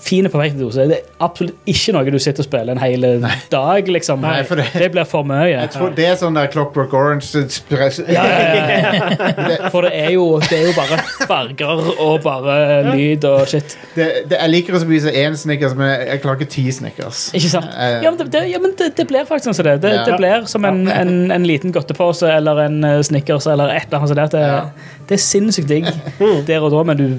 [SPEAKER 4] fin perfekt dose. Det er absolutt ikke noe du sitter og spiller en hel dag, liksom.
[SPEAKER 1] Nei, for det-
[SPEAKER 4] blir for mye.
[SPEAKER 1] jeg tror det er sånn der Clockwork Orange så spres- Eh,
[SPEAKER 4] For det er jo, det er jo bare farger og bare lyd og shit.
[SPEAKER 1] det, det, Jeg liker det så mye som én snickers, men jeg, jeg klarer ikke ti snickers.
[SPEAKER 4] Ikke sant?
[SPEAKER 1] Eh.
[SPEAKER 4] Ja, men det, det, ja, men det, det blir faktisk sånn som det. Det,
[SPEAKER 1] Ja.
[SPEAKER 4] det blir som en, en, en liten godtepose eller en eh, Snickers eller et eller annet sånt. der. Det, det er sinnssykt digg
[SPEAKER 1] Mm.
[SPEAKER 4] der og da, men du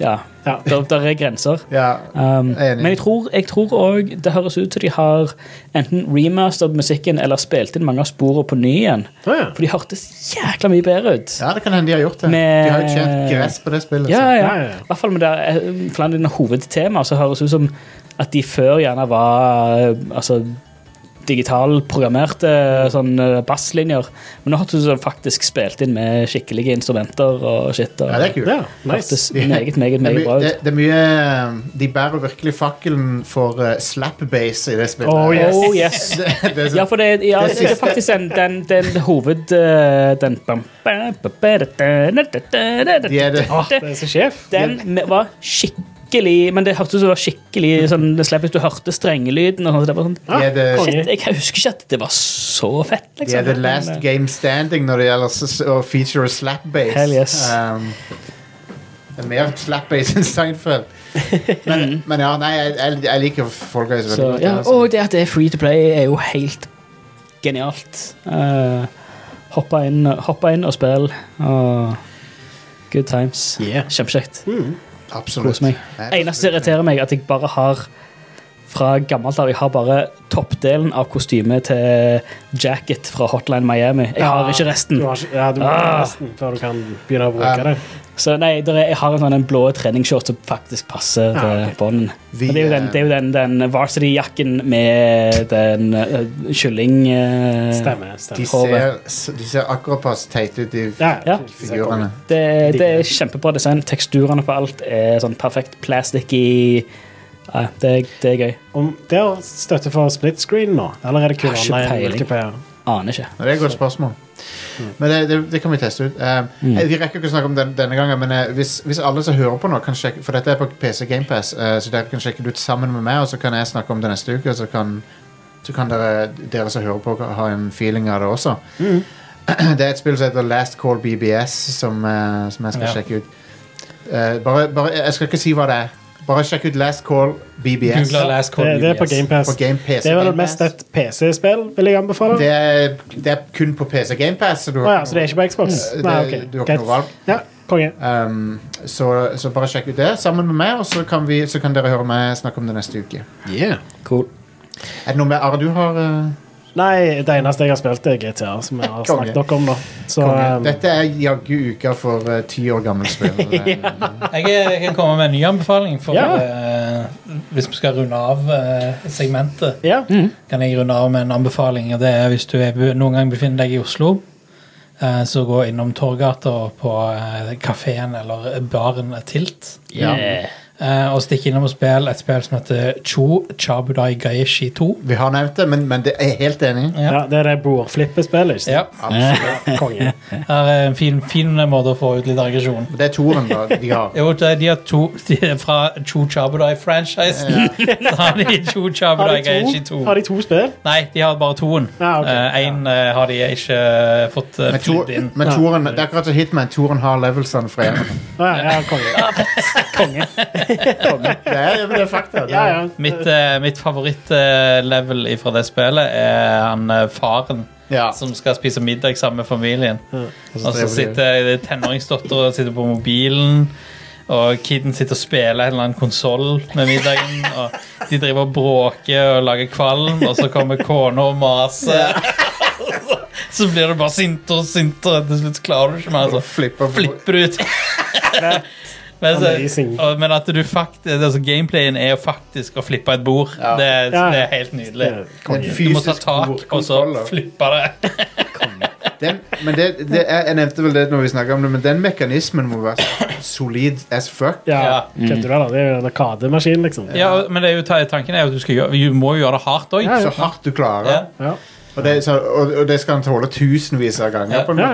[SPEAKER 4] Ja.
[SPEAKER 2] Ja.
[SPEAKER 4] Der, der er grenser.
[SPEAKER 1] Ja,
[SPEAKER 4] Um,
[SPEAKER 1] Enig.
[SPEAKER 4] men jeg tror, jeg tror også det høres ut som de har enten remastert musikken eller spilt inn mange av sporene på ny igjen.
[SPEAKER 2] Å, ja.
[SPEAKER 4] For de hørtes jækla mye bedre ut.
[SPEAKER 1] ja, det kan hende de har gjort det.
[SPEAKER 4] Med-
[SPEAKER 1] De har jo tjent gress på det spillet.
[SPEAKER 4] Ja,
[SPEAKER 1] så.
[SPEAKER 4] ja.
[SPEAKER 2] Ja, ja, ja.
[SPEAKER 4] I hvert fall med det eh, flere av dine hovedtemaer så høres det ut som at de før gjerne var eh, altså, digitalprogrammerte sånn, eh, basslinjer. Men nå hørtes det ut som de faktisk spilt inn med skikkelige instrumenter og shit. Og,
[SPEAKER 1] Ja, det er kult.
[SPEAKER 2] Ja, nice.
[SPEAKER 4] hørtes meget, meget,
[SPEAKER 1] Det er,
[SPEAKER 4] meget
[SPEAKER 1] mye,
[SPEAKER 4] bra
[SPEAKER 1] det,
[SPEAKER 4] ut.
[SPEAKER 1] det er mye eh, De bærer virkelig fakkelen for uh, slap-base i det spillet.
[SPEAKER 2] Oh, yes.
[SPEAKER 4] Oh yes.
[SPEAKER 1] det, det er så,
[SPEAKER 4] Ja, for det, ja,
[SPEAKER 1] Det
[SPEAKER 4] det er
[SPEAKER 1] siste-
[SPEAKER 4] faktisk den, den, den hoved... eh, Den
[SPEAKER 1] de er det.
[SPEAKER 2] Åh, det er så sjef.
[SPEAKER 4] Den me- var skikkelig Men det hørtes ut som det var skikkelig sånn, det slapp hvis du hørte strengelyden. Og sånt, så det var sånn,
[SPEAKER 1] De er det
[SPEAKER 2] konge.
[SPEAKER 4] shit, jeg husker ikke at det var så fett.
[SPEAKER 1] De
[SPEAKER 4] Liksom.
[SPEAKER 1] er the last
[SPEAKER 4] Men, eh,
[SPEAKER 1] game standing når det gjelder s- å feature slap bass.
[SPEAKER 4] Hell yes.
[SPEAKER 1] Um, det er mer slap bass enn Steinfeld. Men, men ja, nei, jeg, jeg, jeg liker folk veldig
[SPEAKER 4] eh, Så,
[SPEAKER 1] godt.
[SPEAKER 4] ja,
[SPEAKER 1] altså.
[SPEAKER 4] og det at det er free to play, er jo helt Eh, genialt. Uh, hoppa, inn, hoppa inn og spill. Og Good times.
[SPEAKER 2] Yeah.
[SPEAKER 4] Kjempekjekt.
[SPEAKER 1] Mm. Absolutt.
[SPEAKER 4] Kos meg.
[SPEAKER 1] Absolutt.
[SPEAKER 4] Eneste som irriterer meg, er at jeg bare har fra gammelt av, jeg har bare toppdelen av kostymet til jacket fra Hotline Miami. Jeg har ikke resten.
[SPEAKER 2] Du har ikke, ja, du må
[SPEAKER 4] Ah.
[SPEAKER 2] ha resten før du kan begynne å bruke
[SPEAKER 1] Ja.
[SPEAKER 2] det.
[SPEAKER 4] Så nei, der er, jeg har en sånn en blå treningsskjorte som faktisk passer til
[SPEAKER 2] Ah,
[SPEAKER 4] ah,
[SPEAKER 2] ok.
[SPEAKER 1] Vi,
[SPEAKER 4] Men det er jo den,
[SPEAKER 1] eh,
[SPEAKER 4] det er jo den, den varsity-jakken med den uh, kylling... eh,
[SPEAKER 2] Stemmer.
[SPEAKER 1] De
[SPEAKER 2] stemmer.
[SPEAKER 1] ser, s- de ser akkurat passe teite ut, de
[SPEAKER 2] Ja,
[SPEAKER 4] Ja.
[SPEAKER 1] figurene.
[SPEAKER 4] Det, det er kjempebra design. Teksturene på alt er sånn perfekt plasticky. Nei, det, er- det er gøy.
[SPEAKER 2] Om det har støtte for split screen nå, eller er det kun
[SPEAKER 4] Har ikke
[SPEAKER 2] online
[SPEAKER 4] peiling.
[SPEAKER 2] multiplayer?
[SPEAKER 4] Aner ikke.
[SPEAKER 1] Det er et godt spørsmål.
[SPEAKER 2] Mm.
[SPEAKER 1] Men det, det, det kan vi teste ut. Eh, eh, Vi rekker ikke å snakke om den, denne gangen, men eh, hvis, hvis alle som hører på nå, kan sjekke For dette er på PC GamePass, uh, så dere kan sjekke det ut sammen med meg, og så kan jeg snakke om det neste uke, og så kan, så kan dere, dere som hører på, ha en feeling av det også.
[SPEAKER 2] Mm.
[SPEAKER 1] Det er et spill som heter Last Call BBS, som, eh, som jeg skal
[SPEAKER 3] Ja.
[SPEAKER 1] sjekke ut. Eh, bare, bare, jeg skal ikke si hva det er. Bare sjekk ut Last Call BBS
[SPEAKER 3] Google Last Call
[SPEAKER 2] Det, det er på
[SPEAKER 3] BBS.
[SPEAKER 2] GamePass.
[SPEAKER 1] på Game PC.
[SPEAKER 2] Det er vel
[SPEAKER 1] Game
[SPEAKER 2] mest
[SPEAKER 1] Pass.
[SPEAKER 2] et PC-spill, vil jeg anbefale.
[SPEAKER 1] det er, det er kun på PC GamePass. Så du
[SPEAKER 2] Å
[SPEAKER 1] har
[SPEAKER 2] ja, så det er ikke på Xbox?
[SPEAKER 1] Det-
[SPEAKER 2] Nei,
[SPEAKER 1] Du har
[SPEAKER 2] ok.
[SPEAKER 1] ikke noe
[SPEAKER 2] Greit.
[SPEAKER 1] valg.
[SPEAKER 2] Ja, konge.
[SPEAKER 1] Um, så, så bare sjekk ut det sammen med meg, og så kan, vi, så kan dere høre meg snakke om det neste uke.
[SPEAKER 4] Cool.
[SPEAKER 1] Er det noe mer Are du har? eh,
[SPEAKER 2] Nei, det eneste jeg har spilt, er GTA, som vi har
[SPEAKER 1] Konge.
[SPEAKER 2] snakket nok om nå. Så
[SPEAKER 1] Konge?
[SPEAKER 2] um,
[SPEAKER 1] Dette er jaggu uka for eh, ti år gamle spill. ja.
[SPEAKER 3] Jeg, er- jeg kan komme med en ny anbefaling. For,
[SPEAKER 2] Ja.
[SPEAKER 3] eh, hvis vi skal runde av eh, segmentet,
[SPEAKER 2] ja.
[SPEAKER 3] kan jeg runde av med en anbefaling. og det er Hvis du er, noen gang befinner deg i Oslo, eh, så gå innom Torgata og på eh, kafeen eller baren Tilt.
[SPEAKER 4] Eh,
[SPEAKER 3] eh, og stikk innom og spill et spill som heter Cho Chabudai Gaeshi 2.
[SPEAKER 1] Vi har nevnt det, men, men det er jeg helt enig. i.
[SPEAKER 2] ja, det er det bordflippespillet, ikke sant?
[SPEAKER 3] Ja,
[SPEAKER 1] Absolutt.
[SPEAKER 2] Konge.
[SPEAKER 3] her er en fin, fin måte å få ut litt aggresjon.
[SPEAKER 1] Det er toeren da, de har.
[SPEAKER 3] Jo, det er de har to de er fra Cho Chabudai-franchisen. Så har de Cho
[SPEAKER 2] Har
[SPEAKER 3] Chabudai
[SPEAKER 2] de
[SPEAKER 3] Gaeshi
[SPEAKER 2] to,
[SPEAKER 3] 2.
[SPEAKER 2] har de to spill?
[SPEAKER 3] Nei, de har bare toen. Én
[SPEAKER 2] Ja, ok.
[SPEAKER 3] har de ikke eh, fått uh,
[SPEAKER 1] Men, to,
[SPEAKER 3] inn.
[SPEAKER 1] men toeren, det er akkurat som Hitman. Toeren har levelsene fra én.
[SPEAKER 2] Ja, ja, konge.
[SPEAKER 1] Det er, det er fakta. Det
[SPEAKER 2] Ja,
[SPEAKER 1] er,
[SPEAKER 2] ja.
[SPEAKER 3] Mitt, uh, mitt favorittlevel fra det spillet er han eh, faren
[SPEAKER 1] ja.
[SPEAKER 3] som skal spise middag sammen med familien. Og så
[SPEAKER 1] strever de.
[SPEAKER 3] sitter tenåringsdattera sitter på mobilen, og kiden sitter og spiller en eller annen konsoll med middagen. Og de driver og bråker og lager kvalm, og så kommer kona og maser. Så blir du bare sintere og sintere. Til slutt klarer du ikke mer. Altså.
[SPEAKER 1] Flipper,
[SPEAKER 3] flipper du ut. men, så,
[SPEAKER 2] Amazing.
[SPEAKER 3] og, men at du faktisk altså, Gameplayen er jo faktisk å flippe et bord.
[SPEAKER 1] Ja.
[SPEAKER 3] Det, er-
[SPEAKER 2] Ja.
[SPEAKER 3] det er helt nydelig.
[SPEAKER 1] en
[SPEAKER 3] Du må ta
[SPEAKER 1] fysisk
[SPEAKER 3] tak, og så
[SPEAKER 1] kontroller.
[SPEAKER 3] flippe det.
[SPEAKER 1] den, men det, det er, jeg nevnte vel det når vi snakket om det, men den mekanismen må være solid as fuck.
[SPEAKER 2] Ja,
[SPEAKER 3] Ja.
[SPEAKER 2] kødder du da? Det er jo en arkademaskin, liksom.
[SPEAKER 3] Ja, og- men det er jo, ta- tanken er jo at du skal gjøre, vi må jo gjøre det hardt òg.
[SPEAKER 1] Så hardt du klarer.
[SPEAKER 3] Ja.
[SPEAKER 2] Ja.
[SPEAKER 1] Og, det, så, og, og det skal han tåle tusenvis av ganger.
[SPEAKER 3] Ja.
[SPEAKER 1] på en
[SPEAKER 2] Ja,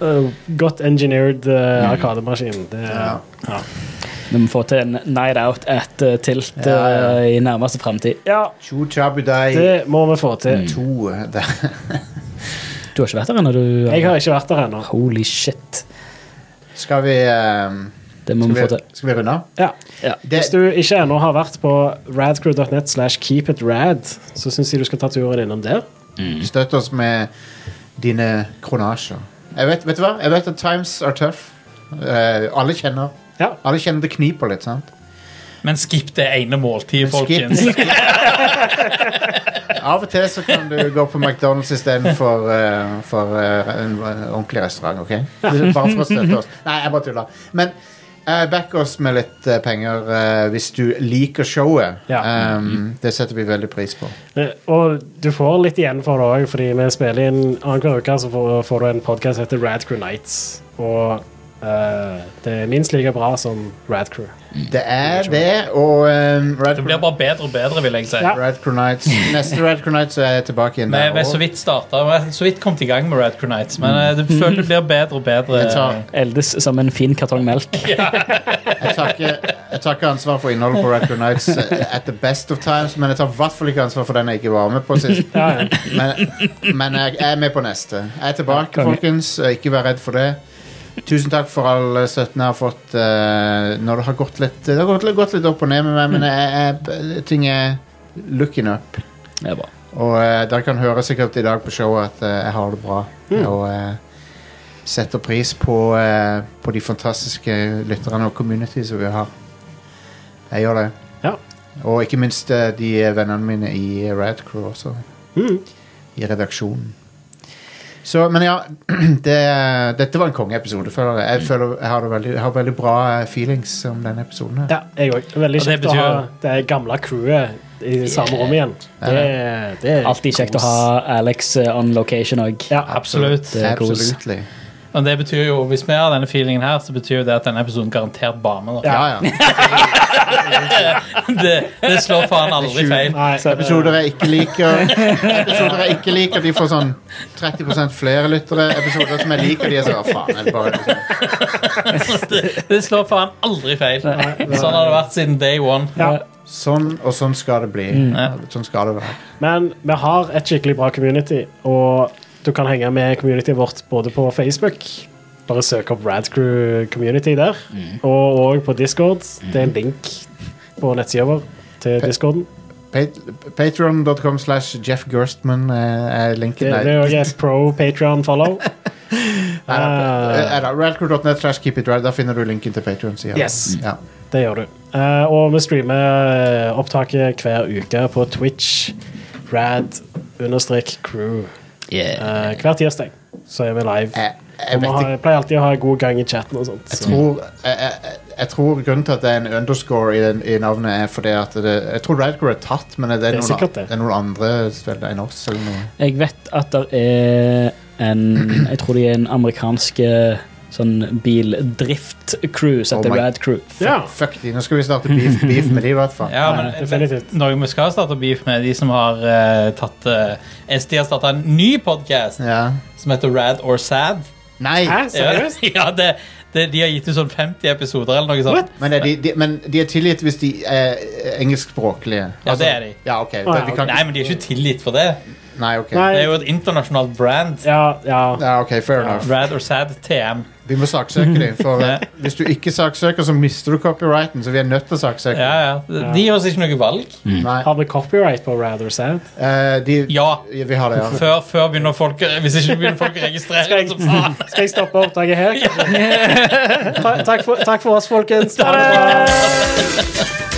[SPEAKER 1] måte.
[SPEAKER 2] uh, godt engineered
[SPEAKER 3] Mm.
[SPEAKER 2] uh, arkademaskin. Det,
[SPEAKER 1] Ja.
[SPEAKER 4] Vi må få til en night out at eh, Tilt
[SPEAKER 1] Ja,
[SPEAKER 4] eh, i nærmeste fremtid.
[SPEAKER 2] ja,
[SPEAKER 1] Chu Chabudai
[SPEAKER 2] det må vi få
[SPEAKER 3] Mm.
[SPEAKER 2] til.
[SPEAKER 1] 2. Det,
[SPEAKER 4] Du har ikke vært der ennå, du?
[SPEAKER 2] Jeg har ikke vært der ennå.
[SPEAKER 4] Holy shit.
[SPEAKER 1] skal vi ehm,
[SPEAKER 4] Det må
[SPEAKER 1] skal vi,
[SPEAKER 4] vi få til.
[SPEAKER 1] skal vi runde av?
[SPEAKER 2] Ja.
[SPEAKER 4] Ja.
[SPEAKER 1] Det,
[SPEAKER 2] Hvis du ikke ennå har vært på radcrew.net slash keepitrad, så syns jeg du skal ta turen innom der.
[SPEAKER 1] Støtt oss med dine kronasjer. Jeg vet, vet du hva? Jeg vet at times are tough. Eh, alle kjenner
[SPEAKER 2] Ja.
[SPEAKER 1] Alle kjenner det kniper litt, sant?
[SPEAKER 3] Men skip det ene måltidet,
[SPEAKER 1] Skip-
[SPEAKER 3] folkens.
[SPEAKER 1] Av og til så kan du gå på McDonald's istedenfor uh, for eh, en eh, ordentlig restaurant. ok? Bare for å støtte oss. Nei, jeg bare tuller. Men eh, back oss med litt eh, penger eh, hvis du liker showet.
[SPEAKER 2] Ja.
[SPEAKER 1] Um,
[SPEAKER 3] Mm.
[SPEAKER 1] det setter vi veldig pris på.
[SPEAKER 2] Eh, Og du får litt igjen for det òg, fordi vi spiller inn annenhver uke, så får, får du en podkast som heter Radcrew Nights. Og eh, det er minst like bra som Radcrew.
[SPEAKER 1] Det er det, og um, Red,
[SPEAKER 3] Det blir bare bedre og bedre, vil jeg si.
[SPEAKER 2] Ja.
[SPEAKER 1] Red Crew Nights Neste Red Crew Nights er jeg tilbake igjen.
[SPEAKER 3] Men
[SPEAKER 1] der
[SPEAKER 3] jeg vet så
[SPEAKER 1] også.
[SPEAKER 3] vidt startet, og jeg- så vidt kommet i gang med Radcrew Nights, men eh, det føler det blir bedre og bedre.
[SPEAKER 1] Jeg tar,
[SPEAKER 4] Eldes som en fin kartong melk.
[SPEAKER 1] jeg, takker, jeg takker ansvar for innholdet på Red Crew Nights eh, at the best of times, men jeg tar i hvert fall ikke ansvar for den jeg ikke var med på sist.
[SPEAKER 2] Ja, ja.
[SPEAKER 1] Men, men jeg jeg er med på neste. Jeg er tilbake,
[SPEAKER 4] konge.
[SPEAKER 1] folkens. Ikke vær redd for det. Tusen takk for all støtten jeg har fått eh, når det har gått litt Det har gått, litt- gått litt opp og ned med meg, men jeg, jeg, ting er looking up.
[SPEAKER 4] Det er bra.
[SPEAKER 1] Og eh, dere kan høre sikkert i dag på showet at eh, jeg har det bra. Og eh, setter pris på, eh, på de fantastiske lytterne og community som vi har. Jeg gjør det.
[SPEAKER 2] Ja.
[SPEAKER 1] Og ikke minst eh, de vennene mine i Radcrow også. I redaksjonen. Så, men ja, det, dette var en kongeepisode, føler jeg. Jeg, føler, jeg, har det veldig, jeg har veldig bra eh, feelings om denne episoden. her.
[SPEAKER 2] Ja, jeg òg. Veldig
[SPEAKER 3] Og det
[SPEAKER 2] kjekt å ha
[SPEAKER 3] betyr-
[SPEAKER 2] det gamle crewet i samme rom igjen. Det, det er
[SPEAKER 4] Alltid kjekt å
[SPEAKER 2] kos.
[SPEAKER 4] ha Alex eh, on location òg.
[SPEAKER 2] Ja,
[SPEAKER 3] Absolutt.
[SPEAKER 4] Det er kos.
[SPEAKER 1] Absolutely.
[SPEAKER 3] Men det betyr jo, hvis vi har denne feelingen her, så betyr jo det at denne episoden garantert bomber. da.
[SPEAKER 1] Ja, ja.
[SPEAKER 3] Det, det slår faen aldri feil.
[SPEAKER 2] Nei,
[SPEAKER 1] Episoder jeg ikke liker, Episoder jeg ikke liker de får sånn 30 flere lyttere. Episoder som jeg liker, de er sånn «Å, faen, er det bare episode?»
[SPEAKER 3] Det, det slår faen aldri feil. Sånn har det vært siden day one.
[SPEAKER 2] Ja.
[SPEAKER 1] Sånn og sånn skal det bli.
[SPEAKER 3] Ja.
[SPEAKER 1] Sånn skal det være.
[SPEAKER 2] Men vi har et skikkelig bra community, og du kan henge med communityet vårt både på Facebook Bare søk opp Radcrew Community der, og òg på Discord. Det er en link på nettsida vår til Discorden.
[SPEAKER 1] Patron.com slash Jeff Gerstmann eh, er
[SPEAKER 2] Det,
[SPEAKER 1] linken
[SPEAKER 2] det er òg et pro Patreon follow. Eh,
[SPEAKER 1] Radcrew.net slash keep it rad. Der finner du linken til Patron-sida.
[SPEAKER 2] Yes.
[SPEAKER 1] Ja.
[SPEAKER 2] Det gjør du. Eh, og vi streamer eh, opptaket hver uke på Twitch. Rad understrek crew. Eh, hver tirsdag så er vi live.
[SPEAKER 1] Jeg,
[SPEAKER 2] og
[SPEAKER 1] Eh, jeg
[SPEAKER 2] vi
[SPEAKER 1] vet
[SPEAKER 2] har,
[SPEAKER 1] ikke
[SPEAKER 2] pleier alltid å ha god gang i chatten og sånt.
[SPEAKER 1] jeg
[SPEAKER 2] Så.
[SPEAKER 1] tror, jeg, jeg, jeg tror grunnen til at det er en underscore i, den, i navnet, er fordi at det, Jeg tror Radcrew er tatt, men det er,
[SPEAKER 2] er
[SPEAKER 1] noen,
[SPEAKER 2] sikkert det.
[SPEAKER 1] det er noen andre steder enn oss. Eller noe.
[SPEAKER 4] Jeg vet at det er en Jeg tror de er en amerikansk eh, sånn bildrift-crew som heter
[SPEAKER 1] Oh my-
[SPEAKER 4] Rad Crew. sånn
[SPEAKER 2] Ja.
[SPEAKER 1] Fuck de, nå skal vi starte beef, beef med de, i hvert fall.
[SPEAKER 3] Ja, men
[SPEAKER 2] definitivt.
[SPEAKER 3] Noe vi skal starte beef med, de som har eh, tatt eh, SD har starta en ny podkast
[SPEAKER 1] Ja.
[SPEAKER 3] som heter Rad or Sad.
[SPEAKER 1] Nei!
[SPEAKER 2] Hæ,
[SPEAKER 3] Ja,
[SPEAKER 2] seriøst?
[SPEAKER 3] ja det, det, De har gitt ut sånn 50 episoder eller noe sånt.
[SPEAKER 1] Men er de, de, men de er tilgitt hvis de er engelskspråklige. Altså,
[SPEAKER 3] Ja, det er de.
[SPEAKER 1] Ja, ok.
[SPEAKER 2] ja,
[SPEAKER 1] vi kan
[SPEAKER 3] Nei,
[SPEAKER 1] ikke-
[SPEAKER 3] men de er ikke tilgitt for det.
[SPEAKER 1] Nei, ok.
[SPEAKER 2] Nei.
[SPEAKER 3] Det er jo et internasjonalt brand.
[SPEAKER 2] Ja, ja.
[SPEAKER 1] Ja, ok, fair enough.
[SPEAKER 3] Rad or Sad TM.
[SPEAKER 1] Vi må saksøke dem. For eh,
[SPEAKER 3] Ja.
[SPEAKER 1] hvis du ikke saksøker, så mister du copyrighten. Så vi er nødt til å saksøke.
[SPEAKER 3] Ja, ja. De har oss ikke noe valg.
[SPEAKER 1] Nei.
[SPEAKER 2] Har vi copyright på Rather Sad?
[SPEAKER 1] Eh, de,
[SPEAKER 3] Ja.
[SPEAKER 1] Vi har det, ja.
[SPEAKER 3] Før, før begynner folk Hvis ikke begynner folk å registrere så faen.
[SPEAKER 2] Skal jeg stoppe opptaket her? Ta, takk, for, takk for oss, folkens. Ha det!